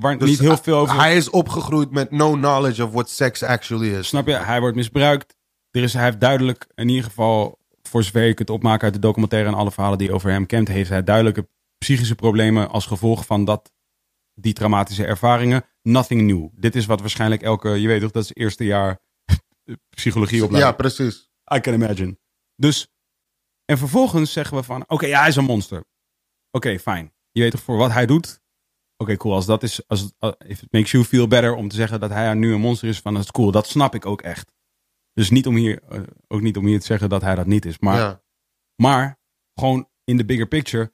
S1: waar
S2: Dus
S1: niet heel veel over...
S2: Hij is opgegroeid met no knowledge of what sex actually is.
S1: Eh, Snap je? Hij wordt misbruikt. Er is, hij heeft duidelijk, in ieder geval, voor zover je kunt opmaken uit de documentaire en alle verhalen die je over hem kent, heeft hij duidelijke psychische problemen als gevolg van dat, die traumatische ervaringen. Nothing new. Dit is wat waarschijnlijk elke, je weet toch, dat is het eerste jaar psychologie
S2: Ja,
S1: opleiding.
S2: precies.
S1: I can imagine. Dus, en vervolgens zeggen we van, oké, ja, hij is een monster. Oké, fijn. Je weet toch voor wat hij doet? Oké, cool. Als dat is, als, als- if it makes you feel better om te zeggen dat hij nu een monster is, van dat is cool. Dat snap ik ook echt. Dus niet om hier, eh, ook niet om hier te zeggen dat hij dat niet is. Maar,
S2: ja.
S1: maar gewoon in de bigger picture.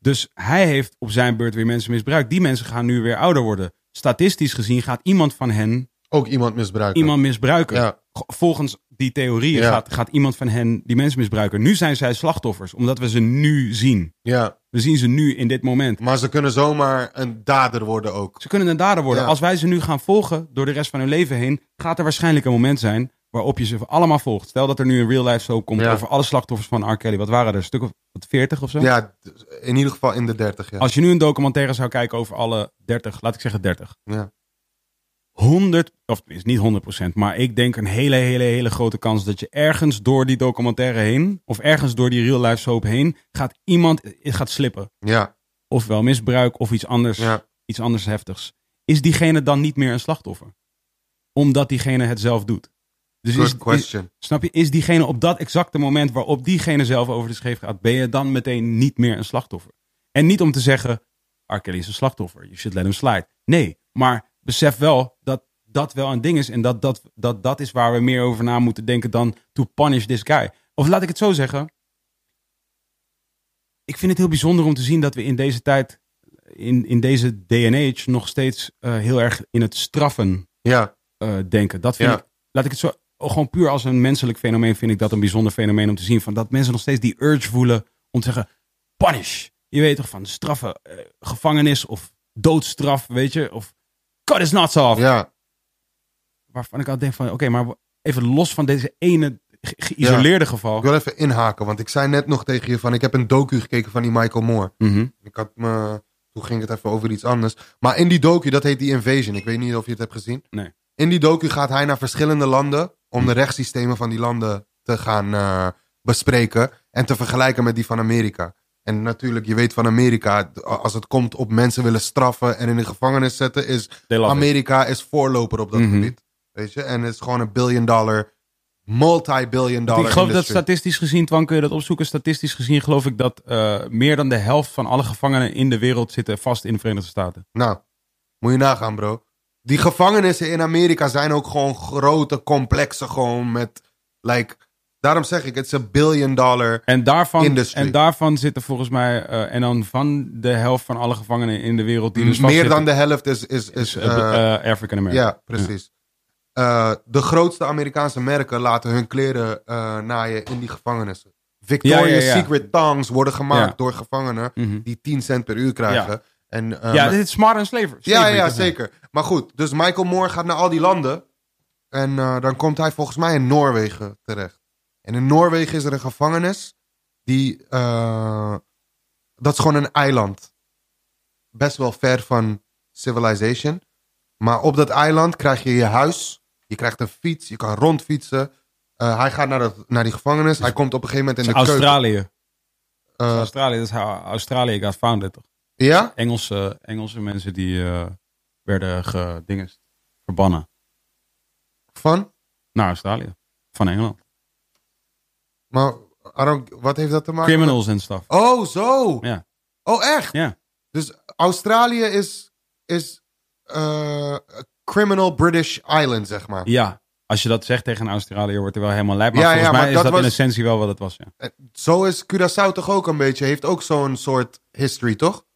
S1: Dus hij heeft op zijn beurt weer mensen misbruikt. Die mensen gaan nu weer ouder worden. Statistisch gezien gaat iemand van hen
S2: Ook iemand misbruiken.
S1: iemand misbruiken.
S2: Ja.
S1: Go- Volgens die theorieën
S2: Ja.
S1: gaat, gaat iemand van hen die mensen misbruiken. Nu zijn zij slachtoffers, omdat we ze nu zien.
S2: ja,
S1: We zien ze nu in dit moment.
S2: maar ze kunnen zomaar een dader worden ook.
S1: Ze kunnen een dader worden.
S2: Ja.
S1: Als wij ze nu gaan volgen door de rest van hun leven heen, gaat er waarschijnlijk een moment zijn waarop je ze allemaal volgt. Stel dat er nu een real life soap komt
S2: Ja.
S1: over alle slachtoffers van R. Kelly. Wat waren er? Een stuk of wat, 40 of zo?
S2: Ja, d- in ieder geval in de dertig jaar.
S1: Als je nu een documentaire zou kijken over alle 30, laat ik zeggen 30.
S2: Ja.
S1: 100, of tenminste niet 100 maar ik denk een hele, hele, hele grote kans dat je ergens door die documentaire heen, of ergens door die real life soap heen, gaat iemand, het gaat slippen.
S2: Ja,
S1: Ofwel misbruik of iets anders,
S2: ja,
S1: iets anders heftigs. Is diegene dan niet meer een slachtoffer? Omdat diegene het zelf doet. Dus is,
S2: good
S1: is,
S2: question.
S1: snap je, is diegene op dat exacte moment waarop diegene zelf over de scheef gaat, ben je dan meteen niet meer een slachtoffer? En niet om te zeggen, R. Kelly is een slachtoffer, you should let him slide. Nee, maar besef wel dat dat wel een ding is en dat dat, dat, dat is waar we meer over na moeten denken dan to punish this guy. Of laat ik het zo zeggen, ik vind het heel bijzonder om te zien dat we in deze tijd, in, in deze day and age, nog steeds eh, heel erg in het straffen
S2: Ja,
S1: eh, denken. Dat vind
S2: Ja.
S1: ik, laat ik het zo, gewoon puur als een menselijk fenomeen vind ik dat een bijzonder fenomeen om te zien. Van dat mensen nog steeds die urge voelen om te zeggen, punish. Je weet toch van straffen, eh, gevangenis of doodstraf, weet je. Of cut his nuts off.
S2: ja,
S1: Waarvan ik al denk van, oké, maar even los van deze ene ge- geïsoleerde geval.
S2: ik wil even inhaken, want ik zei net nog tegen je van... ik heb een docu gekeken van die Michael Moore.
S1: Mhm.
S2: Ik had me, toen ging het even over iets anders. Maar in die docu, dat heet die Invasion. Ik weet niet of je het hebt gezien.
S1: Nee.
S2: In die docu gaat hij naar verschillende landen... om de rechtssystemen van die landen te gaan eh, bespreken... en te vergelijken met die van Amerika. En natuurlijk, je weet van Amerika... d- als het komt op mensen willen straffen en in de gevangenis zetten... is
S1: They love it.
S2: Amerika is voorloper op dat
S1: Mhm.
S2: gebied. Weet je? En het is gewoon een billion dollar... multi-billion dollar
S1: Ik geloof dat
S2: industry.
S1: statistisch gezien, Twan, kun je dat opzoeken. Statistisch gezien geloof ik dat eh, meer dan de helft van alle gevangenen in de wereld zitten vast in de Verenigde Staten.
S2: Nou, moet je nagaan, bro. Die gevangenissen in Amerika zijn ook gewoon grote complexen, gewoon met, like, daarom zeg ik, het is een billion dollar.
S1: En daarvan,
S2: Industry.
S1: en daarvan zitten volgens mij, eh, en dan van de helft van alle gevangenen in de wereld die dus
S2: Meer dan de helft is, is, is, eh,
S1: African American.
S2: ja, precies. Eh, de grootste Amerikaanse merken laten hun kleren eh, naaien in die gevangenissen. Victoria's
S1: ja.
S2: Secret thongs worden gemaakt
S1: Ja.
S2: door gevangenen
S1: Mhm.
S2: die 10 cent per uur krijgen. En, eh,
S1: ja,
S2: maar-
S1: dit is Smarter en Slaver.
S2: ja,
S1: Slavery,
S2: ja,
S1: toch?
S2: zeker. Maar goed, dus Michael Moore gaat naar al die landen. En eh, dan komt hij volgens mij in Noorwegen terecht. En in Noorwegen is er een gevangenis. Die, eh, dat is gewoon een eiland. Best wel ver van civilization. Maar op dat eiland krijg je je huis. Je krijgt een fiets. Je kan rondfietsen. Eh, hij gaat naar, dat, naar die gevangenis. Hij komt op een gegeven moment
S1: Dus
S2: in de keuken.
S1: Australië. Dus
S2: Eh,
S1: Australië, dat is how Australië got founded. Toch?
S2: ja?
S1: Engelse, Engelse mensen die eh, werden gedingest, verbannen
S2: Van?
S1: naar Australië. Van Engeland.
S2: Maar I don't- wat heeft dat te maken? met-
S1: Criminals en stuff.
S2: Oh, zo.
S1: Ja.
S2: Oh, echt?
S1: Ja.
S2: Dus Australië is, is eh, criminal British island, zeg maar.
S1: Ja, als je dat zegt tegen een Australiër wordt er wel helemaal lijp. Maar
S2: Ja,
S1: volgens
S2: ja,
S1: mij
S2: maar
S1: is
S2: dat
S1: dat, in
S2: was-
S1: essentie wel wat het was. Ja.
S2: Zo is Curaçao toch ook een beetje, heeft ook zo'n soort history, toch?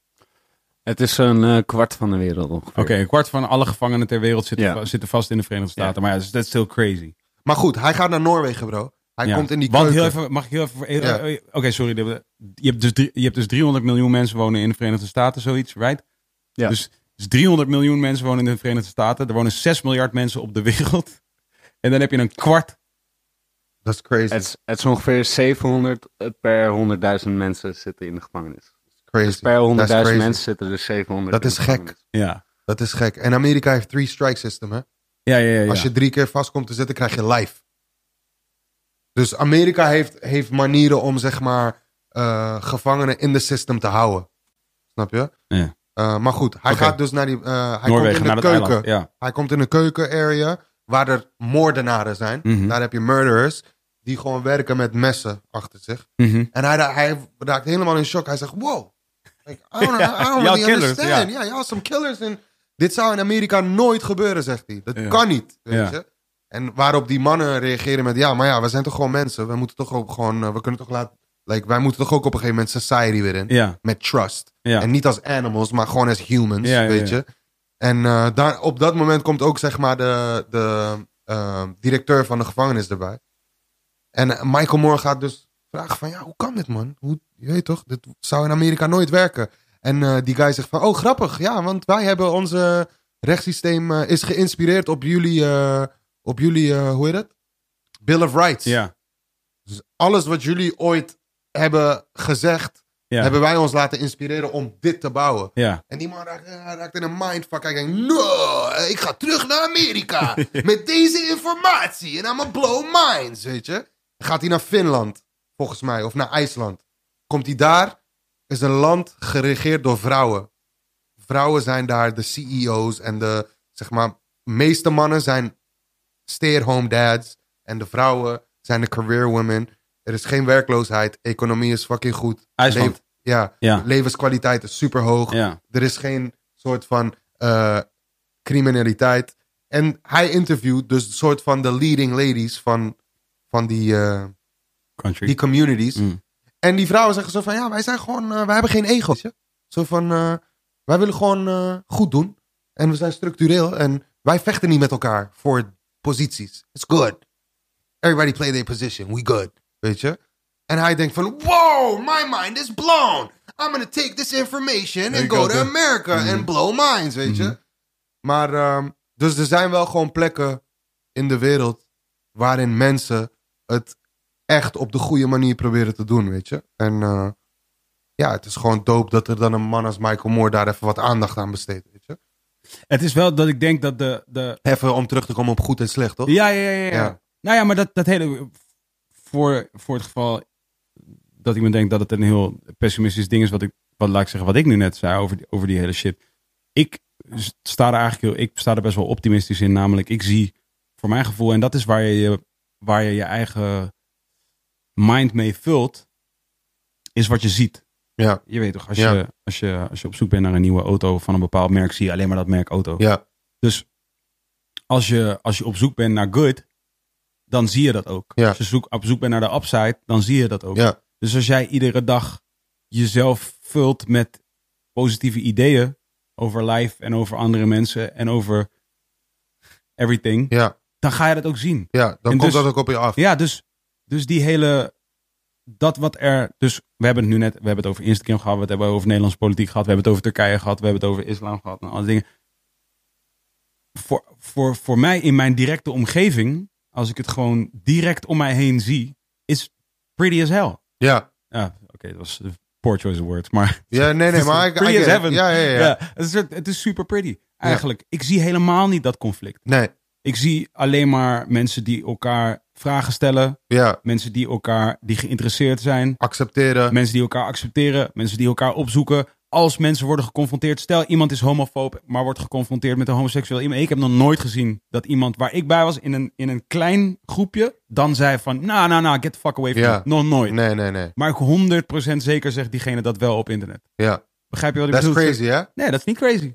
S3: Het is zo'n eh, kwart van de wereld
S1: Oké,
S3: ongeveer.
S1: een kwart van alle gevangenen ter wereld zitten,
S3: Ja.
S1: va- zitten vast in de Verenigde Staten. Maar ja, dat is- that's still crazy.
S2: Maar goed, hij gaat naar Noorwegen, bro. Hij
S1: Ja.
S2: komt in die
S1: Want heel
S2: keuken.
S1: even, mag ik heel even... voor-
S2: Ja.
S1: eh, eh, Oké, sorry. dit- Je hebt, dus drie- je hebt dus 300 miljoen mensen wonen in de Verenigde Staten, zoiets, right?
S3: Ja.
S1: Dus, dus 300 miljoen mensen wonen in de Verenigde Staten. Er wonen 6 miljard mensen op de wereld. En dan heb je een kwart.
S2: Dat is crazy.
S3: Het, is, het is ongeveer 700 per 100.000 mensen zitten in de gevangenis.
S2: crazy.
S3: Per
S2: That's
S3: 100.000
S2: crazy.
S3: mensen zitten er 700
S2: Dat
S3: in
S2: is
S3: de
S2: gek.
S3: gevangenis.
S1: Ja,
S2: Dat is gek. En Amerika heeft three strike system, hè?
S1: ja, ja. ja, ja.
S2: Als je drie keer vast komt te zitten, krijg je life. Dus Amerika heeft, heeft manieren om, zeg maar, eh, gevangenen in de system te houden. Snap je?
S1: Ja.
S2: Eh, maar goed, hij
S1: Oké.
S2: gaat dus naar die... eh, hij
S1: Noorwegen,
S2: komt in
S1: naar
S2: de
S1: het
S2: keuken.
S1: eiland. Ja.
S2: Hij komt in een keuken-area waar er moordenaren zijn.
S1: Mhm.
S2: Daar heb je murderers die gewoon werken met messen achter zich.
S1: Mhm.
S2: En hij, ra- hij raakt helemaal in shock. Hij zegt, wow. Like, I don't, I
S1: Ja, jouw
S2: don't really
S1: killers,
S2: understand. Ja, ja, some killers. En dit zou in Amerika nooit gebeuren, zegt hij. Dat
S1: Ja.
S2: kan niet, weet
S1: Ja.
S2: je. En waarop die mannen reageren met... Ja, maar ja, we zijn toch gewoon mensen. We moeten toch ook gewoon... eh, We kunnen toch laten... Like, wij moeten toch ook op een gegeven moment society weer in.
S1: Ja,
S2: Met trust.
S1: ja.
S2: En niet als animals, maar gewoon als humans,
S1: Ja, ja,
S2: weet
S1: ja.
S2: je. En eh, daar, op dat moment komt ook zeg maar de, de eh, directeur van de gevangenis erbij. En eh, Michael Moore gaat dus vragen van, ja, hoe kan dit man? Hoe, je weet toch, dit zou in Amerika nooit werken. En eh, die guy zegt van, oh grappig, ja, want wij hebben onze rechtssysteem eh, is geïnspireerd op jullie, eh, op jullie eh, hoe heet het? Bill of Rights.
S1: ja,
S2: Dus alles wat jullie ooit hebben gezegd,
S1: ja.
S2: hebben wij ons laten inspireren om dit te bouwen.
S1: ja.
S2: En die man raakt, hij raakt in een mindfuck. Hij denkt, no, eh, ik ga terug naar Amerika. met deze informatie. En I'm a blow minds, weet je. Dan gaat hij naar Finland, volgens mij. Of naar IJsland. Komt hij daar, is een land geregeerd door vrouwen. Vrouwen zijn daar de CEO's en de, zeg maar, meeste mannen zijn stay-at-home dads. En de vrouwen zijn de career women. Er is geen werkloosheid. Economie is fucking goed.
S1: IJsland.
S2: Leef- ja,
S1: Ja.
S2: levenskwaliteit is super hoog.
S1: Ja.
S2: Er is geen soort van eh, criminaliteit. En hij interviewt dus een soort van de leading ladies van, van die, eh,
S1: Country.
S2: die communities.
S1: Mm.
S2: En die vrouwen zeggen zo van, ja, wij zijn gewoon, eh, wij hebben geen ego's. ja. Zo van, eh, wij willen gewoon eh, goed doen. En we zijn structureel. En wij vechten niet met elkaar voor posities. It's good. Everybody play their position. We good. Weet je? En hij denkt van, wow, my mind is blown. I'm gonna take this information and
S1: Ik
S2: go
S1: ook,
S2: to
S1: hè.
S2: America and blow minds, weet je? Maar, ehm, dus er zijn wel gewoon plekken in de wereld waarin mensen het echt op de goede manier proberen te doen, weet je? En eh, ja, het is gewoon dope dat er dan een man als Michael Moore daar even wat aandacht aan besteedt, weet je?
S1: Het is wel dat ik denk dat de, de,
S2: Even om terug te komen op goed en slecht, toch?
S1: Ja, ja, ja, ja.
S2: Ja.
S1: Nou ja, maar dat, dat hele. Voor, voor het geval dat iemand denkt dat het een heel pessimistisch ding is, wat ik, wat laat ik zeggen, wat ik nu net zei over die, over die hele shit. Ik sta er eigenlijk heel, ik sta er best wel optimistisch in. Namelijk, ik zie voor mijn gevoel, en dat is waar je je, waar je, je eigen mind mee vult, is wat je ziet.
S2: Ja.
S1: Je weet toch, als,
S2: Ja.
S1: je, als, je, als je op zoek bent naar een nieuwe auto van een bepaald merk, zie je alleen maar dat merk auto.
S2: Ja.
S1: Dus als je, als je op zoek bent naar good, dan zie je dat ook.
S2: Ja.
S1: Als je zoek, op zoek bent naar de upside, dan zie je dat ook.
S2: Ja.
S1: Dus als jij iedere dag jezelf vult met positieve ideeën over life en over andere mensen en over everything,
S2: Ja.
S1: dan ga je dat ook zien.
S2: Ja, dan
S1: En dus-
S2: komt dat ook op je af.
S1: Ja, dus, dus die hele dat wat er. Dus we hebben het nu net. We hebben het over Instagram gehad. We hebben het over Nederlandse politiek gehad. We hebben het over Turkije gehad. We hebben het over islam gehad. En alle dingen. Voor, voor, voor mij in mijn directe omgeving. Als ik het gewoon direct om mij heen zie. Is pretty as hell.
S2: Ja.
S1: Ja, oké. dat was een poor choice of words. Maar
S2: Ja, nee, nee,
S1: Het is
S2: maar ik...
S1: pretty
S2: I get
S1: as
S2: it.
S1: heaven.
S2: Ja, ja, ja.
S1: ja, het, is, het is super pretty. Eigenlijk. Ik zie helemaal niet dat conflict.
S2: Nee,
S1: Ik zie alleen maar mensen die elkaar vragen stellen.
S2: ja.
S1: Mensen die elkaar die geïnteresseerd zijn.
S2: Accepteren.
S1: Mensen die elkaar accepteren. Mensen die elkaar opzoeken. Als mensen worden geconfronteerd. Stel, iemand is homofoob, maar wordt geconfronteerd met een homoseksueel iemand. Ik heb nog nooit gezien dat iemand waar ik bij was in een, in een klein groepje. dan zei van: Nou, nou, nou, get the fuck away from
S2: Ja.
S1: me. Nog nooit.
S2: Nee, nee, nee.
S1: Maar ik 100% zeker zegt diegene dat wel op internet.
S2: Ja.
S1: Begrijp je wat ik
S2: That's
S1: bedoel?
S2: crazy, hè?
S1: Nee, dat is niet crazy.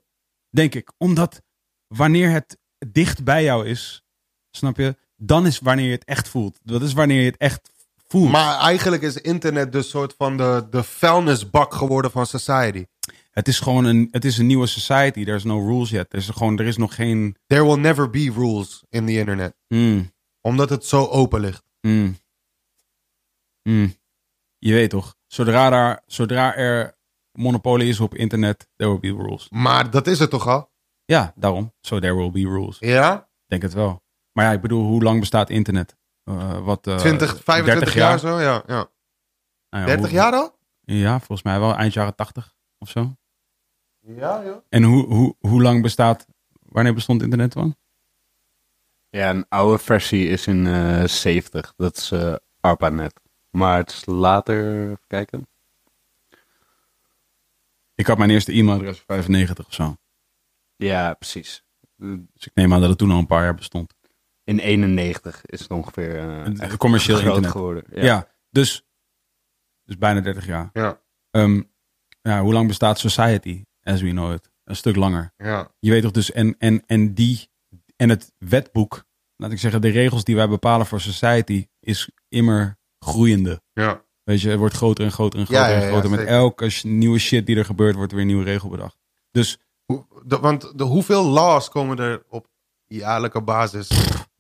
S1: Denk ik. Omdat wanneer het dicht bij jou is, snap je? Dan is wanneer je het echt voelt. Dat is wanneer je het echt voelt.
S2: Maar eigenlijk is internet dus soort van de, de vuilnisbak geworden van society.
S1: het is gewoon een, het is een nieuwe society. There's no rules yet. Er is, gewoon, er is nog geen...
S2: There will never be rules in the internet.
S1: Mm,
S2: Omdat het zo open ligt.
S1: mm, mm. Je weet toch? Zodra er, zodra er monopolie is op internet, there will be rules.
S2: Maar dat is het toch al?
S1: Ja, daarom. So there will be rules. Ik
S2: Ja?
S1: denk het wel. Maar ja, ik bedoel, hoe lang bestaat internet? Eh, wat, eh,
S2: 20,
S1: 30
S2: 25 jaar. zo? Ja,
S1: Nou
S2: ja.
S1: ja,
S2: 30
S1: hoe-
S2: jaar al?
S1: Ja, volgens mij wel eind jaren 80 of zo.
S2: Ja, joh.
S1: En hoe, hoe, hoe lang bestaat. Wanneer bestond internet dan?
S3: Ja, een oude versie is in eh 70. Dat is eh, ARPANET. Maar het is later, even kijken.
S1: Ik had mijn eerste e-mailadres 95 of zo.
S3: Ja, precies.
S1: Dus ik neem aan dat het toen al een paar jaar bestond.
S3: In 91 is het ongeveer eh,
S1: Het
S3: echt
S1: commercieel
S3: groot
S1: internet.
S3: geworden. Ja.
S1: Ja, dus. Dus bijna 30 jaar.
S2: Ja,
S1: Ehm, ja, hoe lang bestaat society, as we know it? Een stuk langer.
S2: ja.
S1: Je weet toch dus, en, en, en die. En het wetboek, laat ik zeggen, de regels die wij bepalen voor society, is immer groeiende.
S2: ja.
S1: Weet je, het wordt groter en groter en groter
S2: Ja, ja,
S1: en
S2: ja,
S1: groter. Met
S2: zeker.
S1: elke sh- nieuwe shit die er gebeurt, wordt er weer een nieuwe regel bedacht. Dus
S2: Hoe- de- want de, hoeveel laws komen er op jaarlijkse basis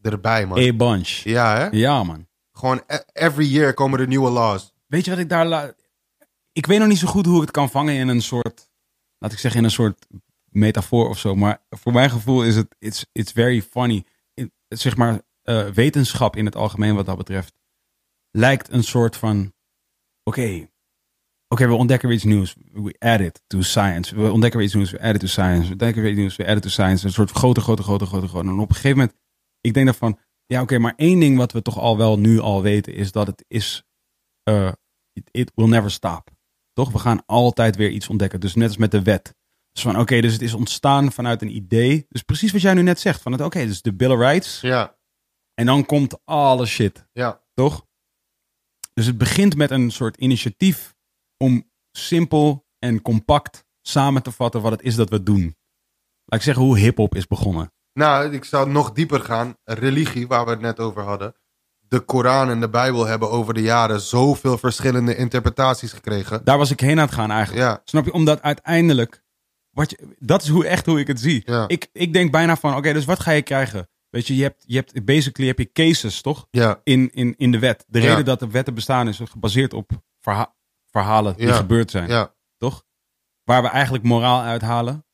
S2: erbij, man?
S1: a bunch.
S2: Ja, hè?
S1: Ja, man.
S2: Gewoon e- every year komen er nieuwe laws.
S1: Weet je wat ik daar... la- Ik weet nog niet zo goed hoe ik het kan vangen in een soort... Laat ik zeggen, in een soort metafoor of zo. Maar voor mijn gevoel is het... It's, it's very funny. In- zeg maar, eh, wetenschap in het algemeen wat dat betreft... lijkt een soort van... Oké, Oké, we ontdekken weer iets nieuws. We add it to science. We ontdekken weer iets nieuws. We add it to science. We ontdekken weer iets nieuws. We add it to science. Een soort grote, grote, grote, grote, grote. En op een gegeven moment, ik denk daarvan, ja, oké, maar één ding wat we toch al wel nu al weten is dat het is, eh, it, it will never stop. Toch? We gaan altijd weer iets ontdekken. Dus net als met de wet. Dus van, oké, dus het is ontstaan vanuit een idee. Dus precies wat jij nu net zegt. Van het, oké, dus de Bill of Rights.
S2: Ja,
S1: En dan komt alle shit
S2: ja.
S1: toch? Dus het begint met een soort initiatief om simpel en compact samen te vatten wat het is dat we doen. Laat ik zeggen hoe hip-hop is begonnen.
S2: Nou, ik zou nog dieper gaan. Religie, waar we het net over hadden. De Koran en de Bijbel hebben over de jaren zoveel verschillende interpretaties gekregen.
S1: Daar was ik heen aan het gaan eigenlijk.
S2: Ja,
S1: Snap je? Omdat uiteindelijk. Wat je, dat is hoe, echt hoe ik het zie.
S2: Ja.
S1: Ik, ik denk bijna van: oké, dus wat ga je krijgen? Weet je, je hebt, je hebt basically heb je cases, toch?
S2: ja,
S1: In, in, in de wet. De
S2: Ja.
S1: reden dat de wetten bestaan is gebaseerd op verha- verhalen die
S2: Ja.
S1: gebeurd zijn.
S2: ja.
S1: toch? Waar we eigenlijk moraal uithalen.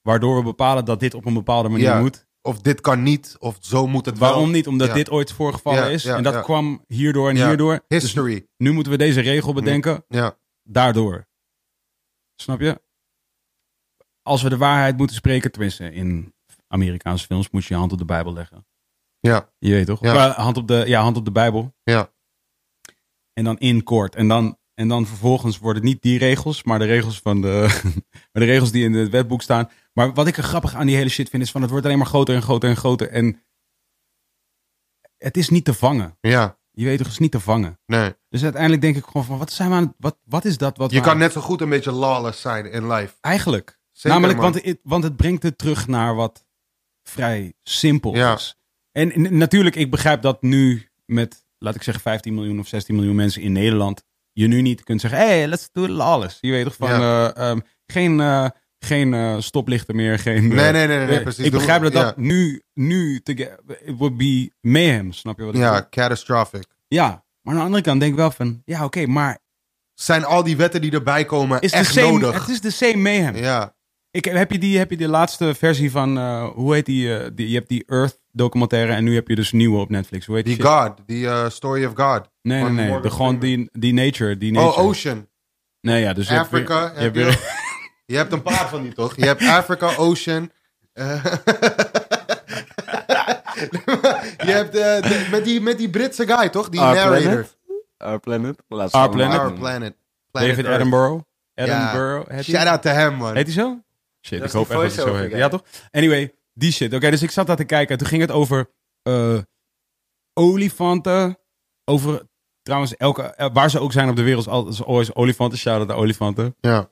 S1: Waardoor we bepalen dat dit op een bepaalde manier
S2: Ja,
S1: moet.
S2: Of dit kan niet, of zo moet het wel.
S1: Waarom niet? Omdat
S2: ja.
S1: dit ooit voorgevallen
S2: Ja,
S1: is.
S2: ja,
S1: en dat
S2: ja.
S1: kwam hierdoor en
S2: Ja,
S1: hierdoor. Dus
S2: History.
S1: nu moeten we deze regel bedenken.
S2: Ja,
S1: Daardoor. Snap je? Als we de waarheid moeten spreken, tenminste in Amerikaanse films, moet je je hand op de Bijbel leggen.
S2: ja,
S1: Je weet toch?
S2: Ja.
S1: Eh, hand, op de, ja, hand op de Bijbel.
S2: ja.
S1: En dan in kort. En dan, en dan vervolgens worden het niet die regels, maar de regels, van de, maar de regels die in het wetboek staan. Maar wat ik er grappig aan die hele shit vind, is van het wordt alleen maar groter en groter en groter. En het is niet te vangen.
S2: Ja,
S1: Je weet toch, het is niet te vangen.
S2: nee.
S1: Dus uiteindelijk denk ik gewoon van, wat zijn we aan het- wat, wat is dat? Wat
S2: Je
S1: we
S2: kan
S1: aan-
S2: net zo goed een beetje lawless zijn in life.
S1: Eigenlijk.
S2: Zeker,
S1: Namelijk,
S2: man.
S1: want het, want het brengt het terug naar wat vrij simpel
S2: Ja.
S1: is. En, n- natuurlijk, ik begrijp dat nu met, laat ik zeggen, 15 miljoen of 16 miljoen mensen in Nederland, je nu niet kunt zeggen, hey, let's do alles. Je weet toch van, eh, ehm, geen, eh, geen eh, stoplichten meer, geen... eh,
S2: Nee, nee, nee, nee, nee,
S1: eh,
S2: precies.
S1: Ik
S2: Doe-
S1: begrijp dat dat
S2: ja.
S1: nu, nu, te ge- it would be mayhem, snap je wat ik
S2: Ja,
S1: bedoel?
S2: catastrophic.
S1: Ja, maar Maar aan de andere kant denk ik wel van, ja oké, maar
S2: Zijn al die wetten die erbij komen
S1: is
S2: echt
S1: de same,
S2: nodig?
S1: het is de same mayhem.
S2: Ja.
S1: Ik, heb, je die, heb je die laatste versie van, eh, hoe heet die, eh, die, je hebt die Earth documentaire en nu heb je dus nieuwe op Netflix. Hoe heet
S2: Die
S1: shit?
S2: God, die eh, Story of God.
S1: Nee, nee,
S2: Van
S1: nee.
S2: Morgan
S1: De, gewoon die, die nature, die nature.
S2: Oh, Ocean.
S1: Nee, ja, dus je hebt weer-
S2: Afrika.
S1: je hebt weer-
S2: je hebt een paar van die, toch? Je hebt Africa, Ocean. eh, je hebt eh, de- met, die, met die Britse guy, toch? Die
S3: Our
S2: narrator.
S3: Planet? Our Planet? Laatst
S1: Our
S3: allemaal
S1: Planet?
S2: Our
S3: doen.
S2: planet. Planet
S1: David
S2: Earth.
S1: Attenborough.
S2: Ja.
S1: Attenborough. heet die?
S2: Shout out to hem, man.
S1: Heet hij zo? Shit,
S3: Dat
S1: ik
S3: is
S1: hoop
S3: die
S1: echt dat hij zo
S3: voice-over
S1: heet.
S3: guy.
S1: Ja, toch? Anyway, die shit. Oké, dus ik zat daar te kijken. Toen ging het over eh, olifanten. Over, trouwens, elke, eh, waar ze ook zijn op de wereld. is altijd- is always olifanten. Shout-out naar olifanten.
S2: Ja.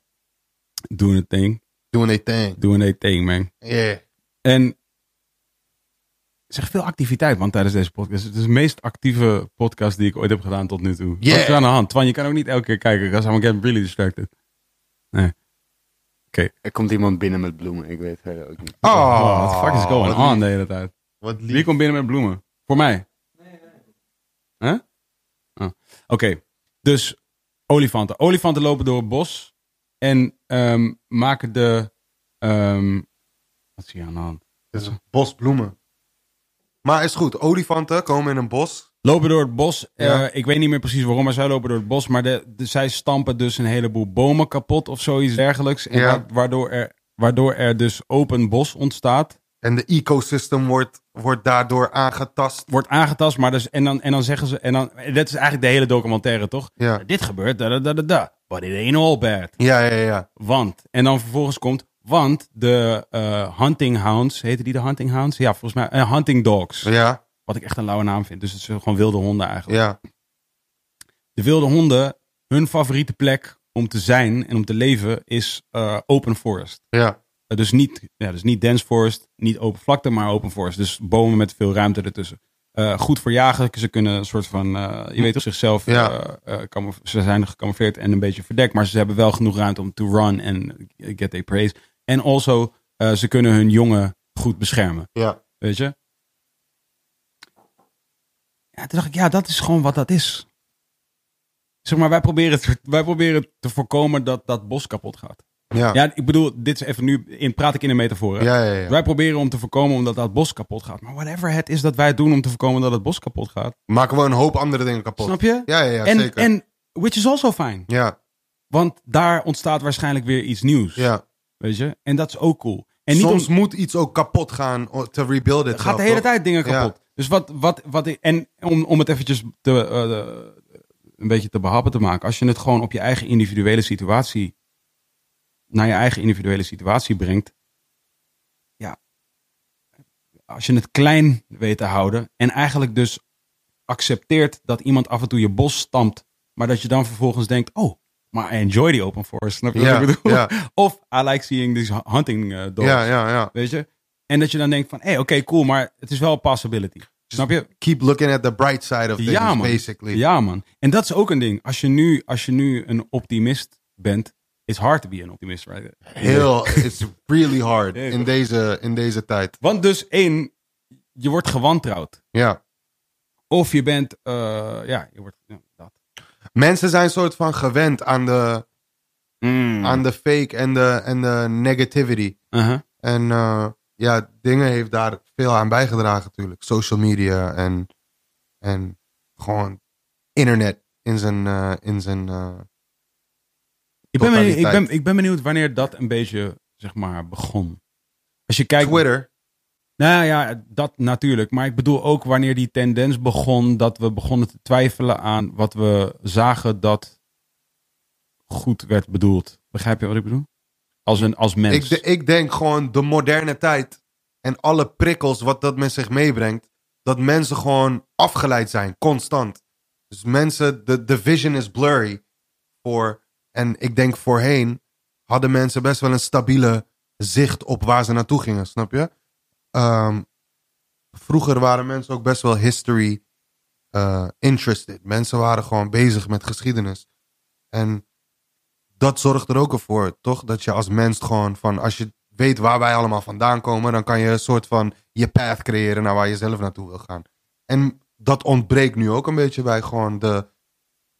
S1: Doen het ding.
S2: Doing their thing.
S1: Doen het ding, man.
S2: Yeah.
S1: En er is echt veel activiteit, man, tijdens deze podcast. Het is de meest actieve podcast die ik ooit heb gedaan tot nu toe.
S2: Yeah.
S1: Wat is er aan de hand? Twan, je kan ook niet elke keer kijken. Because I'm getting really distracted. Nee.
S3: Er komt iemand binnen met bloemen, ik weet het ook niet.
S2: Oh,
S1: what the fuck is going
S2: wat
S1: on
S2: lief,
S1: de hele tijd?
S2: Wat
S1: Wie
S2: lief.
S1: komt binnen met bloemen? Voor mij? Huh? Ah, Oké, dus olifanten. Olifanten lopen door het bos en ehm, maken de... ehm, wat zie je aan de hand?
S2: Het is een bos bloemen. Maar is goed. Olifanten komen in een bos.
S1: Lopen door het bos. eh,
S2: Ja.
S1: ik weet niet meer precies waarom, maar zij lopen door het bos. Maar de, de- zij stampen dus een heleboel bomen kapot of zoiets dergelijks. En
S2: Ja.
S1: wa- waardoor, er, waardoor er dus open bos ontstaat.
S2: En de ecosystem wordt, wordt daardoor aangetast.
S1: Wordt aangetast, maar dus, en, dan, en dan zeggen ze... En dan, en dat is eigenlijk de hele documentaire, toch?
S2: Ja.
S1: Dit gebeurt, da da da da da. But it ain't all bad.
S2: Ja, ja, ja.
S1: Want. En dan vervolgens komt. Want de eh, hunting hounds. Heten die de hunting hounds? Ja, volgens mij. eh, hunting dogs.
S2: Ja,
S1: Wat ik echt een lauwe naam vind. Dus het zijn gewoon wilde honden eigenlijk.
S2: ja.
S1: De wilde honden, hun favoriete plek om te zijn en om te leven is eh, open forest.
S2: ja.
S1: Eh, dus, niet, ja, dus niet dense forest, niet open vlakte, maar open forest. Dus bomen met veel ruimte ertussen. Eh, goed voor jagen. Ze kunnen een soort van, eh, je weet toch, zichzelf.
S2: Ja.
S1: eh, eh, kamuf- ze zijn gecamoufleerd en een beetje verdekt. Maar ze hebben wel genoeg ruimte om to run en get their praise. En also, eh, ze kunnen hun jongen goed beschermen.
S2: ja.
S1: Weet je? Ja, toen dacht ik, ja, dat is gewoon wat dat is. Zeg maar, wij proberen, het, wij proberen te voorkomen dat dat bos kapot gaat.
S2: Ja, ja,
S1: Ja, ik bedoel, dit is even nu, in, praat ik in een metafoor. hè?
S2: ja. ja.
S1: Wij proberen om te voorkomen omdat dat bos kapot gaat. Maar whatever het is dat wij doen om te voorkomen dat het bos kapot gaat.
S2: Maken we een hoop andere dingen kapot.
S1: Snap je?
S2: Ja, ja, ja,
S1: en,
S2: zeker.
S1: en, which is also fine.
S2: ja,
S1: Want daar ontstaat waarschijnlijk weer iets nieuws.
S2: ja.
S1: Weet je? En dat is ook cool. En niet om-
S2: Soms moet iets ook kapot gaan o- te rebuild
S1: Het
S2: itself,
S1: gaat de hele
S2: toch?
S1: tijd dingen
S2: Ja.
S1: kapot. Dus wat, wat, wat ik, en om, om het eventjes te, eh, eh, een beetje te behappen te maken. Als je het gewoon op je eigen individuele situatie, naar je eigen individuele situatie brengt. Ja. Als je het klein weet te houden en eigenlijk dus accepteert dat iemand af en toe je bos stampt. Maar dat je dan vervolgens denkt, oh, maar I enjoy die open forest. Snap je
S2: Ja,
S1: wat ik bedoel?
S2: ja.
S1: Of I like seeing these hunting eh, dogs.
S2: Ja, ja, ja.
S1: Weet je? En dat je dan denkt van, hé, oké, cool, maar het is wel een possibility. Snap je?
S2: Keep looking at the bright side of things,
S1: Ja, man.
S2: basically.
S1: Ja, man. En dat is ook een ding. Als je nu, als je nu een optimist bent, it's hard to be an optimist, right?
S2: Heel, it's really hard
S1: Ja,
S2: in
S1: toch?
S2: deze, in deze tijd.
S1: Want dus één, je wordt gewantrouwd.
S2: Ja.
S1: Of je bent, eh, ja, je wordt, ja, dat.
S2: Mensen zijn soort van gewend aan de,
S1: Mm.
S2: aan de fake en de, en de negativity.
S1: Uh-huh.
S2: En eh, ja, dingen heeft daar veel aan bijgedragen natuurlijk. Social media en, en gewoon internet in zijn... eh, in zijn eh,
S1: ik, ben benieuwd, ik,
S2: Totaliteit.
S1: ben, ik ben benieuwd wanneer dat een beetje, zeg maar, begon. Als je kijkt...
S2: Twitter.
S1: Nou ja, dat natuurlijk. Maar ik bedoel ook wanneer die tendens begon dat we begonnen te twijfelen aan wat we zagen dat goed werd bedoeld. Begrijp je wat ik bedoel? Als, een, als mens.
S2: Ik, de- ik denk gewoon de moderne tijd en alle prikkels wat dat met zich meebrengt, dat mensen gewoon afgeleid zijn, constant. Dus mensen, de, de vision is blurry. Voor, en ik denk voorheen hadden mensen best wel een stabiele zicht op waar ze naartoe gingen, snap je? Ehm, vroeger waren mensen ook best wel history eh, interested. Mensen waren gewoon bezig met geschiedenis. En dat zorgt er ook voor, toch? Dat je als mens gewoon van, als je weet waar wij allemaal vandaan komen, dan kan je een soort van je path creëren naar waar je zelf naartoe wil gaan. En dat ontbreekt nu ook een beetje bij gewoon de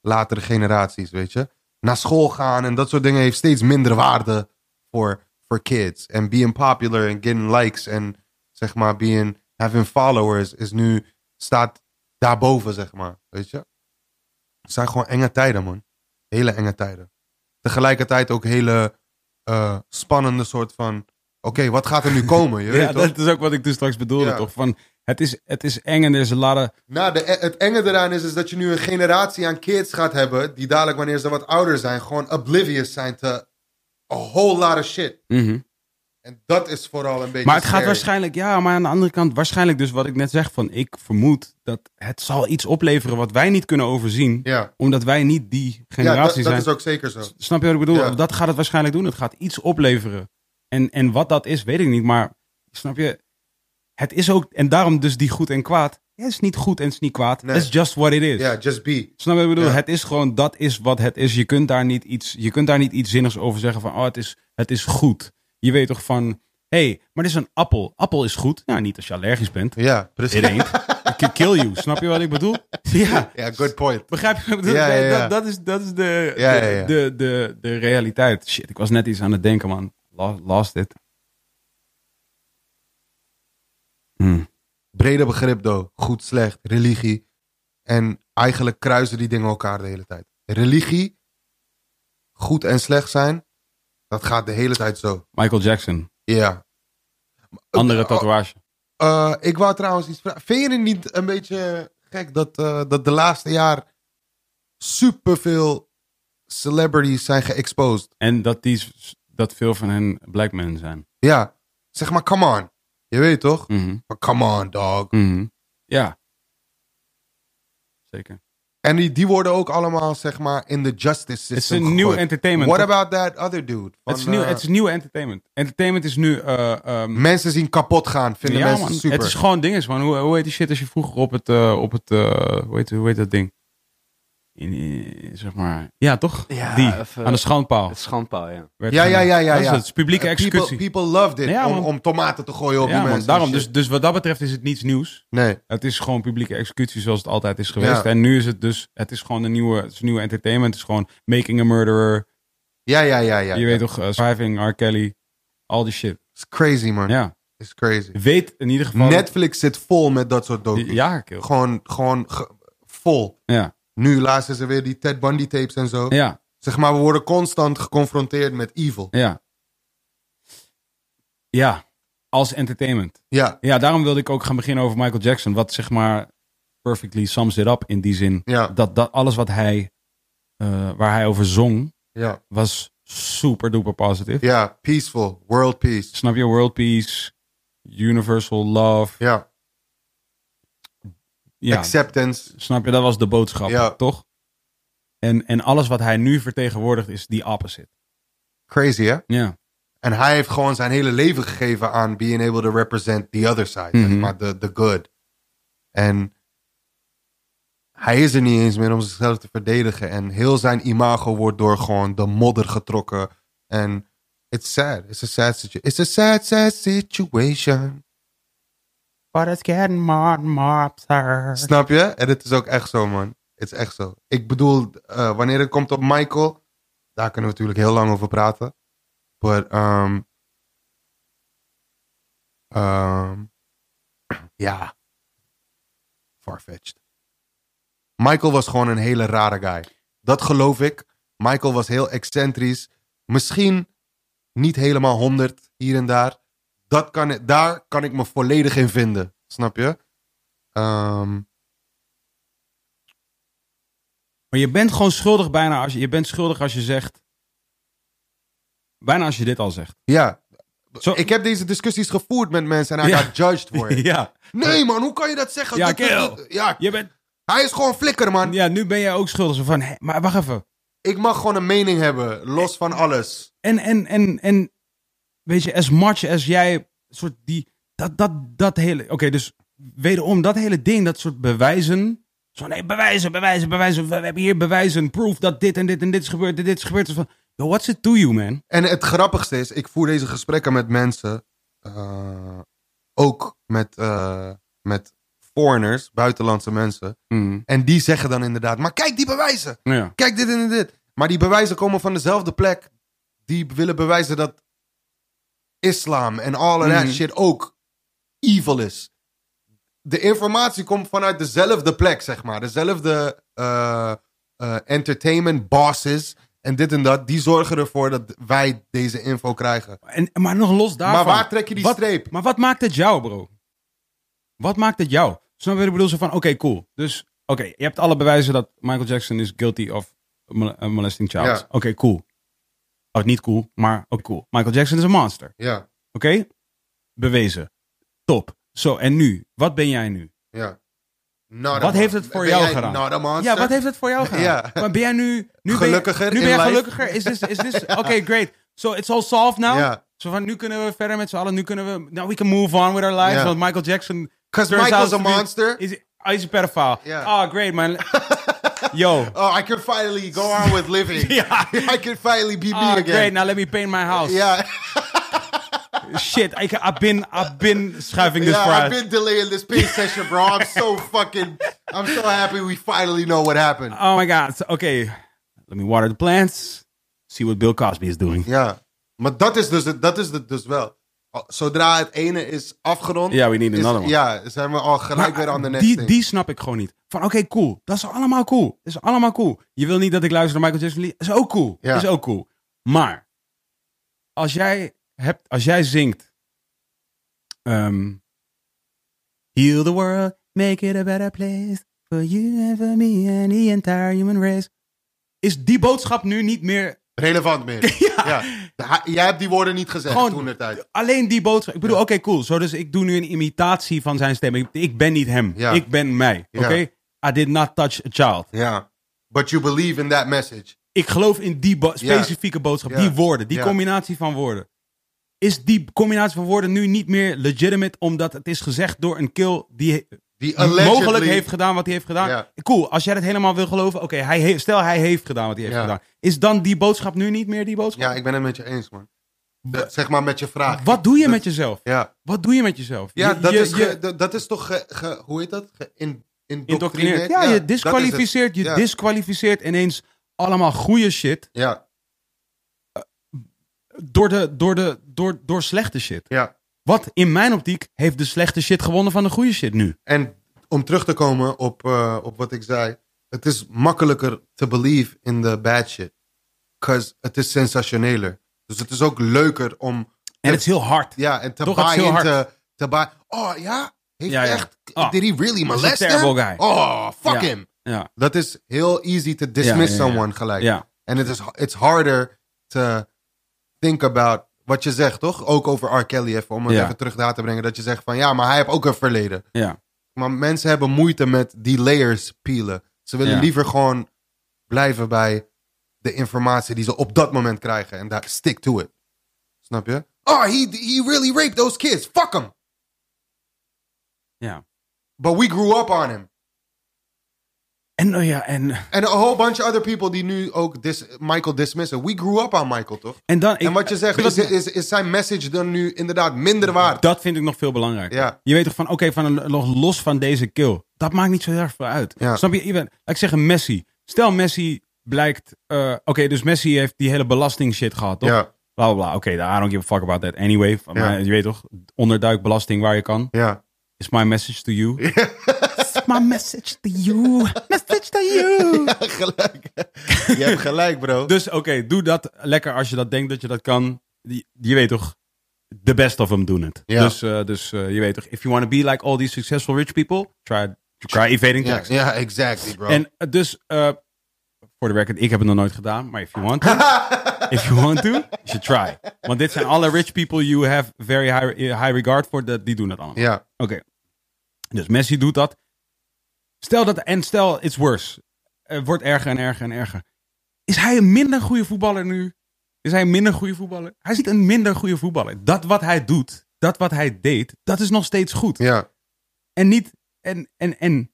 S2: latere generaties, weet je. Naar school gaan en dat soort dingen heeft steeds minder waarde voor, voor kids. En being popular en getting likes en zeg maar being, having followers is nu, staat daarboven, zeg maar, weet je. Het zijn gewoon enge tijden, man. Hele enge tijden. Tegelijkertijd ook hele eh, spannende soort van, oké, wat gaat er nu komen, je weet
S1: Ja,
S2: toch?
S1: dat is ook wat ik toen straks bedoelde,
S2: Ja.
S1: toch? Van, het, is, het is eng en er is een ladder.
S2: Nou, de, het enge eraan is, is dat je nu een generatie aan kids gaat hebben. die dadelijk, wanneer ze wat ouder zijn, gewoon oblivious zijn te. a whole lot of shit. En dat is vooral een beetje.
S1: Mhm. Maar het gaat
S2: scary.
S1: waarschijnlijk, ja, maar aan de andere kant, waarschijnlijk dus wat ik net zeg van, ik vermoed dat het zal iets opleveren wat wij niet kunnen overzien,
S2: Ja,
S1: omdat wij niet die
S2: ja dat,
S1: generatie
S2: dat
S1: zijn.
S2: is ook zeker zo.
S1: Snap je wat ik bedoel?
S2: Ja.
S1: Dat gaat het waarschijnlijk doen. Het gaat iets opleveren. En, en wat dat is, weet ik niet. Maar snap je? Het is ook. En daarom dus die goed en kwaad. Het is niet goed en het is niet kwaad.
S2: Nee.
S1: It's just what it is.
S2: Ja, just be.
S1: Snap je wat ik bedoel?
S2: Ja.
S1: Het is gewoon, dat is wat het is. Je kunt daar niet iets, je kunt daar niet iets zinnigs over zeggen van, oh, het is, het is goed. Je weet toch van, hé, hey, maar dit is een appel. Appel is goed. Nou, niet als je allergisch bent.
S2: Ja,
S1: It
S2: precies.
S1: ain't. It can kill you. Snap je wat ik bedoel? Ja.
S2: Ja, good point.
S1: Begrijp je? wat ik bedoel?
S2: Ja, ja, ja.
S1: Dat, dat is, dat is de,
S2: Ja,
S1: de,
S2: ja, ja.
S1: De, de, de realiteit. Shit, ik was net iets aan het denken, man. Lo- Lost it. Hm.
S2: Brede begrip, though. Goed, slecht, religie. En eigenlijk kruisen die dingen elkaar de hele tijd. Religie, goed en slecht zijn, dat gaat de hele tijd zo.
S1: Michael Jackson.
S2: Ja.
S1: Andere
S2: Oh,
S1: tatoeage.
S2: Eh, ik wou trouwens iets vragen. Vind je het niet een beetje gek dat, eh, dat de laatste jaar superveel celebrities zijn geëxposed?
S1: En dat, die, s- dat veel van hen black men zijn.
S2: Ja, zeg maar, come on. Je weet toch?
S1: Mhm.
S2: Maar Come on, dog.
S1: Mhm. Ja. Zeker.
S2: En die, die worden ook allemaal, zeg maar, in de justice system
S1: Het is een nieuw
S2: gegooid.
S1: entertainment.
S2: What
S1: toch?
S2: about that other dude? Van,
S1: het, is nieuw,
S2: eh,
S1: het is nieuw entertainment. Entertainment is nu... eh, ehm,
S2: Mensen zien kapot gaan, vinden
S1: ja,
S2: mensen
S1: man.
S2: super.
S1: Het is gewoon dinges, man. Hoe, hoe heet die shit als je vroeger op het... eh, op het eh, hoe, heet, hoe heet dat ding? In, in- zeg maar... Ja, toch?
S3: Ja,
S1: die.
S3: even-
S1: aan de schandpaal.
S3: Het schandpaal, ja.
S1: werd
S2: ja, ja,
S1: gedaan.
S2: ja, ja.
S1: Dat is
S2: ja.
S1: het. het is publieke
S2: Eh, people-
S1: executie.
S2: People, love dit,
S1: Ja,
S2: om,
S1: man.
S2: om tomaten te gooien op
S1: ja,
S2: die
S1: man.
S2: mensen.
S1: Daarom.
S2: en
S1: Dus,
S2: shit.
S1: dus wat dat betreft is het niets nieuws.
S2: Nee,
S1: Het is gewoon publieke executie zoals het altijd is geweest.
S2: Ja.
S1: En nu is het dus... Het is gewoon een nieuwe, het is een nieuwe entertainment. Het is gewoon Making a Murderer.
S2: ja, ja, ja, ja.
S1: je weet toch, eh, Surviving, R. Kelly. Al die shit.
S2: It's crazy, man.
S1: Ja.
S2: It's crazy.
S1: Weet in ieder geval...
S2: Netflix zit vol met dat soort docu's.
S1: Ja, kill.
S2: Gewoon, gewoon ge- vol.
S1: Ja.
S2: Nu laatst is er weer die Ted Bundy tapes en zo.
S1: Ja.
S2: Zeg maar, we worden constant geconfronteerd met evil.
S1: Ja. Ja. Als entertainment.
S2: Ja,
S1: Ja, daarom wilde ik ook gaan beginnen over Michael Jackson. Wat zeg maar perfectly sums it up in die zin.
S2: ja,
S1: Dat, dat alles wat hij, eh, waar hij over zong,
S2: ja.
S1: was super duper positief.
S2: Ja, peaceful. World peace.
S1: Snap je? World peace, universal love.
S2: Ja,
S1: Ja.
S2: acceptance.
S1: Snap je? Dat was de boodschap,
S2: Ja.
S1: toch? En, en alles wat hij nu vertegenwoordigt is die opposite.
S2: Crazy, hè?
S1: Ja.
S2: En hij heeft gewoon zijn hele leven gegeven aan being able to represent the other side.
S1: Mhm.
S2: zeg maar the, the good. En hij is er niet eens meer om zichzelf te verdedigen. En heel zijn imago wordt door gewoon de modder getrokken. En it's sad. It's a sad situation. It's a sad, sad situation.
S1: But it's getting more and more absurd.
S2: Snap je? En het is ook echt zo, man. Het is echt zo. Ik bedoel, eh, wanneer het komt op Michael, daar kunnen we natuurlijk heel lang over praten. But, ehm ehm, ja. Farfetched. Michael was gewoon een hele rare guy. Dat geloof ik. Michael was heel excentrisch. Misschien niet helemaal 100 hier en daar. Dat kan, ik- daar kan ik me volledig in vinden. Snap je? Ehm,
S1: Maar je bent gewoon schuldig bijna als je, je bent schuldig als je zegt. Bijna als je dit al zegt.
S2: ja.
S1: Zo-
S2: Ik heb deze discussies gevoerd met mensen en hij
S1: Ja.
S2: got judged voor it.
S1: ja.
S2: Nee man, hoe kan je dat zeggen?
S1: Ja,
S2: Dat-
S1: kerel.
S2: dat- ja,
S1: Je bent,
S2: hij is gewoon flikker man.
S1: ja, nu ben jij ook schuldig. Zo Van, hé, maar wacht even.
S2: Ik mag gewoon een mening hebben, los van alles.
S1: En, en, en, en weet je, as much as jij, soort die, dat, dat, dat hele, oké, dus wederom, dat hele ding, dat soort bewijzen. Zo, nee, bewijzen, bewijzen, bewijzen. We, we hebben hier bewijzen, proof dat dit en dit en dit is gebeurd, en dit is gebeurd. Dus van, yo, what's it to you, man?
S2: En het grappigste is, ik voer deze gesprekken met mensen, eh, ook met, eh, met foreigners, buitenlandse mensen.
S3: Mhm.
S2: En die zeggen dan inderdaad, maar kijk die bewijzen.
S1: Mm. Ja.
S2: Kijk dit en dit. Maar die bewijzen komen van dezelfde plek. Die willen bewijzen dat islam en all of that
S3: Mhm.
S2: shit ook evil is. De informatie komt vanuit dezelfde plek, zeg maar. Dezelfde eh, eh, entertainment bosses en dit en dat. Die zorgen ervoor dat wij deze info krijgen.
S1: En, maar nog los daarvan.
S2: maar waar trek je die
S1: wat,
S2: streep?
S1: Maar wat maakt het jou, bro? Wat maakt het jou? Snap je? wat Ik bedoel, zo van, oké, cool. Dus, oké, je hebt alle bewijzen dat Michael Jackson is guilty of mol- eh, molesting child.
S2: Ja.
S1: Oké, cool. Oh, niet cool, maar ook cool. Michael Jackson is een monster.
S2: Ja,
S1: Oké? Bewezen. Top. Zo, en nu? Wat ben jij nu?
S2: ja. Not a
S1: Wat heeft
S2: mon-
S1: het voor
S2: Ben
S1: jou
S2: jij
S1: gedaan?
S2: not a monster?
S1: Ja, wat heeft het voor jou gedaan?
S2: Ja.
S1: Maar ben jij nu... nu
S2: Gelukkiger
S1: ben je, Nu ben
S2: in
S1: jij
S2: life?
S1: gelukkiger? Is this... Is this Oké, great. So it's all solved now?
S2: Ja.
S1: Zo van, nu kunnen we verder met z'n allen. Nu kunnen we... Now we can move on with our lives.
S2: Ja.
S1: Want Michael Jackson...
S2: 'Cause
S1: turns
S2: Michael's
S1: out
S2: a
S1: to be-
S2: monster.
S1: Is, is a pedophile.
S2: Ja.
S1: Oh, great, man. Yo. Ah,
S2: Oh, I can finally go on with living.
S1: Ja.
S2: I can finally be
S1: Oh,
S2: me
S1: great.
S2: again.
S1: Now let me paint my house.
S2: Ja,
S1: Shit, I, I've been... I've been schuiving this
S2: yeah,
S1: vooruit.
S2: I've been delaying this paint session, bro. I'm so fucking. I'm so happy we finally know what happened.
S1: Oh my god. So, okay. Let me water the plants. See what Bill Cosby is doing.
S2: Ja, maar dat is dus, het- dat is het dus wel. Al- Zodra het ene is afgerond.
S1: Ja, we need
S2: is-
S1: another one.
S2: Ja, zijn we al gelijk
S1: Maar
S2: weer aan de next
S1: die,
S2: thing.
S1: die snap ik gewoon niet. Van oké, cool. Dat is allemaal cool. Dat is allemaal cool. Je wil niet dat ik luister naar Michael Jackson. lied. Is ook cool.
S2: Ja.
S1: Is ook cool. Maar als jij, hebt, als jij zingt. ehm, Heal the world, make it a better place. For you and for me and the entire human race. Is die boodschap nu niet meer.
S2: Relevant meer. ja. De- hij- Jij hebt die woorden niet gezegd
S1: Gewoon-
S2: toen de tijd.
S1: Alleen die boodschap. Ik bedoel, oké, cool. Zo, dus ik doe nu een imitatie van zijn stem. Ik, ik ben niet hem.
S2: Ja.
S1: Ik ben mij.
S2: Ja.
S1: Oké? I did not touch a child.
S2: Ja. But you believe in that message.
S1: Ik geloof in die bo- specifieke boodschap,
S2: Ja.
S1: die woorden, die
S2: Ja.
S1: combinatie van woorden. Is die combinatie van woorden nu niet meer legitimate omdat het is gezegd door een kill die,
S2: Die
S1: die
S2: allegedly-
S1: mogelijk heeft gedaan wat hij heeft gedaan?
S2: Ja.
S1: Cool, als jij dat helemaal wil geloven, oké, hij heeft- stel hij heeft gedaan wat hij heeft
S2: Ja.
S1: gedaan. Is dan die boodschap nu niet meer die boodschap?
S2: Ja, ik ben het met je eens, man. De- zeg maar met je vraag.
S1: Wat doe je met jezelf?
S2: Ja.
S1: Wat doe je met jezelf?
S2: Ja,
S1: Je-
S2: dat,
S1: je-
S2: is ge-
S1: je
S2: dat- dat is toch, ge, ge- hoe heet dat? Ge, in,
S1: indoctrineert.
S2: indoctrineerd.
S1: Ja, je
S2: dat is het.
S1: disqualificeert, je
S2: Ja.
S1: disqualificeert ineens allemaal goede shit
S2: Ja,
S1: door, de, door, de, door, door slechte shit.
S2: ja.
S1: Wat in mijn optiek heeft de slechte shit gewonnen van de goede shit nu.
S2: En om terug te komen op, eh, op wat ik zei. Het is makkelijker te believe in the bad shit. Because het is sensationeler. Dus het is ook leuker om...
S1: En het is heel hard.
S2: Ja, en te
S1: Toch, het is
S2: buy
S1: heel
S2: in
S1: hard.
S2: te, te buy... Oh ja? Heeft
S1: Ja, ja.
S2: echt...
S1: Ah,
S2: did he really
S1: was a
S2: molest him?
S1: terrible guy.
S2: Oh, fuck
S1: Ja.
S2: him.
S1: Ja.
S2: Dat is heel easy to dismiss
S1: Ja, ja, ja.
S2: someone gelijk.
S1: Ja.
S2: En het is it's harder to think about wat je zegt, toch? Ook over R. Kelly even, om het
S1: Ja.
S2: even terug daar te brengen. Dat je zegt van, ja, maar hij heeft ook een verleden.
S1: Ja.
S2: Maar mensen hebben moeite met die layers peelen. Ze willen
S1: Ja.
S2: liever gewoon blijven bij de informatie die ze op dat moment krijgen. En daar stick to it. Snap je? Oh, he, he really raped those kids. Fuck him.
S1: ja.
S2: But we grew up on him.
S1: En, nou ja, en,
S2: En a whole bunch of other people die nu ook dis- Michael dismissen. We grew up on Michael, toch?
S1: en dan...
S2: en wat je zegt,
S1: dat,
S2: is, is, is zijn message dan nu inderdaad minder waard?
S1: dat vind ik nog veel belangrijker.
S2: Ja.
S1: Je weet toch van, oké, van een- nog los van deze kill. Dat maakt niet zo heel erg veel uit.
S2: Ja.
S1: Snap je? Even, laat ik zeggen Messi. Stel Messi blijkt... eh, oké, dus Messi heeft die hele belasting shit gehad, toch?
S2: Ja.
S1: Bla, bla, bla. Oké, I don't give a fuck about that anyway.
S2: Ja.
S1: Maar je weet toch, onderduik belasting waar je kan.
S2: Ja.
S1: It's my message to you. It's my message to you. Message to you.
S2: gelijk. Je hebt gelijk, bro.
S1: Dus oké, doe dat lekker als je dat denkt dat je dat kan. Je, je weet toch, the best of them doen het.
S2: Ja.
S1: Dus, eh, dus eh, je weet toch, if you want to be like all these successful rich people, try, try evading
S2: ja,
S1: tax.
S2: ja, exactly, bro.
S1: En eh, dus, eh, voor de record, ik heb het nog nooit gedaan, maar if you want to, if you want to, you should try. Want dit zijn alle rich people you have very high, high regard for, dat- die doen dat allemaal.
S2: ja.
S1: Oké. Dus Messi doet dat. Stel dat, en stel, it's worse. Het wordt erger en erger en erger. Is hij een minder goede voetballer nu? Is hij een minder goede voetballer? Hij is niet een minder goede voetballer. Dat wat hij doet, dat wat hij deed, dat is nog steeds goed.
S2: Ja.
S1: En niet, en, en, en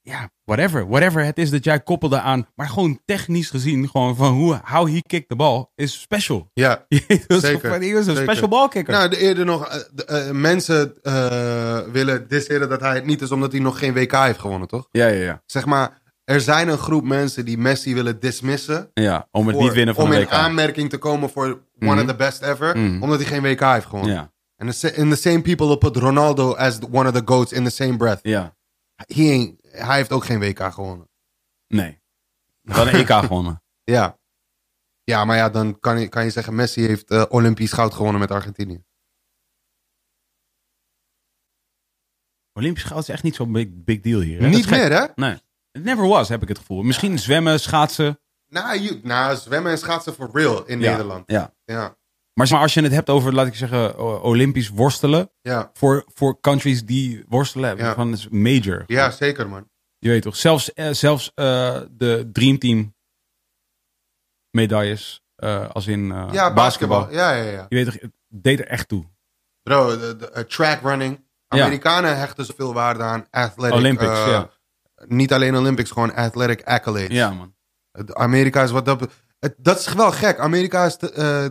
S4: ja, whatever. Whatever het is dat jij koppelde aan. Maar gewoon technisch gezien, gewoon van hoe, how he kicked the ball is special.
S2: Ja.
S4: Dat is toch
S2: Zeker,
S4: van- Hij is een
S2: zeker.
S4: special ball kicker.
S2: Nou, de- eerder nog, eh, de- eh, mensen eh, willen disseren dat hij het niet is omdat hij nog geen WK heeft gewonnen, toch?
S4: ja, ja, ja.
S2: Zeg maar, er zijn een groep mensen die Messi willen dismissen.
S4: ja om het
S2: voor-
S4: niet winnen van
S2: Om
S4: de
S2: in
S4: WK.
S2: aanmerking te komen voor one of the best ever,
S4: Mhm.
S2: omdat hij geen WK heeft gewonnen.
S4: Ja,
S2: En the, sa- and the same people will put Ronaldo as the- one of the goats in the same breath.
S4: ja.
S2: He ain't- hij heeft ook geen WK gewonnen.
S4: Nee. Dan een EK gewonnen.
S2: Ja. Ja, maar ja, dan kan je, kan je zeggen Messi heeft eh, Olympisch goud gewonnen met Argentinië.
S4: Olympisch goud is echt niet zo'n big, big deal hier. hè? Dat is
S2: Niet
S4: gek.
S2: meer, hè?
S4: Nee. It never was, heb ik het gevoel. Misschien zwemmen, schaatsen.
S2: Na, ju- na Nou, zwemmen en schaatsen for real in
S4: Ja,
S2: Nederland.
S4: Ja.
S2: Ja,
S4: Maar zeg maar, als je het hebt over, laat ik zeggen, o- Olympisch worstelen.
S2: ja.
S4: Voor, voor countries die worstelen hebben,
S2: Ja.
S4: van is major.
S2: ja zeker man.
S4: Je weet toch, zelfs, eh, zelfs eh, de Dream Team medailles, eh, als in eh,
S2: Ja,
S4: basketbal.
S2: basketbal. Ja, ja, ja.
S4: Je weet toch, het deed er echt toe.
S2: Bro, de, de- eh, track running.
S4: Ja.
S2: Amerikanen hechten zoveel waarde aan athletic.
S4: Olympics,
S2: eh,
S4: ja.
S2: Niet alleen Olympics, gewoon athletic accolades.
S4: Ja, man.
S2: Het- Amerika is wat dat... be- het- dat is wel gek. Amerika is de, eh,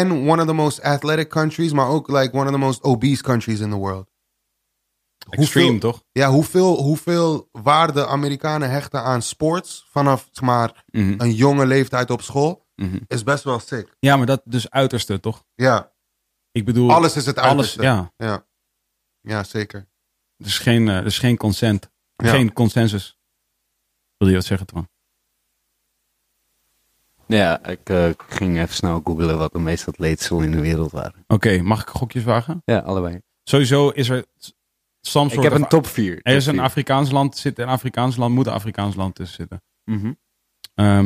S2: en one of the most athletic countries, maar ook like one of the most obese countries in the world.
S4: Extreme, toch?
S2: Ja, hoeveel, hoeveel waarde Amerikanen hechten aan sports vanaf zeg maar,
S4: Mhm,
S2: een jonge leeftijd op school
S4: mhm.
S2: is best wel sick.
S4: Ja, maar dat dus uiterste, toch?
S2: Ja,
S4: Ik bedoel,
S2: alles is het uiterste.
S4: alles ja.
S2: ja. Ja, zeker.
S4: Er is geen, eh, er is geen consent.
S2: Ja.
S4: Geen consensus. Wil je wat zeggen, Twan?
S1: Ja, ik eh, ging even snel googelen wat de meest atletische in de wereld waren.
S4: Oké, mag ik gokjes wagen?
S1: Ja, allebei.
S4: Ehm, eh,
S3: eh,
S4: Oh,
S1: Oh.
S4: Oh, Ah,
S2: Nou,
S1: dus
S2: dus
S1: eh, Mhm.
S2: ehm, eh, ehm,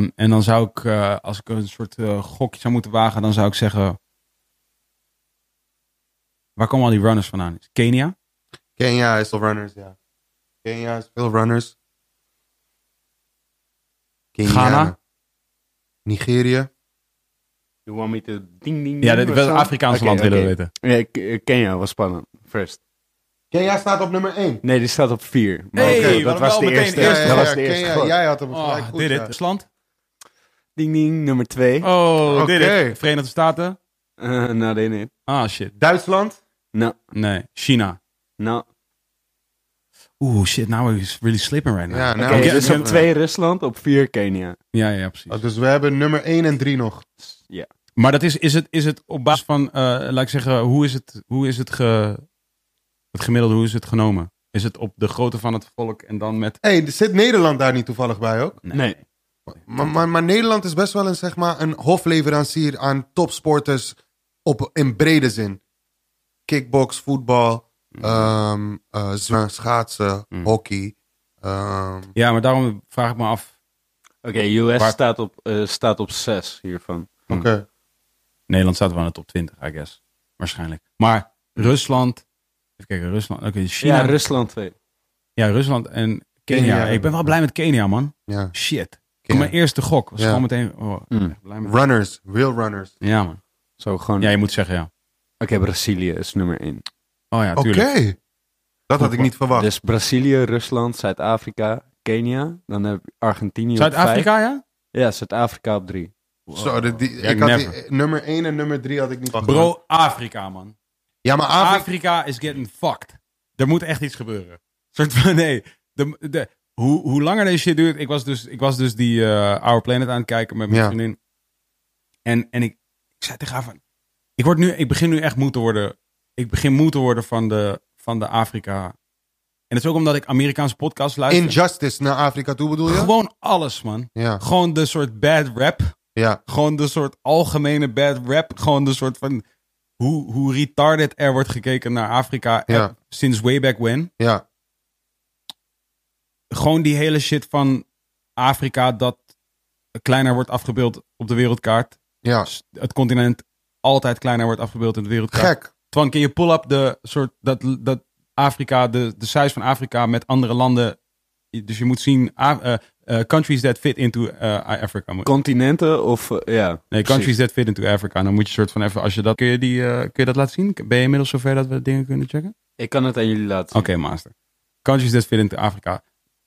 S1: Mhm.
S3: eh,
S1: oh, Oh Dus- dus, eh, eh, dus eh, eh,
S3: Dus eh,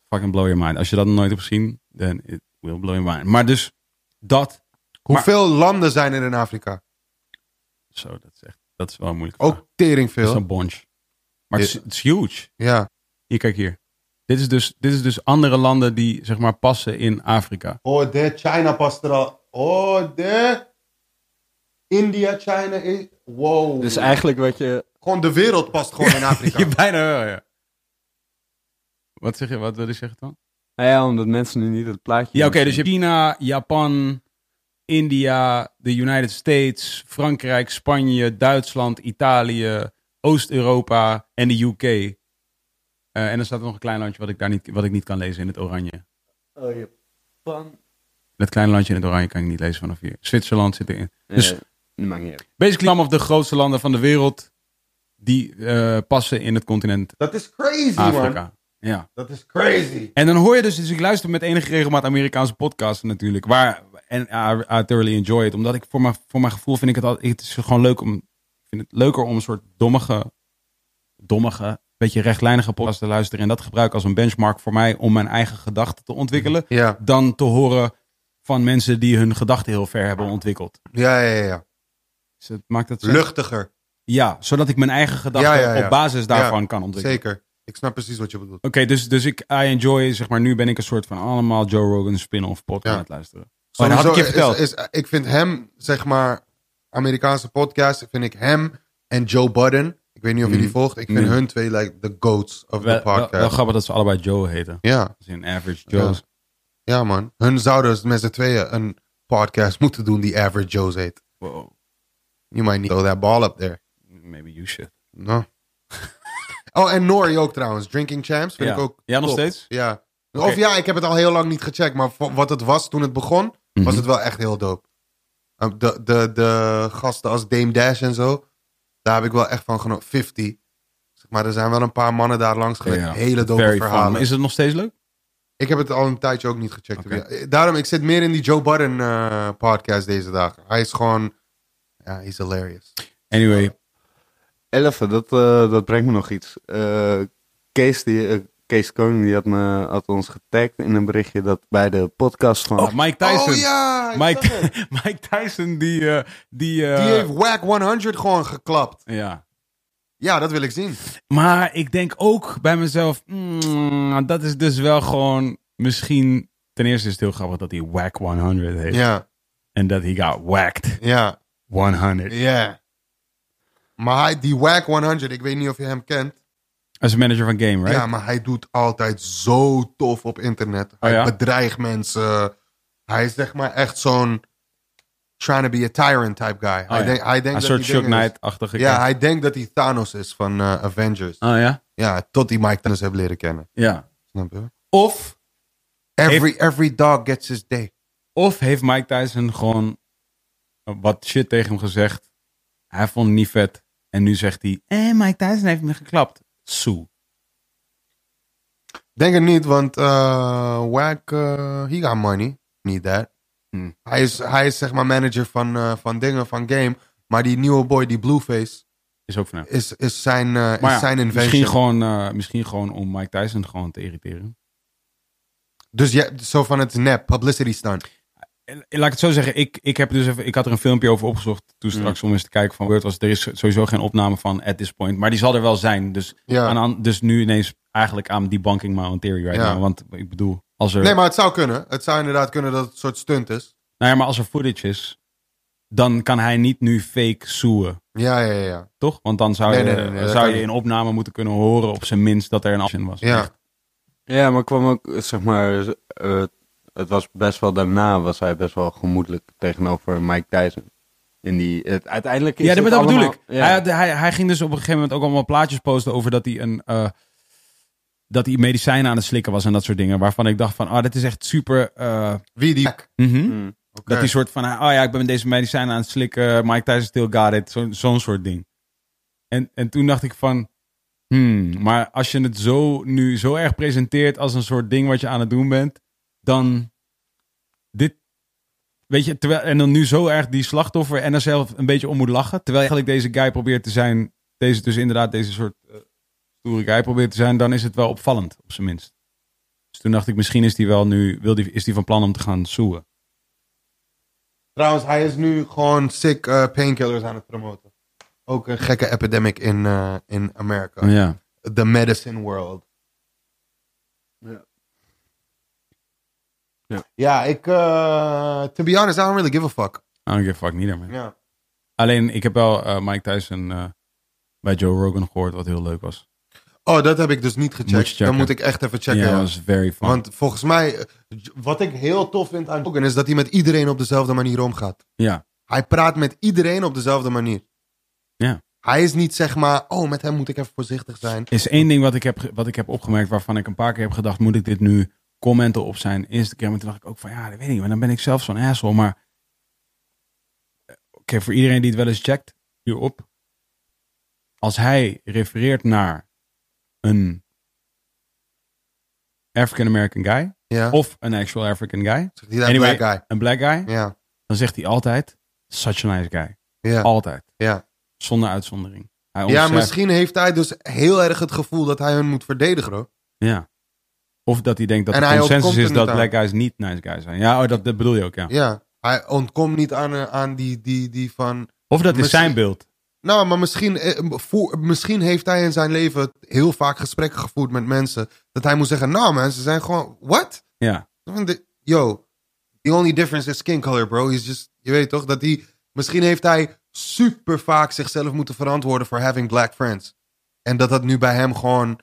S1: fucking blow your mind. Als je dat nog nooit hebt gezien, then it will blow your mind. Maar dus dat,
S2: Hoeveel landen zijn er in Afrika?
S1: zo, dat is echt, dat is wel een moeilijke vraag.
S2: Ook tering
S1: Dat is
S2: veel.
S1: een bonch. Maar het is-
S2: Ja.
S1: het is huge.
S2: Ja.
S1: Hier, kijk hier. Dit is, dus, dit is dus andere landen die, zeg maar, passen in Afrika.
S2: Oh, de China past er al. Oh, de India, China is. Wow.
S3: Dus eigenlijk wat je...
S2: Gewoon de wereld past gewoon in Afrika.
S1: Ja, bijna wel, ja. Wat zeg je, wat wil je zeggen dan?
S3: Nou ja, omdat mensen nu niet het plaatje...
S1: Ja, oké, dus je hebt China, Japan, India, de United States, Frankrijk, Spanje, Duitsland, Italië, Oost-Europa en de UK. Eh, en dan staat er nog een klein landje wat ik, daar niet, wat ik niet kan lezen in het oranje.
S3: Oh, Japan.
S1: Dat kleine landje in het oranje kan ik niet lezen vanaf hier. Zwitserland zit erin. Dus
S3: Dus... maakt niet uit.
S1: basically allemaal de grootste landen van de wereld die eh, passen in het continent
S2: Dat is crazy, man.
S1: Afrika. Ja.
S2: Dat is crazy.
S1: En dan hoor je dus, dus ik luister met enige regelmaat Amerikaanse podcasts natuurlijk. Waar, en I, I thoroughly enjoy it. Omdat ik voor mijn, voor mijn gevoel vind ik het altijd, het is gewoon leuk om, ik vind het leuker om een soort dommige, dommige, beetje rechtlijnige podcast te luisteren. En dat gebruik als een benchmark voor mij om mijn eigen gedachten te ontwikkelen.
S2: Mhm, Ja,
S1: Dan te horen van mensen die hun gedachten heel ver hebben ontwikkeld.
S2: ja, ja. ja.
S1: Dus het maakt het zo-
S2: Luchtiger.
S1: Ja, zodat ik mijn eigen gedachten
S2: Ja, ja, ja.
S1: op basis daarvan kan ontwikkelen.
S2: Zeker. Ik snap precies wat je bedoelt.
S1: Oké, dus, dus ik I enjoy, zeg maar, nu ben ik een soort van allemaal Joe Rogan spin-off podcast
S2: Ja.
S1: aan het luisteren. Oh, dat had ik je
S2: Sowieso
S1: verteld.
S2: Is, is- ik vind hem, zeg maar, Amerikaanse podcast, vind ik hem en Joe Budden. Ik weet niet of je
S1: Mm.
S2: die volgt. Ik vind
S1: Nee.
S2: hun twee like the goats of
S1: wel,
S2: the
S1: wel,
S2: podcast.
S1: wel grappig dat ze allebei Joe heten.
S2: ja,
S1: Dus in Average Joe's.
S2: ja, man. Hun zouden dus met z'n tweeën een podcast moeten doen die Average Joe's heet.
S1: Wow,
S2: You might need to throw that ball up there.
S1: maybe you should.
S2: No. oh, en Nori ook trouwens. Drinking Champs vind
S1: Ja.
S2: ik ook
S1: Ja, nog
S2: top.
S1: steeds?
S2: Ja.
S1: Oké.
S2: Of ja, ik heb het al heel lang niet gecheckt, maar vo- wat het was toen het begon, was
S1: Mhm.
S2: het wel echt heel dope. Uh, De, de, de gasten als Dame Dash en zo, daar heb ik wel echt van genoten. 50. Zeg maar er zijn wel een paar mannen daar langs geweest.
S1: Ja.
S2: Hele dope
S1: Very fun.
S2: verhalen.
S1: Maar Is het nog steeds leuk?
S2: Ik heb het al een tijdje ook niet gecheckt.
S1: Oké.
S2: Eh, Daarom, ik zit meer in die Joe Budden eh, podcast deze dagen. Hij is gewoon, ja, hij is hilarious.
S1: Anyway,
S3: Elfen, dat, eh, dat brengt me nog iets. Eh, Kees, die, eh, Kees Koning die had, me, had ons getagd in een berichtje dat bij de podcast van...
S1: oh, Mike Tyson.
S2: Oh ja! ik zag het.
S1: Mike, Mike Tyson, die... eh, die, eh,
S2: Die heeft Wack 100 gewoon geklapt.
S1: ja.
S2: Ja, dat wil ik zien.
S1: Maar ik denk ook bij mezelf, mm, dat is dus wel gewoon misschien... Ten eerste is het heel grappig dat hij Whack 100 heet.
S2: Ja,
S1: En dat hij got whacked
S2: ja,
S1: 100.
S2: ja. Maar hij, die Wack 100, ik weet niet of je hem kent.
S1: Als een manager van game, right? Oh,
S2: Ja, maar hij doet altijd zo tof op internet. Hij
S1: ja?
S2: bedreigt mensen. Hij is zeg maar echt zo'n trying to be a tyrant type guy. hij,
S1: Oh, ja.
S2: denkt- hij denkt
S1: een
S2: dat
S1: soort
S2: hij
S1: Shock
S2: dingen is-
S1: Knight-achtige.
S2: Ja, hij denkt dat hij Thanos is van eh, Avengers.
S1: Oh ja?
S2: Ja, tot hij Mike Thanos heeft leren kennen.
S1: Ja.
S2: Snap je?
S1: Of,
S2: Every, every dog gets his day.
S1: of heeft Mike Tyson gewoon wat shit tegen hem gezegd. Hij vond het niet vet. En nu zegt hij, eh, Mike Tyson heeft me geklapt. Soe.
S2: Denk het niet, want eh Wack, eh, he got money. Need that.
S1: Hmm.
S2: Hij, is, hij is zeg maar manager van, eh, van dingen, van game. Maar die nieuwe boy, die Blueface,
S1: Is ook van hem.
S2: is, is zijn, eh, is
S1: Maar ja,
S2: zijn invention.
S1: misschien, gewoon, eh, misschien gewoon om Mike Tyson gewoon te irriteren.
S2: Dus ja, zo van het nep, publicity stunt.
S1: En- en Laat ik het zo zeggen, ik, ik, heb dus even, ik had er een filmpje over opgezocht toen
S2: Mm.
S1: straks om eens te kijken van Word was. Er is sowieso geen opname van at this point, maar die zal er wel zijn. Dus,
S2: Ja.
S1: aan- aan, dus nu ineens eigenlijk aan debunking my own theory right
S2: Ja.
S1: now. Want ik bedoel, als er...
S2: Nee, maar het zou kunnen. Het zou inderdaad kunnen dat het een soort stunt is.
S1: Nou ja, maar als er footage is, dan kan hij niet nu fake zoeën,
S2: Ja, ja, ja, ja.
S1: toch? Want dan zou
S2: Nee,
S1: je,
S2: nee, nee, nee, dat
S1: zou
S2: kan
S1: je
S2: niet.
S1: in opname moeten kunnen horen, op zijn minst, dat er een action was.
S2: ja.
S3: Ja, maar kwam ook, eh, zeg maar, eh, het was best wel daarna was hij best wel gemoedelijk tegenover Mike Tyson. In die, het, uiteindelijk is
S1: Ja, dat,
S3: het
S1: dat bedoel
S3: allemaal-
S1: ik.
S3: Ja.
S1: Hij, had- hij, hij ging dus op een gegeven moment ook allemaal plaatjes posten over dat hij een. eh, dat hij medicijnen aan het slikken was en dat soort dingen. Waarvan ik dacht van, ah, dit is echt super. eh,
S2: Wie die?
S1: mhm.
S3: Mm.
S2: Oké.
S1: Dat die soort van, ah, oh ja, ik ben met deze medicijnen aan het slikken. Mike Tyson still got it. Zo- Zo'n soort ding. En, en toen dacht ik van, hmm, maar als je het zo nu zo erg presenteert als een soort ding wat je aan het doen bent, dan dit, weet je, terwijl, en dan nu zo erg die slachtoffer en er zelf een beetje om moet lachen. Terwijl eigenlijk deze guy probeert te zijn, deze dus inderdaad deze soort eh, stoere guy probeert te zijn, dan is het wel opvallend, op zijn minst. Dus Toen dacht ik, misschien is die wel nu, wil die, is die van plan om te gaan soeën.
S2: Trouwens, hij is nu gewoon sick eh, painkillers aan het promoten. Ook een gekke epidemic in, eh, in Amerika.
S1: Ja.
S2: The medicine world.
S3: Ja.
S2: Ja,
S3: Ja.
S2: ik... eh, to be honest, I don't really give a fuck.
S1: I don't give a fuck neither, man.
S2: Ja.
S1: Alleen, ik heb wel eh, Mike Tyson eh, bij Joe Rogan gehoord, wat heel leuk was.
S2: Oh, dat heb ik dus niet gecheckt.
S1: Moet je checken.
S2: Dan moet ik echt even checken.
S1: ja,
S2: ja.
S1: dat was very fun.
S2: Want volgens mij... eh, Wat ik heel tof vind aan Rogan... is dat hij met iedereen op dezelfde manier omgaat.
S1: ja.
S2: Hij praat met iedereen op dezelfde manier.
S1: Ja.
S2: Hij is niet zeg maar, oh, met hem moet ik even voorzichtig zijn.
S1: is één ding wat ik, heb, ge- wat ik heb opgemerkt waarvan ik een paar keer heb gedacht, moet ik dit nu commenten op zijn Instagram? En toen dacht ik ook van, ja, dat weet ik niet, maar dan ben ik zelf zo'n asshole. Maar eh, oké, voor iedereen die het wel eens checkt, hierop. Als hij refereert naar een African American guy,
S2: Ja.
S1: of een actual African guy,
S2: Zegt hij dat
S1: Anyway.
S2: black guy.
S1: een black guy,
S2: Ja,
S1: dan zegt hij altijd, such a nice guy.
S2: ja,
S1: Altijd.
S2: ja.
S1: Zonder uitzondering. Hij
S2: Ja,
S1: omschrijft-
S2: misschien heeft hij dus heel erg het gevoel dat hij hun moet verdedigen, hoor.
S1: Ja. Of dat hij denkt dat
S2: En
S1: de
S2: hij
S1: consensus
S2: ontkomt
S1: is
S2: er
S1: dat
S2: niet
S1: black guys niet nice guys zijn. Ja, oh, dat, dat bedoel je ook, ja.
S2: Ja. Hij ontkomt niet aan, eh, aan die, die, die van...
S1: Of dat is
S2: Misschien-
S1: zijn beeld.
S2: Nou, maar misschien, eh, voor, misschien heeft hij in zijn leven heel vaak gesprekken gevoerd met mensen. Dat hij moet zeggen, nou man, ze zijn gewoon, what?
S1: Ja.
S2: Yo, the only difference is skin color, bro. He's just, je weet toch, dat hij... Misschien heeft hij super vaak zichzelf moeten verantwoorden voor having black friends. En dat dat nu bij hem gewoon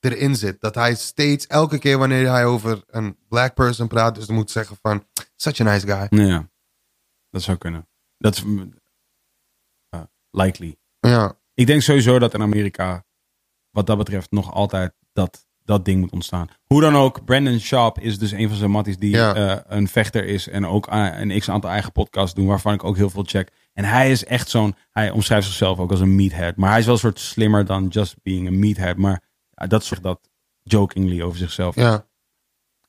S2: erin zit. Dat hij steeds, elke keer wanneer hij over een black person praat... dus moet zeggen van, such a nice guy.
S1: ja. Dat zou kunnen. Dat is mm, eh, likely.
S2: Ja,
S1: Ik denk sowieso dat in Amerika, wat dat betreft, nog altijd dat, dat ding moet ontstaan. Hoe dan ook, Brandon Sharp is dus een van zijn matties die
S2: Ja.
S1: eh, een vechter is. En ook a- een x-aantal eigen podcasts doen, waarvan ik ook heel veel check. En hij is echt zo'n, hij omschrijft zichzelf ook als een meathead. Maar hij is wel een soort slimmer dan just being a meathead. Maar eh, dat zegt dat jokingly over zichzelf.
S2: ja,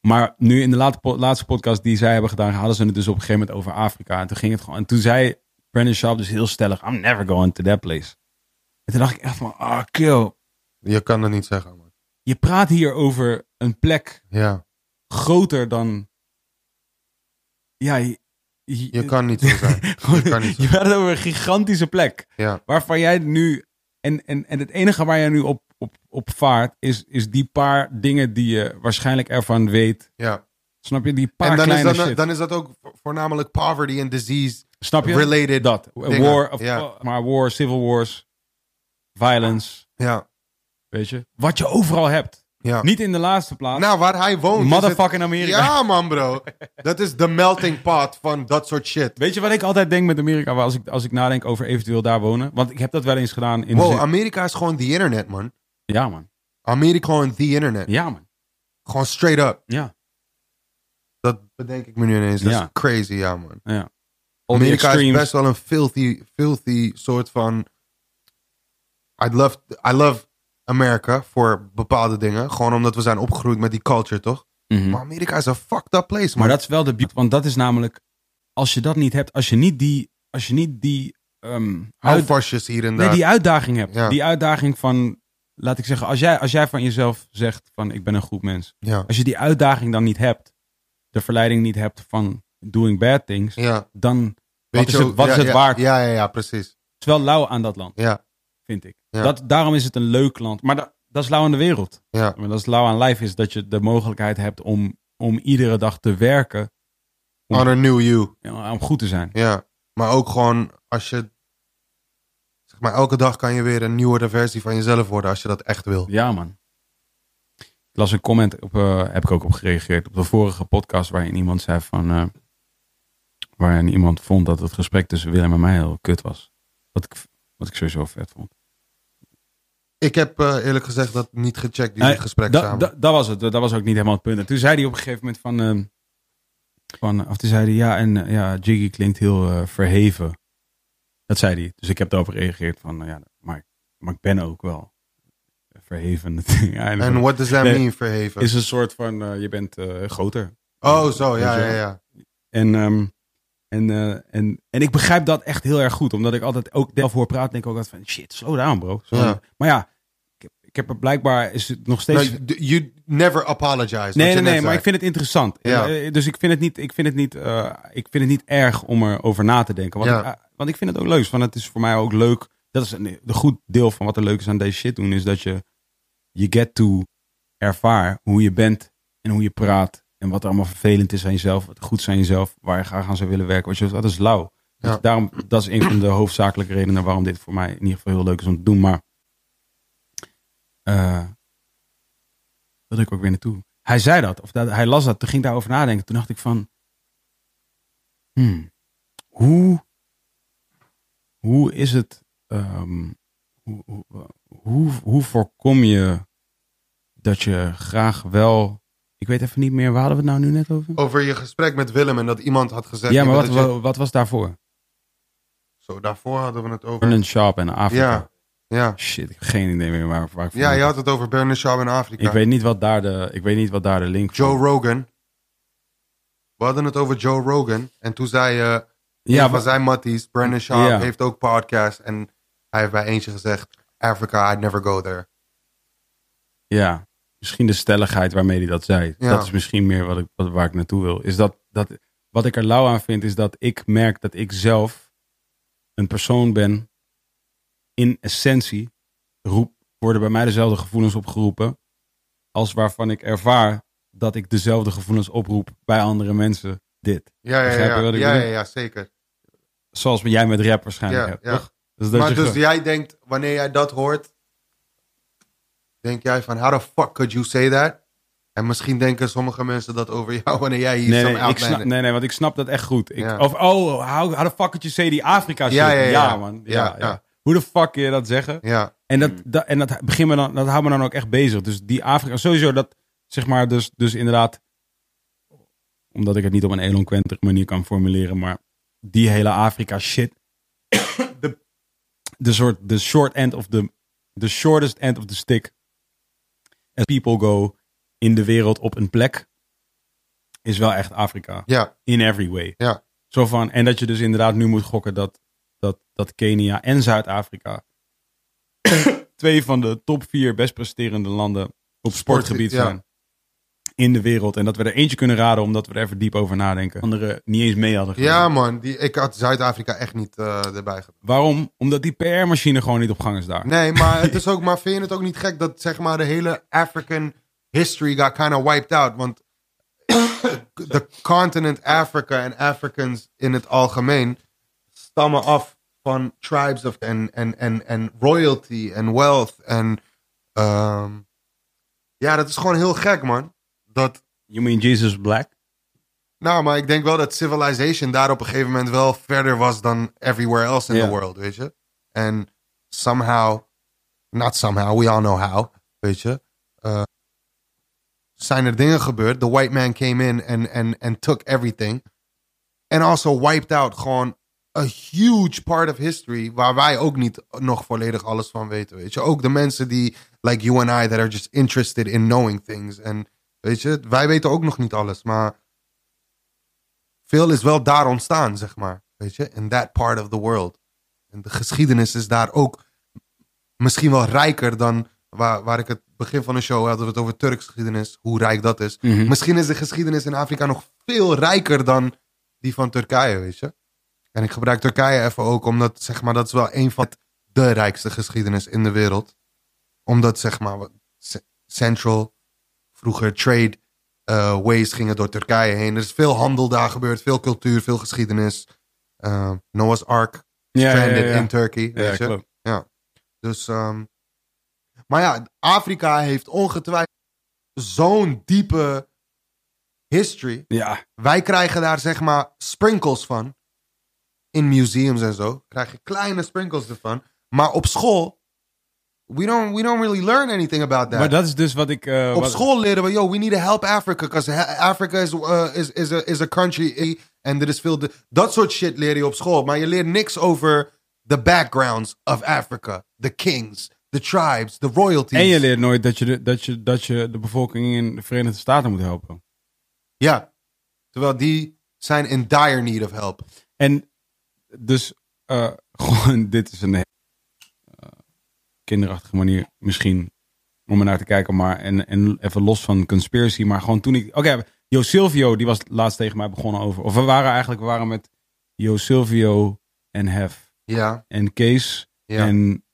S1: Maar nu in de late po- laatste podcast die zij hebben gedaan, hadden ze het dus op een gegeven moment over Afrika. En toen ging het gewoon. En toen zei Brandon Sharp dus heel stellig: I'm never going to that place. En toen dacht ik echt van: ah, kill.
S2: je kan dat niet zeggen. Man.
S1: Je praat hier over een plek
S2: Ja,
S1: groter dan. Ja, je,
S2: je kan niet zo zijn. je kan niet zo
S1: je praat over een gigantische plek.
S2: Ja.
S1: Waarvan jij nu. En, en, en het enige waar jij nu op, op, op vaart, is, is die paar dingen die je waarschijnlijk ervan weet.
S2: Ja.
S1: Snap je? Die paar
S2: En dan is,
S1: kleine
S2: dat,
S1: shit.
S2: dan is dat ook vo- voornamelijk poverty en disease
S1: Snap je?
S2: related.
S1: dat.
S2: dingen.
S1: War, of,
S2: Ja.
S1: uh, maar war, civil wars, violence,
S2: Ja,
S1: weet je. Wat je overal hebt.
S2: ja.
S1: Niet in de laatste plaats.
S2: Nou, waar hij woont. is
S1: Motherfucking
S2: het-
S1: Amerika.
S2: Ja, man, bro. Dat is de melting pot van dat soort shit.
S1: Weet je wat ik altijd denk met Amerika, waar als ik, als ik nadenk over eventueel daar wonen? Want ik heb dat wel eens gedaan in... de
S2: Wow,
S1: zin-
S2: Amerika is gewoon the internet, man.
S1: ja man,
S2: Amerika gewoon the internet.
S1: ja man,
S2: Gewoon straight up.
S1: ja.
S2: Dat bedenk ik me nu ineens. Dat
S1: Ja.
S2: is crazy, ja, man.
S1: ja. Al die
S2: Amerika is
S1: extremes.
S2: best wel een filthy, filthy soort van. I love, I love America voor bepaalde dingen. Gewoon omdat we zijn opgegroeid met die culture, toch?
S1: Mhm.
S2: Maar Amerika is een fucked up place, man.
S1: Maar dat is wel de biep, want dat is namelijk... Als je dat niet hebt, als je niet die... Als je niet die ehm, uit-
S2: Houvastjes hier en daar.
S1: Nee, die uitdaging hebt.
S2: Ja.
S1: Die uitdaging van... Laat ik zeggen, als jij, als jij van jezelf zegt van ik ben een goed mens.
S2: Ja.
S1: Als je die uitdaging dan niet hebt, de verleiding niet hebt van doing bad things,
S2: ja.
S1: dan
S2: Weet
S1: wat is
S2: je
S1: het,
S2: ook-
S1: wat
S2: ja,
S1: is het
S2: ja,
S1: waard?
S2: Ja, ja, ja, precies.
S1: Het is wel lauw aan dat land,
S2: Ja,
S1: vind ik.
S2: Ja.
S1: Dat, daarom is het een leuk land. Maar da- dat is lauw aan de wereld.
S2: ja.
S1: Maar dat is lauw aan lijf is dat je de mogelijkheid hebt om, om iedere dag te werken
S2: On a new you.
S1: en om goed te zijn.
S2: Ja. Maar ook gewoon als je. Zeg maar, elke dag kan je weer een nieuwere versie van jezelf worden als je dat echt wil.
S1: Ja, man. Ik las een comment, op, eh, heb ik ook op gereageerd, op de vorige podcast waarin iemand zei van... eh, waarin iemand vond dat het gesprek tussen Willem en mij heel kut was. Wat ik, wat ik sowieso vet vond.
S2: Ik heb eh, eerlijk gezegd dat niet gecheckt, die
S1: Nee,
S2: gesprek
S1: da-
S2: samen.
S1: da- dat was het. Dat was ook niet helemaal het punt. En toen zei hij op een gegeven moment van... ehm, van of toen zei hij, ja, en eh, ja, Jiggy klinkt heel eh, verheven. Dat zei hij. Dus ik heb daarop gereageerd van, nou ja, maar, maar ik ben ook wel verheven. Ja, en
S2: En what does that
S1: Nee.
S2: mean, verheven?
S1: is een soort van, eh, je bent eh, groter.
S2: oh, zo, ja,
S1: Weet je wel?
S2: ja, ja.
S1: En, ehm, en, eh, en, en ik begrijp dat echt heel erg goed. Omdat ik altijd ook zelf hoor praten. Denk ik ook altijd van shit, slow down bro. Zo.
S2: Ja.
S1: Maar ja, ik, heb, ik ik heb er blijkbaar is het nog steeds.
S2: Nou, d- you never apologize. wat
S1: nee,
S2: je
S1: nee,
S2: net
S1: nee, maar
S2: zei.
S1: ik vind het interessant.
S2: Ja.
S1: Eh, Dus ik vind het niet, ik vind het niet, eh, ik vind het niet erg om erover na te denken. Want,
S2: Ja.
S1: ik, eh, want ik vind het ook leuk. Want het is voor mij ook leuk. Dat is een, een goed deel van wat er leuk is aan deze shit doen. Is dat je je get to ervaar hoe je bent en hoe je praat. En wat er allemaal vervelend is aan jezelf. Wat goed is aan jezelf. Waar je graag aan zou willen werken. Wat je, dat is lauw. Dus
S2: Ja.
S1: daarom, dat is een van de hoofdzakelijke redenen waarom dit voor mij in ieder geval heel leuk is om te doen. Maar eh, wilde ik ook weer naartoe. Hij zei dat, of dat, hij las dat, toen ging ik daarover nadenken. Toen dacht ik van, hmm, hoe, hoe is het, ehm, hoe, hoe, hoe, hoe voorkom je dat je graag wel, ik weet even niet meer, waar hadden we het nou nu net over?
S2: Over je gesprek met Willem en dat iemand had gezegd...
S1: ja, maar
S2: dat
S1: wat,
S2: je-
S1: wa- wat was daarvoor?
S2: Zo, daarvoor hadden we het over...
S1: Vernon Sharp en Afrika.
S2: Ja, ja.
S1: Shit, ik heb geen idee meer waar, waar ik
S2: ja,
S1: vandaan-
S2: je had het over Bernard Shaw in Afrika.
S1: ik, weet niet wat daar de, ik weet niet wat daar de link
S2: Joe
S1: van-
S2: Rogan. We hadden het over Joe Rogan. En toen zei je...
S1: Ja,
S2: ja, van
S1: wa-
S2: zijn matties, Brandon Sharp,
S1: Ja.
S2: heeft ook podcast. En hij heeft bij eentje gezegd, Africa, I'd never go there.
S1: Ja, misschien de stelligheid waarmee hij dat zei.
S2: Ja.
S1: Dat is misschien meer wat ik, wat, waar ik naartoe wil. Is dat, dat, wat ik er lauw aan vind, is dat ik merk dat ik zelf een persoon ben. In essentie roep, worden bij mij dezelfde gevoelens opgeroepen. Als waarvan ik ervaar dat ik dezelfde gevoelens oproep bij andere mensen. Dit.
S2: Ja, ja,
S1: Begrijp
S2: ja,
S1: je
S2: ja,
S1: wat ik
S2: ja,
S1: bedoel?
S2: ja, zeker.
S1: Zoals jij met rap waarschijnlijk
S2: Ja,
S1: hebt,
S2: ja.
S1: toch? Dus dat
S2: maar
S1: je
S2: dus
S1: ge-
S2: jij denkt, wanneer jij dat hoort, denk jij van, how the fuck could you say that? En misschien denken sommige mensen dat over jou wanneer jij hier
S1: Nee,
S2: some
S1: nee, ik
S2: outlander-
S1: snap, nee, nee, want ik snap dat echt goed. Ik,
S2: Ja.
S1: Of, oh, how, how the fuck did you say die Afrika shit?
S2: Ja, ja, ja.
S1: man. Ja,
S2: Ja,
S1: ja.
S2: ja.
S1: Hoe de fuck kun je dat zeggen?
S2: Ja,
S1: En dat, dat, en dat, begin me dan, dat houdt me dan ook echt bezig. Dus die Afrika, sowieso dat, zeg maar, dus, dus inderdaad, omdat ik het niet op een eloquente manier kan formuleren, maar die hele Afrika shit, de, de soort, de short end of the, the shortest end of the stick, as people go in de wereld op een plek, is wel echt Afrika.
S2: ja,
S1: In every way.
S2: ja,
S1: Zo van, en dat je dus inderdaad nu moet gokken dat, dat, dat Kenia en Zuid-Afrika twee van de top vier best presterende landen op sportgebied
S2: ja.
S1: zijn. In de wereld. En dat we er eentje kunnen raden omdat we er even diep over nadenken. Anderen niet eens mee hadden. gedaan.
S2: ja man, die, ik had Zuid-Afrika echt niet eh, erbij gedaan.
S1: Waarom? Omdat die PR-machine gewoon niet op gang is daar.
S2: Nee, maar het is ook, maar vind je het ook niet gek dat zeg maar de hele African history got kind of wiped out? Want de continent Africa en Africans in het algemeen stammen af van tribes of en en en en royalty en wealth en ehm, ja, dat is gewoon heel gek, man. Dat
S1: You mean Jesus Black?
S2: nou, maar ik denk wel dat Civilization daar op een gegeven moment wel verder was dan everywhere else in
S1: Ja.
S2: the world, weet je. En somehow, not somehow, we all know how, weet je. eh, zijn er dingen gebeurd. The white man came in and, and, and took everything. And also wiped out gewoon a huge part of history waar wij ook niet nog volledig alles van weten, weet je. Ook de mensen die, like you and I, that are just interested in knowing things. En weet je, wij weten ook nog niet alles, maar veel is wel daar ontstaan, zeg maar. Weet je, in that part of the world. En de geschiedenis is daar ook misschien wel rijker dan waar, waar ik het begin van de show hadden we het over Turks geschiedenis, hoe rijk dat is.
S1: Mhm.
S2: Misschien is de geschiedenis in Afrika nog veel rijker dan die van Turkije, weet je. En ik gebruik Turkije even ook omdat, zeg maar, dat is wel een van de rijkste geschiedenis in de wereld. Omdat, zeg maar, wat- C- Central, vroeger trade eh, ways gingen door Turkije heen. Er is veel handel daar gebeurd, veel cultuur, veel geschiedenis. Eh, Noah's Ark, stranded in Turkey,
S1: Ja,
S2: weet je.
S1: klopt.
S2: Dus, ehm, maar ja, Afrika heeft ongetwijfeld zo'n diepe history.
S1: Ja,
S2: Wij krijgen daar zeg maar sprinkles van. In museums en zo. Krijg je kleine sprinkles ervan. Maar op school, we don't, we don't really learn anything about that.
S1: maar dat is dus wat ik... eh,
S2: op
S1: wat-
S2: school leren we, yo, we need to help Africa. Because Africa is, eh, is, is, a, is a country. En er is veel... de- dat soort shit leer je op school. Maar je leert niks over the backgrounds of Africa. The kings, the tribes, the royalties.
S1: En je leert nooit dat je, de, dat, je, dat je de bevolking in de Verenigde Staten moet helpen.
S2: Ja. Terwijl die zijn in dire need of help.
S1: En dus, eh, gewoon, dit is een eh, kinderachtige manier misschien om er naar te kijken. Maar en, en even los van conspiracy, maar gewoon toen ik. Oké, Jo Silvio, die was laatst tegen mij begonnen over. Of we waren eigenlijk we waren met Jo Silvio en Hef
S2: Ja.
S1: en Kees
S2: ja.
S1: en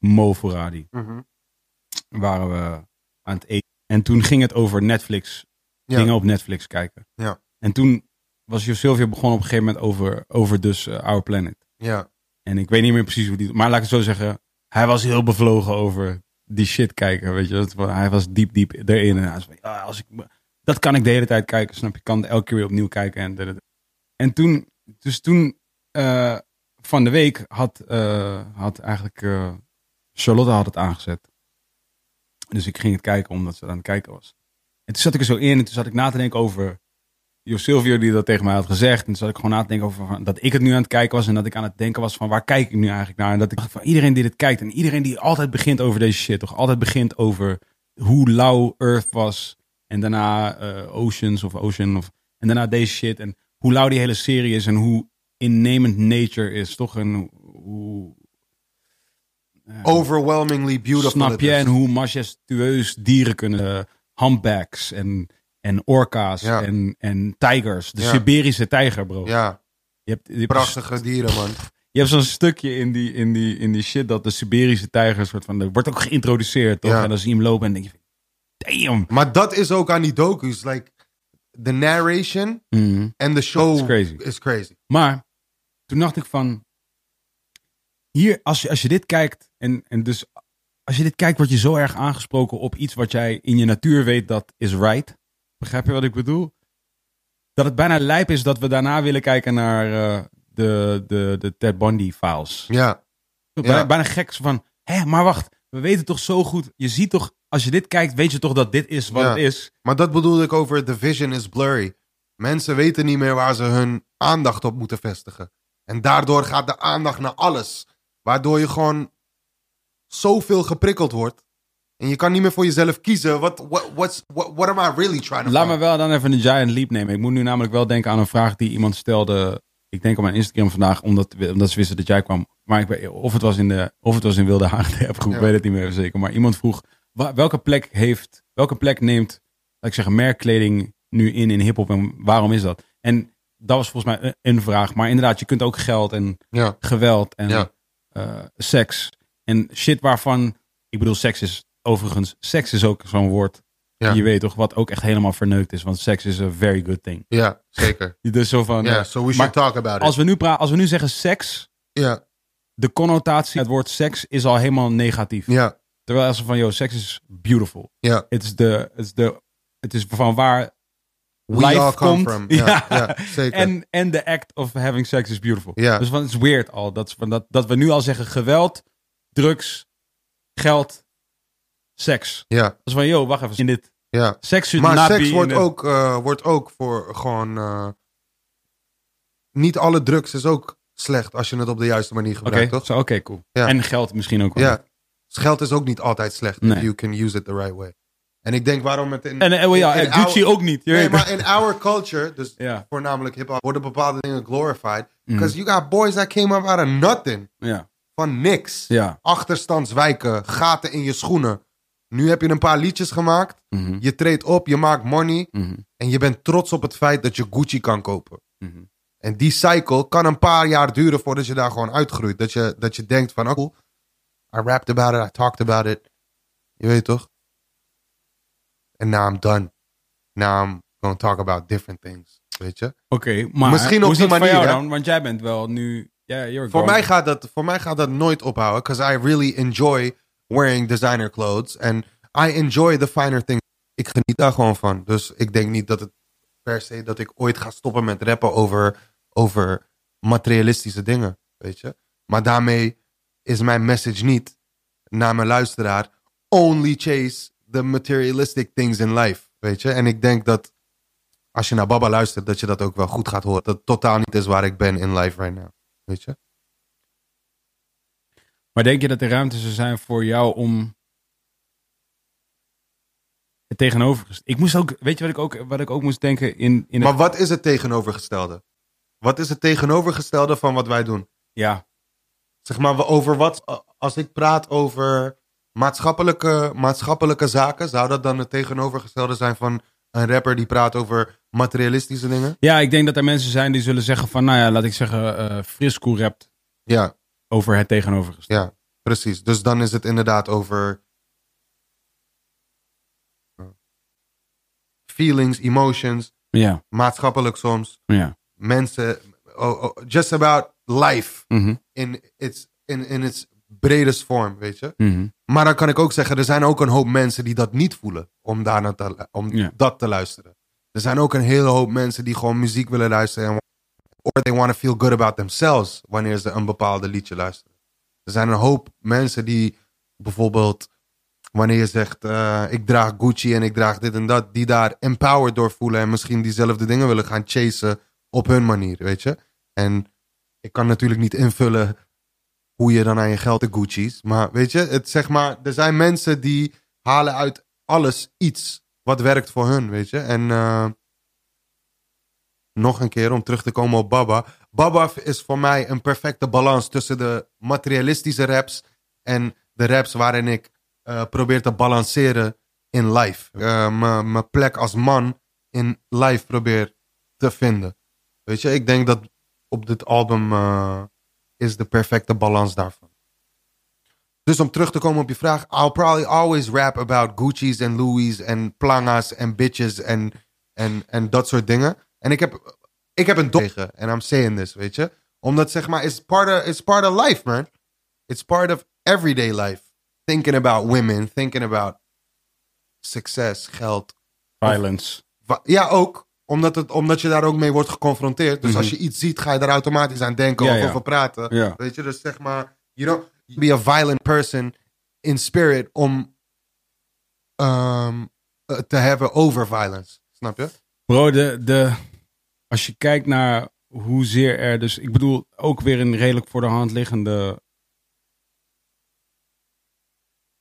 S1: Mo Foradi
S2: Mhm.
S1: waren we aan het eten. En toen ging het over Netflix.
S2: Ja.
S1: Dingen op Netflix kijken.
S2: Ja.
S1: En toen was Jo Silvio begonnen op een gegeven moment over, over dus eh, Our Planet.
S2: ja.
S1: En ik weet niet meer precies hoe die. Maar laat ik het zo zeggen. Hij was heel bevlogen over die shit kijken. Weet je, dat, hij was diep, diep erin. En hij was van, "Ja, als ik, dat kan ik de hele tijd kijken, snap je? Ik kan elke keer weer opnieuw kijken. En, dadada." en toen, dus toen eh, van de week had, eh, had eigenlijk eh, Charlotte had het aangezet. Dus ik ging het kijken omdat ze aan het kijken was. En toen zat ik er zo in en toen zat ik na te denken over Jo Silvio die dat tegen mij had gezegd. En toen zat ik gewoon na te denken over van- dat ik het nu aan het kijken was. En dat ik aan het denken was van waar kijk ik nu eigenlijk naar. En dat ik dacht van iedereen die dit kijkt. En iedereen die altijd begint over deze shit. Toch altijd begint over hoe lauw Earth was. En daarna eh, Oceans of Ocean. Of, en daarna deze shit. En hoe lauw die hele serie is. En hoe innemend nature is. Toch een hoe...
S2: Overwhelmingly beautiful.
S1: Snap
S2: it
S1: je?
S2: is.
S1: En hoe majestueus dieren kunnen. eh, humpbacks en, en orka's
S2: Ja.
S1: en, en tijgers. De
S2: Ja.
S1: Siberische tijger, bro.
S2: Ja,
S1: Je hebt, je hebt-
S2: prachtige dieren, man.
S1: Je hebt zo'n stukje in die, in, die, in die shit dat de Siberische tijger soort van... er wordt ook geïntroduceerd, toch?
S2: Ja.
S1: En dan zie je hem lopen en denk je... van, Damn!
S2: Maar dat is ook aan die docu's. Like, the narration en the show
S1: That's Mhm. crazy.
S2: is crazy.
S1: Maar toen dacht ik van... Hier, als je, als je dit kijkt... En, en dus als je dit kijkt word je zo erg aangesproken op iets wat jij in je natuur weet dat is right. Begrijp je wat ik bedoel? Dat het bijna lijp is dat we daarna willen kijken naar eh, de, de, de Ted Bundy files.
S2: Ja,
S1: Bijna,
S2: Ja.
S1: bijna gek zo van, hé, maar wacht, we weten toch zo goed. Je ziet toch, als je dit kijkt, weet je toch dat dit is wat
S2: Ja.
S1: het is.
S2: maar dat bedoelde ik over the vision is blurry. Mensen weten niet meer waar ze hun aandacht op moeten vestigen. En daardoor gaat de aandacht naar alles. Waardoor je gewoon zoveel geprikkeld wordt. En je kan niet meer voor jezelf kiezen. What, what, what's, what, what am I really trying to
S1: Laat me
S2: find?
S1: wel dan even een giant leap nemen. Ik moet nu namelijk wel denken aan een vraag die iemand stelde. Ik denk op mijn Instagram vandaag, omdat, we- omdat ze wisten dat jij kwam. Maar ik weet, of, het was in de, of het was in Wilde Haag, de appgroep,
S2: Ja.
S1: ik weet het niet meer zeker. Maar iemand vroeg, wa- welke plek heeft, welke plek neemt, laat ik zeggen, merkkleding nu in in hiphop en waarom is dat? En dat was volgens mij een- een vraag. Maar inderdaad, je kunt ook geld en
S2: Ja,
S1: geweld en
S2: Ja.
S1: eh, seks. En shit waarvan, ik bedoel, seks is overigens, seks is ook zo'n woord.
S2: Ja.
S1: Je weet toch, wat ook echt helemaal verneukt is. Want seks is a very good thing.
S2: ja, zeker.
S1: Dus zo van,
S2: Ja,
S1: eh,
S2: so we
S1: maar
S2: should talk about it.
S1: als we, nu pra- als we nu zeggen seks,
S2: Ja,
S1: de connotatie, het woord seks is al helemaal negatief.
S2: ja,
S1: Terwijl als we van, yo, seks is beautiful.
S2: ja.
S1: Het is de, het is de, het is van waar
S2: We
S1: life
S2: all come
S1: komt.
S2: from. Ja, ja, zeker.
S1: En, en de act of having sex is beautiful.
S2: Ja.
S1: Dus van, het is weird al. Dat, is van dat, dat we nu al zeggen geweld, drugs, geld, seks.
S2: ja,
S1: Dat is van, yo, wacht even. In dit
S2: ja.
S1: seks should
S2: Maar
S1: not
S2: seks
S1: be
S2: wordt
S1: in het-
S2: ook, eh, wordt ook voor gewoon. eh, niet alle drugs is ook slecht als je het op de juiste manier
S1: Oké,
S2: gebruikt, toch?
S1: zo, oké, cool.
S2: Ja.
S1: En geld misschien ook wel.
S2: Ja. Dus geld is ook niet altijd slecht. If
S1: Nee.
S2: you can use it the right way. En ik denk waarom het in.
S1: En eh, oh ja,
S2: in- in
S1: eh, Gucci
S2: our-
S1: ook niet. Je
S2: Nee,
S1: weet
S2: maar
S1: het.
S2: in our culture, dus
S1: Ja. Mm.
S2: voornamelijk hip-hop, worden bepaalde dingen glorified. Because you got boys that came up out of nothing.
S1: ja.
S2: Van niks.
S1: Ja.
S2: Achterstandswijken, gaten in je schoenen. Nu heb je een paar liedjes gemaakt.
S1: Mhm.
S2: Je treedt op, je maakt money. En je bent trots op het feit dat je Gucci kan kopen.
S1: Mhm.
S2: En die cycle kan een paar jaar duren voordat je daar gewoon uitgroeit. Dat je, dat je denkt van, oh, cool. I rapped about it, I talked about it. Je weet toch? En now I'm done. Now I'm going to talk about different things. Weet je?
S1: Oké, maar
S2: Misschien op
S1: hoe is
S2: die
S1: dat voor
S2: manier,
S1: jou
S2: hè?
S1: dan? Want jij bent wel nu... Ja, you're
S2: Voor
S1: grown.
S2: mij, gaat dat, voor mij gaat dat nooit ophouden. Because I really enjoy wearing designer clothes. And I enjoy the finer things. Ik geniet daar gewoon van. Dus ik denk niet dat het per se dat ik ooit ga stoppen met rappen over, over materialistische dingen. Weet je? Maar daarmee is mijn message niet naar mijn luisteraar. Only chase the materialistic things in life. Weet je? En ik denk dat als je naar Baba luistert, dat je dat ook wel goed gaat horen. Dat het totaal niet is waar ik ben in life right now. Weet je?
S1: Maar denk je dat er ruimte zou zijn voor jou om het tegenovergestelde? Ik moest ook, weet je wat ik ook, wat ik ook moest denken in, in het,
S2: Maar wat is het tegenovergestelde? Wat is het tegenovergestelde van wat wij doen?
S1: ja,
S2: Zeg maar, we- over wat, als ik praat over Maatschappelijke, maatschappelijke zaken, zou dat dan het tegenovergestelde zijn van een rapper die praat over materialistische dingen?
S1: Ja, ik denk dat er mensen zijn die zullen zeggen van, nou ja, laat ik zeggen, eh Frisco rapt
S2: Ja,
S1: over het tegenovergestelde.
S2: ja, precies. Dus dan is het inderdaad over eh, feelings, emotions,
S1: Ja,
S2: maatschappelijk soms,
S1: ja.
S2: mensen, oh, oh, just about life
S1: Mhm,
S2: in its, in, in its bredest vorm, weet je?
S1: mhm.
S2: Maar dan kan ik ook zeggen, er zijn ook een hoop mensen die dat niet voelen. Om, daarna te, om
S1: Ja.
S2: dat te luisteren. Er zijn ook een hele hoop mensen die gewoon muziek willen luisteren. En, or they want to feel good about themselves wanneer ze een bepaalde liedje luisteren. Er zijn een hoop mensen die bijvoorbeeld, wanneer je zegt, eh, ik draag Gucci en ik draag dit en dat. Die daar empowered door voelen en misschien diezelfde dingen willen gaan chasen op hun manier, weet je. En ik kan natuurlijk niet invullen hoe je dan aan je geld de Gucci's. Maar weet je, het, zeg maar, er zijn mensen die halen uit alles iets wat werkt voor hun, weet je. En eh, nog een keer om terug te komen op Baba. Baba is voor mij een perfecte balans tussen de materialistische raps en de raps waarin ik eh, probeer te balanceren in life. Eh, Mijn mijn plek als man in life probeer te vinden. Weet je, ik denk dat op dit album eh, is de perfecte balans daarvan. Dus om terug te komen op je vraag, I'll probably always rap about Gucci's en Louis en planga's en bitches en, en, en dat soort dingen. En ik heb, ik heb een tegen en I'm saying this, weet je. Omdat zeg maar, it's part, of, it's part of life, man. It's part of everyday life. Thinking about women, thinking about succes, geld,
S1: Violence.
S2: Wa- Ja, ook. Omdat, het, omdat je daar ook mee wordt geconfronteerd. Dus als je iets ziet, ga je daar automatisch aan denken
S1: Mhm. Ja,
S2: of
S1: ja.
S2: over praten.
S1: Ja.
S2: Weet je, dus zeg maar, you don't be a violent person in spirit om ehm, eh, te hebben over violence. Snap je?
S1: Bro, de, de, als je kijkt naar hoezeer er dus... Ik bedoel, ook weer een redelijk voor de hand liggende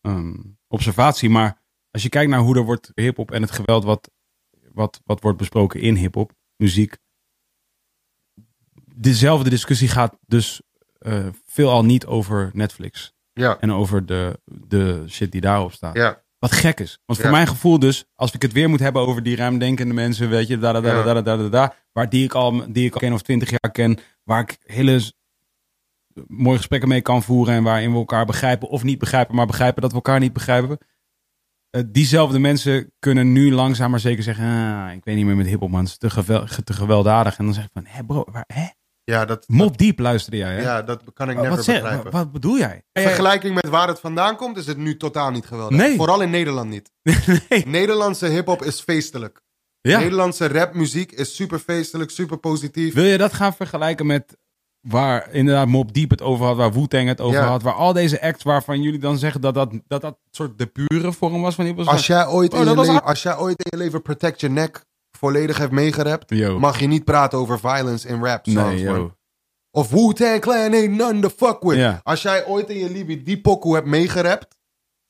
S1: ehm, observatie. Maar als je kijkt naar hoe er wordt hiphop en het geweld wat, wat, wat wordt besproken in hiphop, muziek. Dezelfde discussie gaat dus eh, veelal niet over Netflix.
S2: Ja.
S1: En over de, de shit die daarop staat.
S2: Ja.
S1: Wat gek is. Want voor
S2: Ja.
S1: mijn gevoel dus, als ik het weer moet hebben over die ruimdenkende mensen, weet je, da da da da
S2: Ja.
S1: da da da, da, waar die ik al die ik al ken of twintig jaar ken, waar ik hele s- mooie gesprekken mee kan voeren en waarin we elkaar begrijpen of niet begrijpen, maar begrijpen dat we elkaar niet begrijpen. Eh, diezelfde mensen kunnen nu langzaam maar zeker zeggen, ah, ik weet niet meer met hiphop man, het is te, gevel- ge- te gewelddadig. En dan zeg ik van, hé bro, waar, hè?
S2: Ja, dat,
S1: Mop Deep luisterde jij, hè?
S2: ja, dat kan ik
S1: Wa-
S2: never
S1: wat, zeg,
S2: begrijpen.
S1: wa- wat bedoel jij?
S2: In vergelijking met waar het vandaan komt, is het nu totaal niet geweldig.
S1: Nee.
S2: Vooral in Nederland niet.
S1: Nee.
S2: Nederlandse hip-hop is feestelijk.
S1: Ja.
S2: Nederlandse rapmuziek is super feestelijk, super positief.
S1: Wil je dat gaan vergelijken met waar inderdaad Mob Deep het over had, waar Wu-Tang het over
S2: Ja.
S1: had, waar al deze acts waarvan jullie dan zeggen dat dat, dat, dat soort de pure vorm was van hiphop?
S2: Als jij, ooit
S1: Oh,
S2: in
S1: dat
S2: je
S1: was
S2: leven,
S1: hard.
S2: als jij ooit in je leven Protect Your Neck volledig hebt meegerapt,
S1: Yo.
S2: mag je niet praten over violence in rap songs.
S1: Nee,
S2: man.
S1: yo.
S2: Of Wu-Tang Clan ain't none to fuck with.
S1: Ja.
S2: Als jij ooit in je leven die pokoe hebt meegerapt,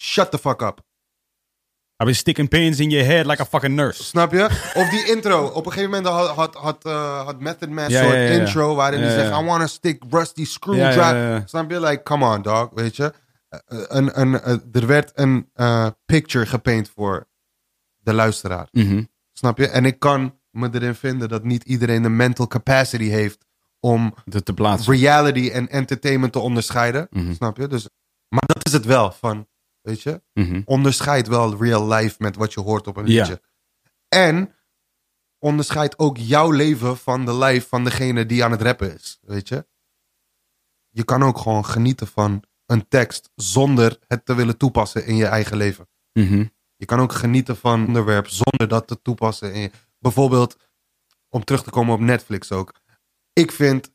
S2: shut the fuck up.
S1: I've been sticking pins in your head like a fucking nurse.
S2: Snap je? Of die intro. Op een gegeven moment had, had, had, eh, had Method Man
S1: Ja,
S2: soort
S1: ja, ja, ja.
S2: intro waarin hij
S1: Ja,
S2: zegt,
S1: ja.
S2: I want to stick rusty
S1: Ja,
S2: screwdriver.
S1: ja, ja, ja.
S2: Snap je? Like, come on dog, weet je? Eh, eh, een, een, eh, er werd een eh, picture gepaint voor de luisteraar.
S1: Mhm.
S2: Snap je? En ik kan me erin vinden dat niet iedereen de mental capacity heeft om
S1: De te plaatsen.
S2: reality en entertainment te onderscheiden.
S1: Mhm.
S2: Snap je? Dus, maar dat is het wel van, weet je,
S1: Mhm.
S2: onderscheid wel real life met wat je hoort op een
S1: Ja.
S2: liedje. En onderscheid ook jouw leven van de life van degene die aan het rappen is, weet je? Je kan ook gewoon genieten van een tekst zonder het te willen toepassen in je eigen leven.
S1: Mhm.
S2: Je kan ook genieten van een onderwerp zonder dat te toepassen. in je- Bijvoorbeeld, om terug te komen op Netflix ook. Ik vind.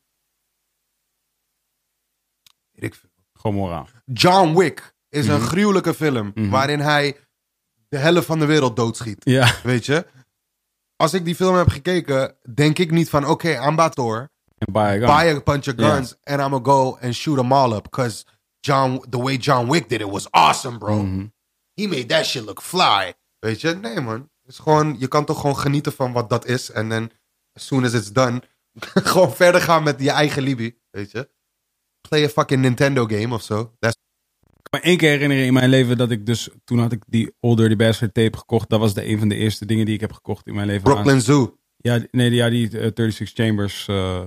S2: weet ik veel.
S1: Gewoon moraal.
S2: John Wick is een gruwelijke film.
S1: Mhm.
S2: waarin hij de helft van de wereld doodschiet.
S1: Ja.
S2: Weet je? Als ik die film heb gekeken, denk ik niet van: oké, I'm about to hoor.
S1: Bye,
S2: buy a bunch of guns and I'm gonna go and shoot them all up because John, the way John Wick did it was awesome, bro. He made that shit look fly. Weet je? Nee, man. Het is gewoon, je kan toch gewoon genieten van wat dat is en dan, as soon as it's done, gewoon verder gaan met je eigen Libby, weet je? Play a fucking Nintendo game of zo. That's
S1: kan me één keer herinneren in mijn leven dat ik dus... Toen had ik die All Dirty Bastard tape gekocht. Dat was de, een van de eerste dingen die ik heb gekocht in mijn leven.
S2: Brooklyn Zoo.
S1: Ja, die- nee, die- ja, die eh, 36 Chambers eh,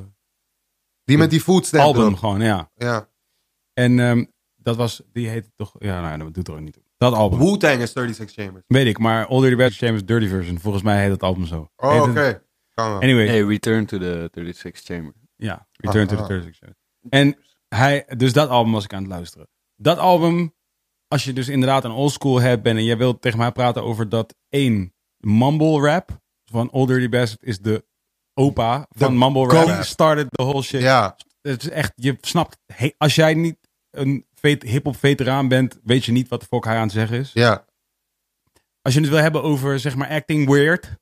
S2: Die met die foodstamp
S1: album
S2: erop.
S1: gewoon, ja.
S2: Ja.
S1: En ehm, dat was, die heette toch... Ja, nou, dat doet er ook niet toe. Dat album.
S2: Wu-Tang is 36 Chambers.
S1: Weet ik, maar All Dirty Bastard Chambers Dirty Version. Volgens mij heet het album zo.
S2: Oh,
S1: Heet
S2: oké.
S1: het-
S2: Kan wel.
S1: Anyway,
S3: Hey, Return to the 36 Chamber.
S1: Ja, Return to
S2: Aha.
S1: the Thursday Show. En hij, dus dat album was ik aan het luisteren. Dat album, als je dus inderdaad een oldschool hebt bent en jij wilt tegen mij praten over dat één mumble rap van Old Dirty Bastard is de opa van
S2: De
S1: mumble rap.
S2: goat.
S1: He started the whole shit.
S2: Ja,
S1: Het is echt, je snapt, he- als jij niet een vet- hip-hop veteraan bent, weet je niet wat de fuck hij aan het zeggen is.
S2: ja.
S1: Als je het wil hebben over zeg maar acting weird,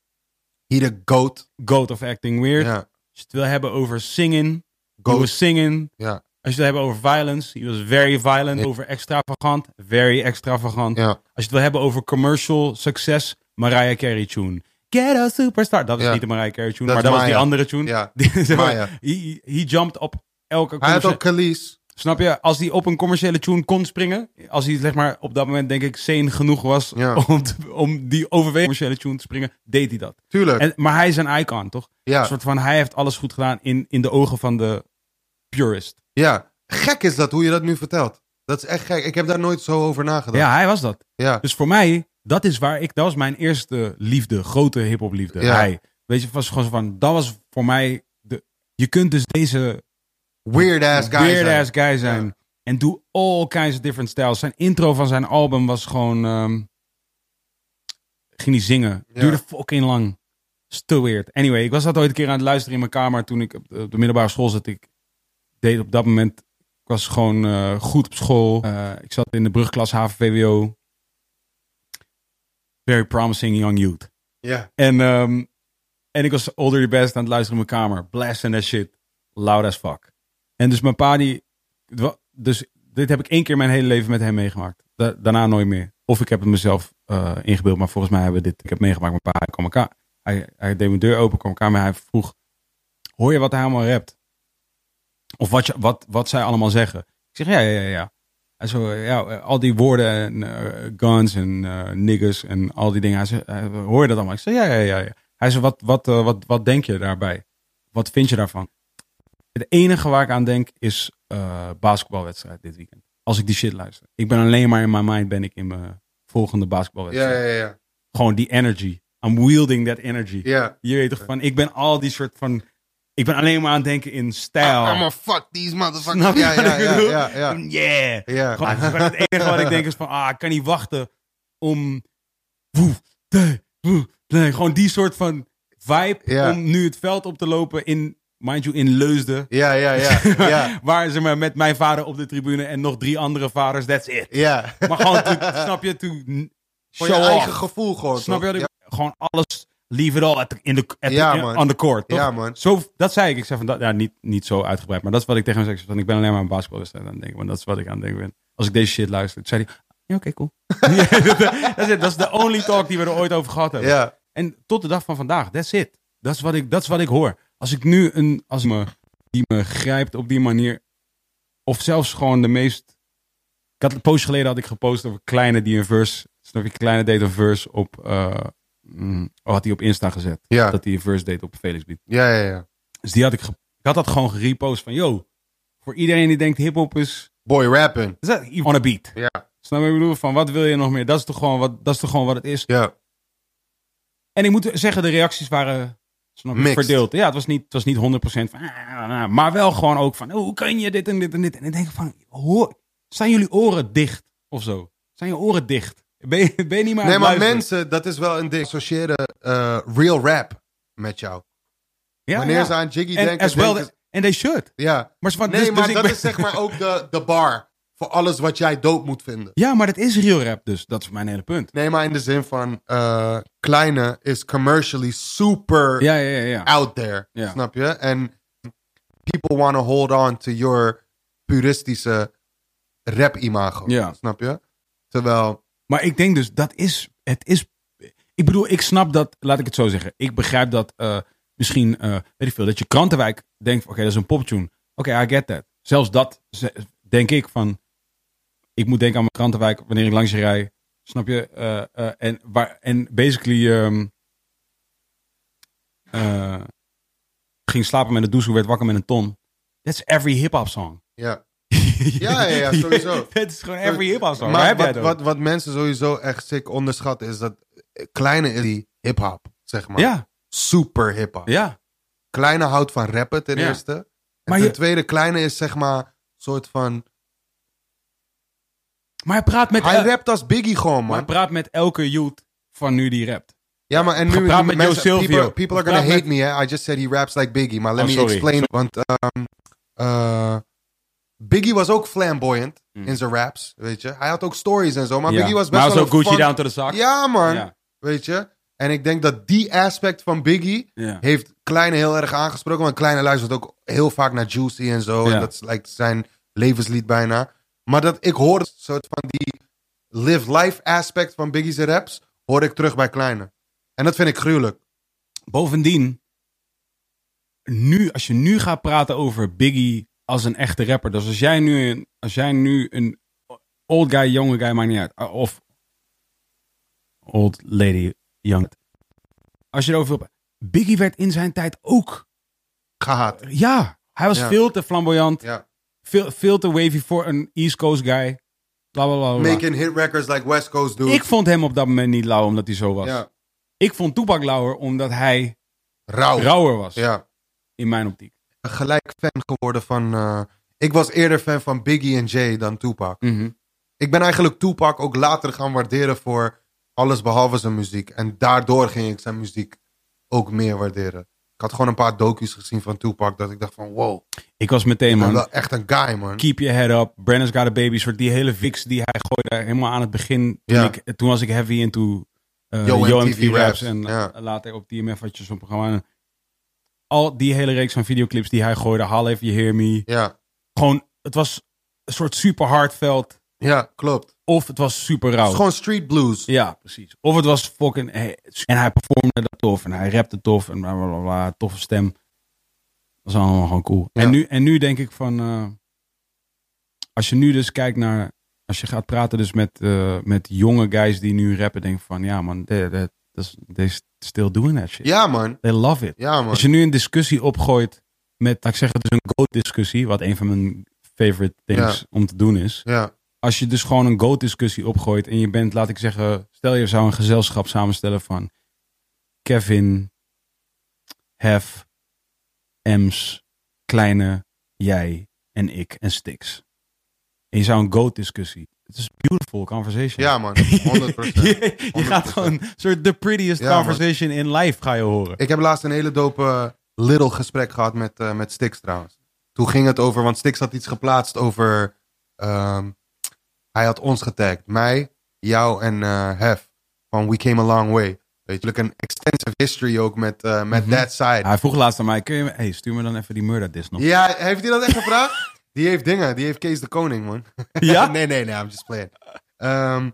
S2: He the goat.
S1: goat of acting weird.
S2: Ja,
S1: Als je het wil hebben over singen,
S2: Goat.
S1: goat. singen.
S2: ja,
S1: Als je het wil hebben over violence, he was very violent.
S2: Ja.
S1: Over extravagant, very extravagant.
S2: ja.
S1: Als je het wil hebben over commercial succes, Mariah Carey tune. Get a superstar. Dat was
S2: Ja.
S1: niet de Mariah Carey tune,
S2: Dat
S1: maar
S2: is
S1: dat was die
S2: Maya.
S1: andere tune.
S2: Ja.
S1: Die- zeg maar,
S2: Maya.
S1: he, he jumped op elke
S2: Hij had
S1: commerciële-
S2: ook Khalees.
S1: Snap je? Als hij op een commerciële tune kon springen, als hij zeg maar op dat moment denk ik sane genoeg was
S2: Ja.
S1: om, te- om die overwegende commerciële tune te springen, deed hij dat.
S2: Tuurlijk.
S1: En, maar hij is een icon, toch? Een
S2: ja,
S1: soort van, hij heeft alles goed gedaan in, in de ogen van de purist.
S2: ja. Gek is dat, hoe je dat nu vertelt. Dat is echt gek. Ik heb daar nooit zo over nagedacht.
S1: Ja, hij was dat.
S2: ja.
S1: Dus voor mij, dat is waar ik, dat was mijn eerste liefde, grote hip-hop liefde.
S2: Ja.
S1: Hij. Weet je, was gewoon zo van, dat was voor mij, de, je kunt dus deze
S2: Weird ass guy.
S1: weird
S2: zijn.
S1: ass guy zijn.
S2: Ja.
S1: En doe all kinds of different styles. Zijn intro van zijn album was gewoon, ehm, ging hij zingen.
S2: Ja.
S1: Duurde fucking lang. Is te weird. Anyway, ik was dat ooit een keer aan het luisteren in mijn kamer toen ik op de, op de middelbare school zat. Ik deed op dat moment, ik was gewoon eh, goed op school. Eh, ik zat in de brugklas HVWO. Very promising young youth.
S2: Ja.
S1: En, ehm, en ik was older the best aan het luisteren in mijn kamer. Blasting that shit. Loud as fuck. En dus mijn pa die... het wa- Dus dit heb ik één keer mijn hele leven met hem meegemaakt. Da- daarna nooit meer. Of ik heb het mezelf eh, ingebeeld. Maar volgens mij hebben we dit... Ik heb meegemaakt met mijn pa. Hij, kwam elkaar, hij, hij deed mijn deur open. kwam elkaar. Maar hij vroeg... Hoor je wat hij allemaal rapt? Of wat, je, wat, wat zij allemaal zeggen? Ik zeg ja, ja, ja. ja. En zo, eh, ja, eh, al die woorden en eh, guns en eh, niggers en al die dingen. Hij zei, eh, hoor je dat allemaal? Ik zei, ja, ja, ja. ja. Hij zei, wat, wat, eh, wat, wat denk je daarbij? Wat vind je daarvan? Het enige waar ik aan denk is eh, basketbalwedstrijd dit weekend. Als ik die shit luister. Ik ben alleen maar in mijn mind ben ik in mijn volgende
S2: Ja,
S1: basketbalwedstrijd.
S2: ja, ja.
S1: Gewoon die energy. I'm wielding that energy.
S2: Ja.
S1: Je weet toch van, ik ben al die soort van... Ik ben alleen maar aan het denken in stijl.
S2: I'm fuck these motherfuckers.
S1: Oh. Snap je
S2: ja,
S1: wat
S2: ja,
S1: ik
S2: ja,
S1: bedoel?
S2: ja, ja.
S1: Van, Yeah.
S2: Ja.
S1: Gewoon, het is gewoon het enige wat ik denk is van, ah, ik kan niet wachten om... Woe, nee, woe, nee. Gewoon die soort van vibe
S2: Ja.
S1: om nu het veld op te lopen in, mind you, in Leusden.
S2: Ja, ja, ja. Ja.
S1: Waar ze maar met mijn vader op de tribune en nog drie andere vaders, that's it.
S2: Ja.
S1: Maar gewoon, to- snap je, to
S2: Voor
S1: show
S2: je eigen
S1: off.
S2: gevoel gewoon.
S1: Snap je
S2: toch?
S1: wat ik Gewoon alles, leave it all at the- in the, at the-
S2: Ja, man.
S1: on the court. toch?
S2: Ja, man.
S1: Zo, dat zei ik. Ik zei van, dat, ja, niet, niet zo uitgebreid. Maar dat is wat ik tegen hem zei. Ik zei van, ik ben alleen maar aan basketbalwedstrijd aan het denken. Want dat is wat ik aan het denken ben. Als ik deze shit luister. Toen zei hij, ja, oké, cool. dat, is het. dat is de only talk die we er ooit over gehad hebben.
S2: Ja.
S1: En tot de dag van vandaag, that's it. Dat is wat ik, dat is wat ik hoor. Als ik nu een, als me, die me grijpt op die manier. Of zelfs gewoon de meest... Ik had een post geleden had ik gepost over Kleine die een verse... Snap je, Kleine deed een verse op... eh, mm, oh, had hij op Insta gezet.
S2: Ja.
S1: Dat hij een verse deed op Felix Beat.
S2: Ja, ja, ja.
S1: Dus die had ik, ge- ik had dat gewoon gerepost van, yo, voor iedereen die denkt hiphop is,
S2: Boy rapping.
S1: is dat on a beat.
S2: Ja.
S1: Snap je wat ik bedoel? Van wat wil je nog meer? Dat is toch gewoon wat, dat is toch gewoon wat het is.
S2: Ja.
S1: En ik moet zeggen, de reacties waren snap je,
S2: Mixed.
S1: verdeeld. Ja, het was niet, het was niet 100% van, ah, ah, ah, maar wel gewoon ook van, oh, hoe kan je dit en dit en dit? En ik denk van, hoor, zijn jullie oren dicht of zo? Zijn je oren dicht? Ben je, ben je niet meer aan
S2: Nee,
S1: het
S2: maar
S1: luisteren?
S2: mensen, dat is wel een ding. Associëren eh, real rap met jou.
S1: Ja,
S2: Wanneer
S1: ja.
S2: ze aan Jiggy
S1: En
S2: denken,
S1: as well,
S2: denken
S1: and they should.
S2: Ja.
S1: Maar, ze van,
S2: Nee,
S1: dus- dus
S2: maar
S1: ik
S2: dat
S1: ben-
S2: is zeg maar ook de, de bar voor alles wat jij dood moet vinden.
S1: Ja, maar dat is real rap dus. Dat is mijn hele punt.
S2: Nee, maar in de zin van eh, kleine is commercially super
S1: Ja, ja, ja. ja.
S2: out there.
S1: Ja.
S2: Snap je? En people want to hold on to your puristische rap-imago.
S1: Ja.
S2: Snap je? Terwijl,
S1: Maar ik denk dus, dat is, het is, ik bedoel, ik snap dat, laat ik het zo zeggen. Ik begrijp dat eh, misschien, eh, weet ik veel, dat je Krantenwijk denkt, oké, dat is een poptune. Oké, I get that. Zelfs dat ze- denk ik van, Ik moet denken aan mijn krantenwijk wanneer ik langs rij. Snap je? Eh, eh, en, waar, en basically ehm, eh, ging slapen met een douche, werd wakker met een ton. That's every hip-hop song.
S2: Ja. Ja, ja, ja, sowieso. Dus
S1: Dat is gewoon every hip-hop song. Waar
S2: Maar
S1: heb jij
S2: wat,
S1: het
S2: wat,
S1: over?
S2: wat mensen sowieso echt sick onderschatten is dat eh, kleine is die hip-hop, zeg maar.
S1: Ja,
S2: Super hip-hop.
S1: ja.
S2: Kleine houdt van rappen ten
S1: Ja.
S2: eerste. En
S1: Maar
S2: ten
S1: je-
S2: tweede, kleine is zeg maar soort van.
S1: Maar hij praat met,
S2: Hij
S1: el-
S2: rapt als Biggie gewoon,
S1: maar hij
S2: man.
S1: praat met elke youth van nu die rapt.
S2: Ja, maar en nu
S1: Gepraat
S2: nu
S1: met Joe Silvio.
S2: People, people are gonna
S1: Gepraat
S2: hate
S1: met-
S2: me, hè? I just said he raps like Biggie, maar let
S1: Oh,
S2: me
S1: sorry.
S2: explain. Want ehm, eh, Biggie was ook flamboyant
S1: Mm.
S2: in zijn raps, weet je. Hij had ook stories en zo, maar
S1: Ja.
S2: Biggie was best
S1: hij
S2: wel
S1: ook Gucci
S2: een fun-
S1: down to the sock.
S2: Ja, man,
S1: Ja.
S2: weet je. En ik denk dat die aspect van Biggie
S1: Ja.
S2: heeft Kleine heel erg aangesproken. Want Kleine luistert ook heel vaak naar Juicy en zo.
S1: Ja.
S2: En dat is like zijn levenslied bijna. Maar dat, ik hoorde een soort van die live life aspect van Biggie's raps... hoor ik terug bij Kleine. En dat vind ik gruwelijk.
S1: Bovendien, nu, als je nu gaat praten over Biggie als een echte rapper. Dus als jij nu een, als jij nu een old guy, jonge guy, maakt niet uit. uh, Of old lady, young. Als je erover wil. Biggie werd in zijn tijd ook.
S2: Gehaat.
S1: Ja, hij was
S2: Ja.
S1: veel te flamboyant.
S2: Ja.
S1: Veel, veel te wavy voor een East Coast guy. Bla bla bla. bla.
S2: Making hit records like West Coast dude.
S1: Ik vond hem op dat moment niet lauw omdat hij zo was.
S2: ja.
S1: Ik vond Tupac lauwer omdat hij
S2: Rauw.
S1: rauwer was.
S2: Oh. Ja.
S1: In mijn optiek.
S2: Gelijk fan geworden van... eh, ik was eerder fan van Biggie en Jay dan Tupac.
S1: Mhm.
S2: Ik ben eigenlijk Tupac ook later gaan waarderen voor alles behalve zijn muziek. En daardoor ging ik zijn muziek ook meer waarderen. Ik had gewoon een paar docu's gezien van Tupac dat ik dacht van wow,
S1: Ik was meteen,
S2: ik ben
S1: man.
S2: wel echt een guy man.
S1: Keep your head up. Brennan's got a baby. Soort die hele fix die hij gooide helemaal aan het begin. Toen,
S2: Ja.
S1: ik, toen was ik heavy into eh
S2: Yo,
S1: Yo
S2: MTV
S1: MTV raps.
S2: raps.
S1: En
S2: Ja.
S1: eh, later op TMF had je zo'n programma. En Al die hele reeks van videoclips die hij gooide. Hal If You Hear Me.
S2: Ja,
S1: Gewoon, het was een soort super hardveld.
S2: ja klopt. Het
S1: Of het was super rauw.
S2: is gewoon street blues.
S1: Ja, precies. Of het was fucking... hey, En hij performde dat tof. En hij rapte tof. En bla, bla, bla, bla, Toffe stem. Dat is allemaal gewoon cool.
S2: Ja.
S1: En, nu, en nu denk ik van... eh, als je nu dus kijkt naar... Als je gaat praten dus met, eh, met jonge guys die nu rappen. Denk ik van ja man, they, they, that's- they still doing that shit.
S2: Ja man,
S1: They love it.
S2: ja man.
S1: Als je nu een discussie opgooit met... laat Ik zeg het dus een GOAT discussie. Wat een van mijn favorite things om te doen is
S2: Ja,
S1: als je dus gewoon een GOAT-discussie opgooit en je bent, laat ik zeggen, stel je zou een gezelschap samenstellen van Kevin, Hef, Ems, Kleine, jij en ik en Stix. En je zou een GOAT-discussie. Het is beautiful conversation.
S2: ja man, 100%.
S1: je, je gaat
S2: 100%.
S1: gewoon een soort the prettiest
S2: Ja, man.
S1: conversation in life ga je horen.
S2: Ik heb laatst een hele dope eh, little gesprek gehad met, eh, met Stix trouwens. Toen ging het over, want Stix had iets geplaatst over... ehm, hij had ons getagd. Mij, jou en eh, Hef. Van We Came A Long Way. Weet je, een extensive history ook met, eh, met
S1: Mhm.
S2: That Side.
S1: Hij vroeg laatst aan mij, kun je, me- hey, stuur me dan even die murder disc nog.
S2: Ja, heeft hij dat echt gevraagd? Die heeft dingen. Die heeft Kees de Koning, man.
S1: Ja?
S2: nee, nee, nee. I'm just playing. Ehm,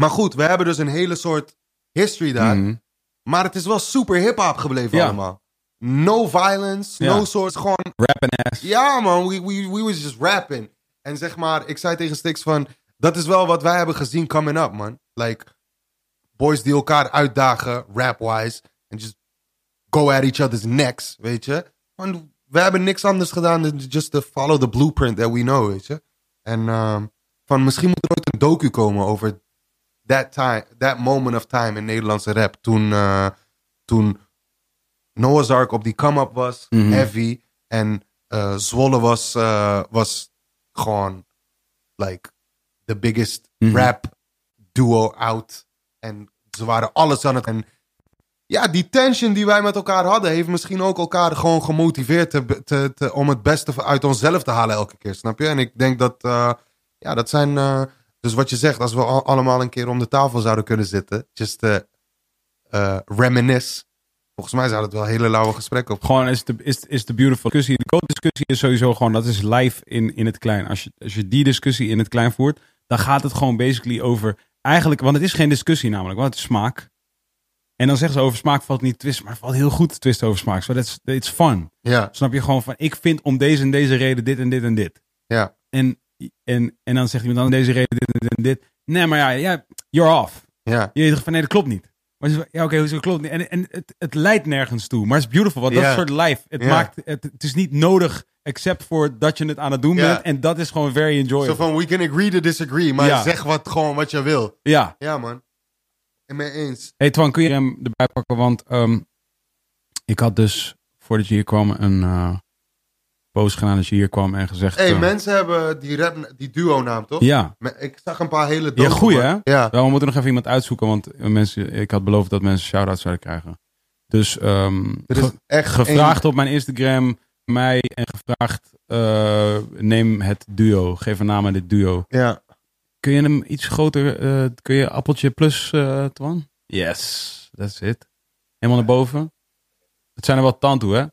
S2: maar goed, we hebben dus een hele soort history daar.
S1: Mhm.
S2: Maar het is wel super hip-hop gebleven
S1: Ja.
S2: allemaal. No violence,
S1: Ja.
S2: no soort gewoon.
S1: Rap en ass.
S2: Ja, man, we, we, we was just rapping. En zeg maar, ik zei tegen Stix van. Dat is wel wat wij hebben gezien coming up, man. Like, boys die elkaar uitdagen, rap-wise. En just go at each other's necks, weet je. Want we hebben niks anders gedaan dan just to follow the blueprint that we know, weet je. En ehm, van misschien moet er ooit een docu komen over that, time, that moment of time in Nederlandse rap. Toen, eh, toen Noah's Ark op die come-up was,
S1: Mhm.
S2: heavy. En eh, Zwolle was, eh, was gewoon like the biggest
S1: Mhm.
S2: rap duo out. En ze waren alles aan het... En ja, die tension die wij met elkaar hadden, heeft misschien ook elkaar gewoon gemotiveerd te, te, te- om het beste uit onszelf te halen elke keer, snap je? En ik denk dat, eh, ja, dat zijn. eh, dus wat je zegt, als we al- allemaal een keer om de tafel zouden kunnen zitten, just eh eh, reminisce. Volgens mij zou dat wel een hele lauwe gesprekken op.
S1: Gewoon is de, is, is de beautiful discussie. De code discussie is sowieso gewoon, dat is live in, in het klein. Als je, als je die discussie in het klein voert, dan gaat het gewoon basically over, eigenlijk, want het is geen discussie namelijk, want het is smaak. En dan zeggen ze over smaak valt niet te twisten, maar het valt heel goed te twisten over smaak. So that's, it's fun.
S2: Ja,
S1: Snap je gewoon van, ik vind om deze en deze reden dit en dit en dit.
S2: ja,
S1: En En, en dan zegt iemand dan deze reden, dit en dit en dit. Nee, maar ja, ja, you're off.
S2: Ja.
S1: Je weet van nee, dat klopt niet. Maar ze zegt, ja, oké, hoezo dat klopt niet? En, en het, het leidt nergens toe. Maar het is beautiful, want
S2: Ja.
S1: dat soort life. Het,
S2: Ja.
S1: maakt, het, het is niet nodig, except voor dat je het aan het doen
S2: Ja.
S1: bent. En dat is gewoon very
S2: Zo
S1: enjoyable.
S2: van, we can agree to disagree, maar
S1: Ja.
S2: zeg wat, gewoon wat je wil.
S1: Ja.
S2: Ja, man. En mee eens.
S1: Hey Twan, kun je hem erbij pakken? Want ehm, ik had dus, voordat je hier kwam, een eh post gedaan dat je hier kwam en gezegd...
S2: Hé, hey,
S1: eh,
S2: mensen hebben die, rap, die duo-naam, toch?
S1: Ja,
S2: Me- Ik zag een paar hele
S1: ja
S2: dope.
S1: goeie hè?
S2: Ja.
S1: Wel, we moeten nog even iemand uitzoeken, want eh, mensen, ik had beloofd dat mensen shout-outs zouden krijgen. Dus ehm,
S2: Er is
S1: ge-
S2: echt
S1: gevraagd op mijn Instagram, mij en gevraagd, eh, neem het duo, geef een naam aan dit duo.
S2: één- Ja.
S1: Kun je hem iets groter, eh, kun je appeltje plus, eh Twan? Yes, that's it. Helemaal naar boven. Het zijn er wel tantoe, hè?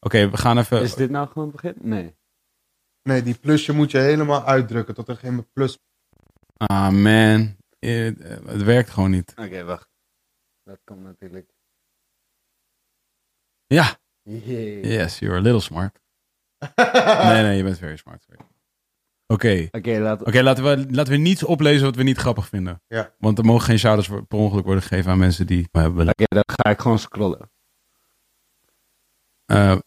S1: Oké, we gaan even...
S3: Is dit nou gewoon het begin? Nee.
S2: Nee, die plusje moet je helemaal uitdrukken tot er geen plus.
S1: Ah, man. Eh, eh, het werkt gewoon niet.
S3: Oké, wacht. Dat kan natuurlijk.
S1: Ja.
S3: Jee.
S1: Yes, you're a little smart. Nee, nee, je bent very smart. Oké. Oké,
S3: Oké, laten we.
S1: laten, we, laten we niets oplezen wat we niet grappig vinden.
S2: Ja.
S1: Want er mogen geen shoutouts voor- per ongeluk worden gegeven aan mensen die we hebben beleid.
S3: Oké, dan ga ik gewoon scrollen.
S1: Eh,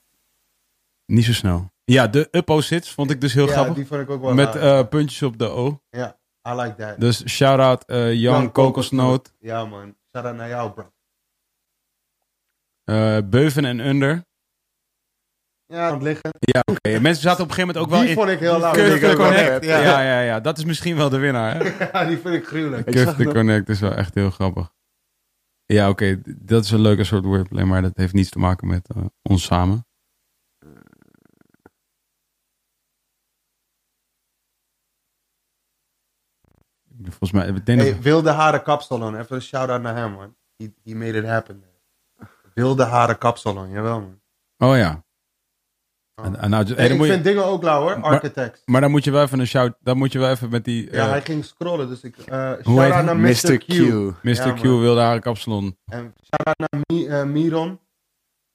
S1: niet zo snel. Ja, de Uppo Sits vond ik dus heel
S2: ja,
S1: grappig.
S2: die vond ik ook wel
S1: Met
S2: raar.
S1: eh, puntjes op de O.
S2: ja, I like that.
S1: Dus shout-out eh Jan
S2: Jan
S1: Kokosnoot,
S2: Ja, man. Shout-out naar jou, bro.
S1: eh, Beuven en Under.
S2: Ja, aan het liggen.
S1: Ja, oké. Mensen zaten op een gegeven moment ook wel
S2: die
S1: in...
S2: vond ik heel lauw.
S1: Curve
S2: Die vond
S1: to
S2: ik ook wel
S1: Connect.
S2: vet,
S1: Ja.
S2: Ja.
S1: ja, ja, Dat is misschien wel de winnaar. Hè?
S2: Ja, die vind ik gruwelijk.
S3: Ik
S1: Curve
S3: zag
S1: to
S3: dat.
S1: Connect is wel echt heel grappig. Ja, oké. d- Dat is een leuke soort wordplay, maar dat heeft niets te maken met eh, ons samen. Volgens mij... eh, Ik denk dat-
S2: Hey, wilde haren kapsalon. Even een shout-out naar hem, man. He, he made it happen. Wilde haren kapsalon. Jawel, man.
S1: Oh ja.
S2: Oh.
S1: En- en nou, hey,
S2: Hey,
S1: dan
S2: ik
S1: moet je-
S2: vind dingen ook lauw, hoor. Architects.
S1: Maar dan moet je wel even een shout... Dan moet je wel even met die...
S2: ja,
S1: eh,
S2: hij ging scrollen, dus ik... eh
S1: Hoe heet
S2: shout-out naar Mr. Q.
S1: Mr.
S2: Ja,
S1: Q
S2: man.
S1: wilde haar kapsalon.
S2: En shout-out naar Mi- eh, Miron.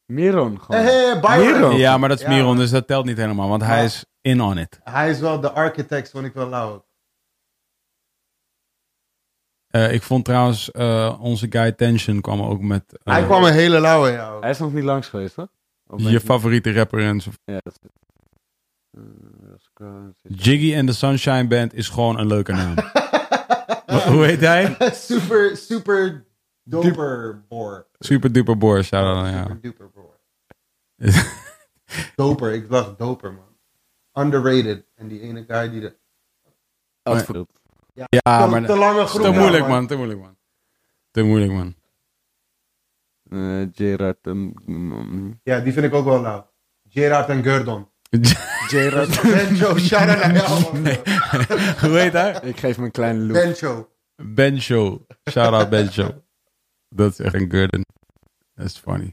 S3: Miron gewoon.
S2: Hey, hey, Byron.
S3: Miron.
S1: Ja, maar dat is
S2: Oh. Ja,
S1: Oh.
S2: Ah.
S1: Miron,
S2: man.
S1: dus dat telt niet helemaal, want hij
S2: Ja.
S1: is in on it.
S2: Hij is wel de architect, vond ik wel
S1: Oh.
S2: lauw.
S1: Eh, ik vond trouwens, eh, onze guy Tension kwam ook met eh,
S2: Hij kwam een hele lauwe, ja.
S3: Hij is nog niet langs geweest, toch? Of ben
S1: je
S3: ik-
S1: favoriete rapper en zo.
S3: Ja, dat is. Eh, dat is gewoon-
S1: Jiggy and the Sunshine Band is gewoon een leuke naam. Wa- Hoe heet hij?
S2: super, super doper boor.
S1: Super duper boor, shout out, Oh, ja.
S2: Super duper boor. Doper, ik dacht doper, man. Underrated. En die ene guy die de...
S3: Adverteert.
S1: ja,
S2: Te-
S1: Ah, maar
S2: te
S1: te
S2: lange groep.
S1: moeilijk man, te moeilijk man. Te moeilijk man.
S3: Eh, Gerard. ehm, mm,
S2: Ja, die vind ik ook wel lauw. Gerard en Gurdon.
S3: Gerard.
S2: Benjo, shout-out naar jou, man.
S1: Hoe heet hij?
S3: ik geef hem een kleine look.
S2: Benjo.
S1: Benjo. Shout out Benjo. Dat is echt een Gurdon. That's funny.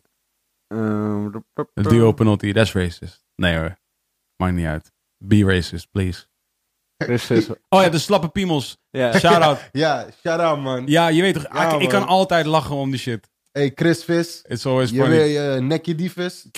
S3: Ehm, rup, rup,
S1: Een
S3: rup.
S1: duo penalty, that's racist. Nee hoor, maakt niet uit. Be racist, please.
S3: Precies.
S1: Oh ja, de slappe piemels.
S3: Ja.
S1: Shout out.
S2: Ja, shout-out, man.
S1: Ja, je weet toch,
S2: Ja,
S1: ik, ik kan
S2: man.
S1: altijd lachen om die shit.
S2: Hey, Chris Vis.
S1: It's always
S2: Je
S1: funny.
S2: weet je nekje die vis.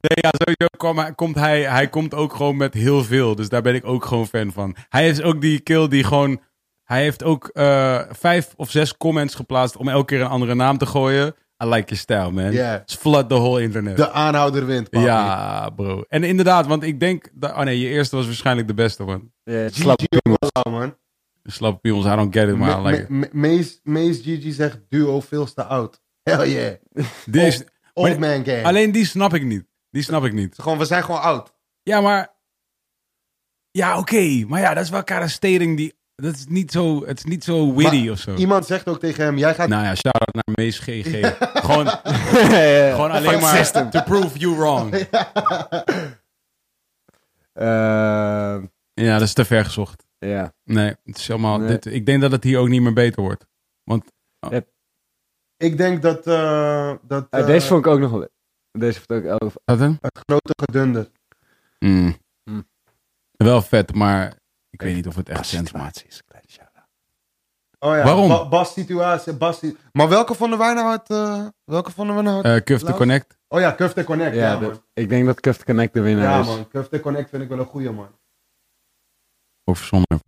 S1: Ja, sowieso kwam hij- komt hij, hij komt ook gewoon met heel veel. Dus daar ben ik ook gewoon fan van. Hij heeft ook die kill die gewoon... Hij heeft ook eh, vijf of zes comments geplaatst om elke keer een andere naam te gooien. I like your style, man.
S2: Yeah.
S1: Just flood the whole internet.
S2: De aanhouder wint, papi.
S1: ja, bro. En inderdaad, want ik denk... dat- Oh nee, je eerste was waarschijnlijk de beste, man.
S3: Ja, slap.
S2: Lauw, man.
S1: Slappe piemels, I don't get it, maar I like it.
S2: Mees Gigi zegt duo veel te oud. Hell yeah.
S1: Die is- maar-
S2: Old man gang.
S1: alleen die snap ik niet. Die snap ik niet.
S2: Gewoon, we zijn gewoon oud.
S1: Ja, maar. Ja, oké. Maar ja, dat is wel een stating die. Dat is niet zo, het is niet zo witty
S2: Maar
S1: of zo.
S2: Iemand zegt ook tegen hem, jij gaat...
S1: Nou ja, shout out naar Mees GG. gewoon, gewoon alleen maar. To prove you wrong.
S3: Eh,
S1: Ja, dat is te ver gezocht.
S3: Ja.
S1: Nee, het is helemaal.
S3: Nee.
S1: Dit, ik denk dat het hier ook niet meer beter wordt. Want. oh,
S2: Ik denk dat... eh, dat
S3: Eh,
S2: eh,
S3: Deze vond ik ook nog wel. Deze vond ik ook over.
S1: Wat hè?
S2: Het grote gedunde.
S1: Mm.
S3: Hm.
S1: Wel vet, maar. Ik weet niet of het echt sens maakt.
S2: Oh ja,
S1: Waarom?
S2: Ba- Bas situatie, Bas Maar welke vonden wij nou het... eh, welke vonden we nou het...
S1: Eh Cuff to
S2: Laat-
S1: Connect.
S2: oh ja, Cuff the Connect. Ja,
S3: Ja,
S2: man.
S3: dat- ik denk dat Cuff Connect de winnaar
S2: Ja,
S3: is.
S2: man. Cuff the Connect vind ik wel een goeie, man.
S1: Of verzonnen.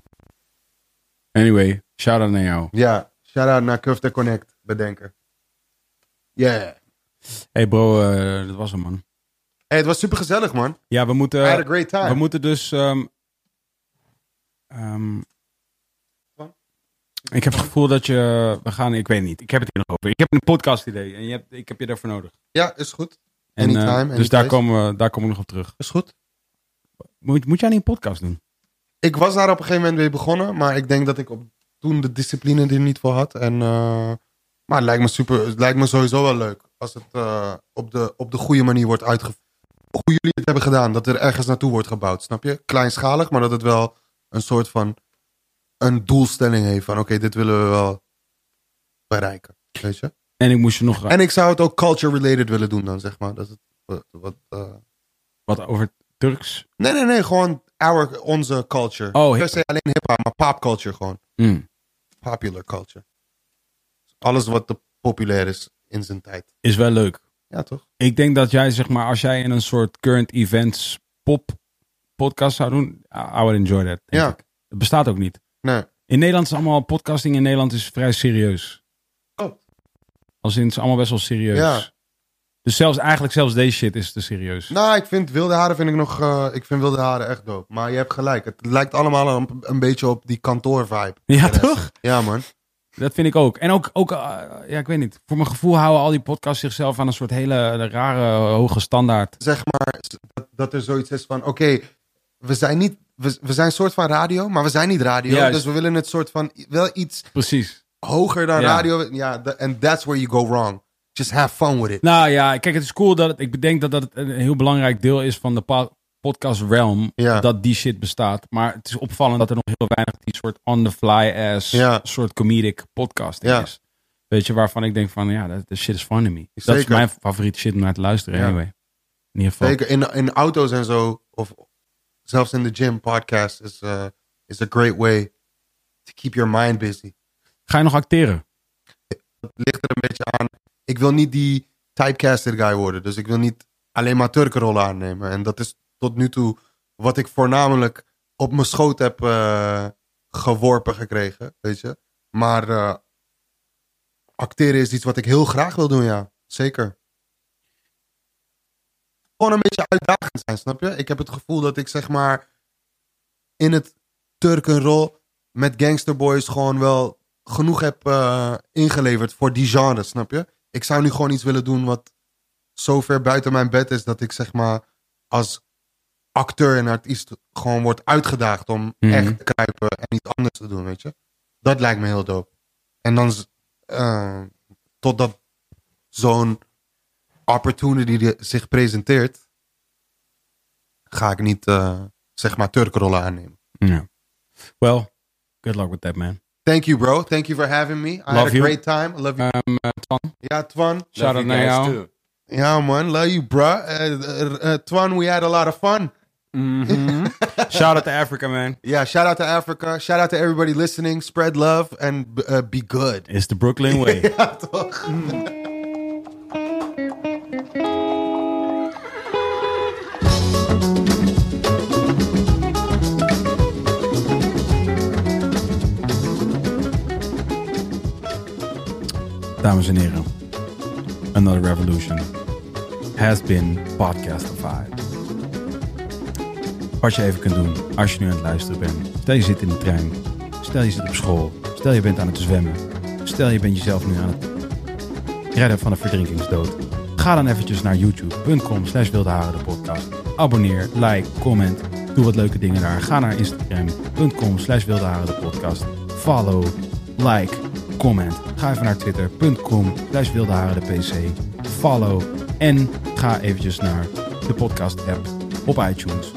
S1: Anyway, shout out naar jou.
S2: Ja, shout-out naar Kufte Connect, bedenken. Yeah.
S1: Hey bro, eh, dat was hem man.
S2: Hey, het was super gezellig, man.
S1: Ja, we moeten,
S2: I had a great time.
S1: we moeten dus. ehm, ehm, ik heb het gevoel dat je. We gaan, ik weet niet. Ik heb het hier nog over. Ik heb een podcast idee en je hebt, ik heb je daarvoor nodig.
S2: Ja, is goed.
S1: En, eh,
S2: Anytime, any
S1: dus daar
S2: place.
S1: komen, we, daar komen we nog op terug.
S2: Is goed.
S1: Moet, moet jij niet een podcast doen?
S2: Ik was daar op een gegeven moment mee begonnen, maar ik denk dat ik op, toen de discipline er niet voor had. En, eh, maar het lijkt me, super, het lijkt me sowieso wel leuk als het eh, op, de, op de goede manier wordt uitgevoerd. Hoe jullie het hebben gedaan, dat er ergens naartoe wordt gebouwd, snap je? Kleinschalig, maar dat het wel een soort van een doelstelling heeft van oké, dit willen we wel bereiken, weet je?
S1: En ik moest je nog
S2: En ik zou het ook culture-related willen doen dan, zeg maar. Dat het, wat, wat, eh,
S1: wat over Turks.
S2: Nee, nee, nee, gewoon our, onze culture.
S1: Oh,
S2: per
S1: hip-
S2: se alleen hip-hop, maar pop culture gewoon.
S1: Mm.
S2: popular culture. Alles wat te populair is in zijn tijd.
S1: Is wel leuk.
S2: Ja, toch?
S1: Ik denk dat jij, zeg maar, als jij in een soort current events pop podcast zou doen, I I would enjoy that. denk
S2: Ja.
S1: ik. Het bestaat ook niet.
S2: Nee.
S1: In Nederland is allemaal podcasting in Nederland is vrij serieus.
S2: Oh.
S1: Als in het is allemaal best wel serieus.
S2: Ja.
S1: Dus zelfs eigenlijk zelfs deze shit is te serieus.
S2: Nou, ik vind wilde haren vind ik nog. eh, ik vind wilde haren echt dope. Maar je hebt gelijk. Het lijkt allemaal een, een beetje op die kantoorvibe.
S1: ja, toch?
S2: Ja, man.
S1: Dat vind ik ook. En ook, ook eh, ja, ik weet niet. Voor mijn gevoel houden al die podcasts zichzelf aan een soort hele eh, rare hoge standaard.
S2: Zeg maar s- dat, dat er zoiets is van: oké, we zijn niet. We, we zijn een soort van radio, maar we zijn niet radio.
S1: Juist.
S2: Dus we willen het soort van i- wel iets
S1: Precies.
S2: hoger dan
S1: Ja.
S2: radio. Ja, da- and that's where you go wrong. Just have fun with it.
S1: Nou ja, kijk, het is cool dat het, ik bedenk dat dat het een heel belangrijk deel is van de pa- podcast realm.
S2: Ja.
S1: Dat die shit bestaat. Maar het is opvallend dat er nog heel weinig die soort on the fly ass
S2: Ja.
S1: soort comedic podcast
S2: Ja.
S1: is. Weet je, waarvan ik denk van ja, dat dat shit is funny me. Dat is
S2: Zeker.
S1: mijn favoriete shit om naar te luisteren.
S2: Ja.
S1: Anyway. In ieder geval.
S2: Zeker in, in auto's en zo, of zelfs in de gym, podcast is, eh, is a great way to keep your mind busy.
S1: Ga je nog acteren?
S2: Dat ligt er een beetje aan. Ik wil niet die typecaster guy worden, dus ik wil niet alleen maar Turkenrollen aannemen. En dat is tot nu toe wat ik voornamelijk op mijn schoot heb eh, geworpen gekregen, weet je. Maar eh, acteren is iets wat ik heel graag wil doen, ja. Zeker. Gewoon een beetje uitdagend zijn, snap je? Ik heb het gevoel dat ik zeg maar in het Turkenrol met Gangster Boys gewoon wel genoeg heb eh, ingeleverd voor die genre, snap je? Ik zou nu gewoon iets willen doen wat zo ver buiten mijn bed is dat ik zeg maar als acteur en artiest gewoon wordt uitgedaagd om
S1: Mhm.
S2: echt te kruipen en iets anders te doen, weet je? Dat lijkt me heel dope. En dan z- eh, totdat zo'n opportunity die zich presenteert, ga ik niet eh, zeg maar Turkrollen aannemen.
S1: Ja. Well, good luck with that man.
S2: Thank you, bro. Thank you for having me. I had
S1: Love
S2: a
S1: you.
S2: great time. I love you.
S1: Ehm, eh, Twan,
S2: yeah, Twan.
S1: shout out naar jou.
S2: Yeah, man. Love you, bro. Uh, uh, uh, Twan, we had a lot of fun.
S1: Shout out to Africa man.
S2: Yeah, shout out to Africa. Shout out to everybody listening. Spread love and uh, be good.
S1: It's the Brooklyn way. Dames en heren, Another Revolution has been podcastified. Wat je even kunt doen als je nu aan het luisteren bent. Stel je zit in de trein. Stel je zit op school. Stel je bent aan het zwemmen. Stel je bent jezelf nu aan het redden van de verdrinkingsdood. Ga dan eventjes naar youtube.com slash wildeharen de podcast. Abonneer, like, comment. Doe wat leuke dingen daar. Ga naar instagram.com slash wildeharen de podcast. Follow, like, comment. Ga even naar twitter.com slash wildeharen de pc. Follow en ga eventjes naar de podcast app op iTunes.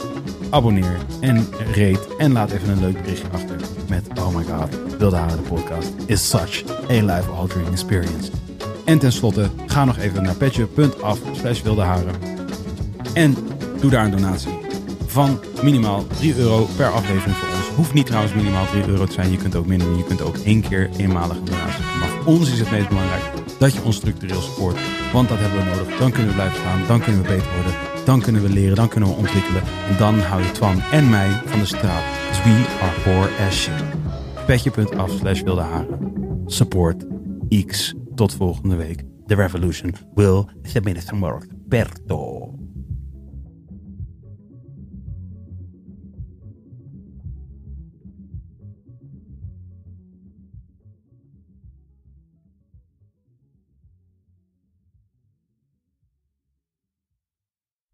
S1: Abonneer en rate en laat even een leuk berichtje achter met Oh my god, Wilde Haren de podcast is such a life-altering experience. En tenslotte, ga nog even naar petje.af slash wildeharen. En doe daar een donatie van minimaal 3 euro per aflevering voor ons. Hoeft niet trouwens minimaal 3 euro te zijn. Je kunt ook minder. Je kunt ook één keer eenmalig een donatie doen. Maar voor ons is het meest belangrijk dat je ons structureel support. Want dat hebben we nodig. Dan kunnen we blijven staan. Dan kunnen we beter worden. Dan kunnen we leren. Dan kunnen we ontwikkelen. En dan hou je Twan en mij van de straat. Dus we are poor as shit. Petje.af slash wilde haren. Support X. Tot volgende week. The revolution will submit some work. Berto.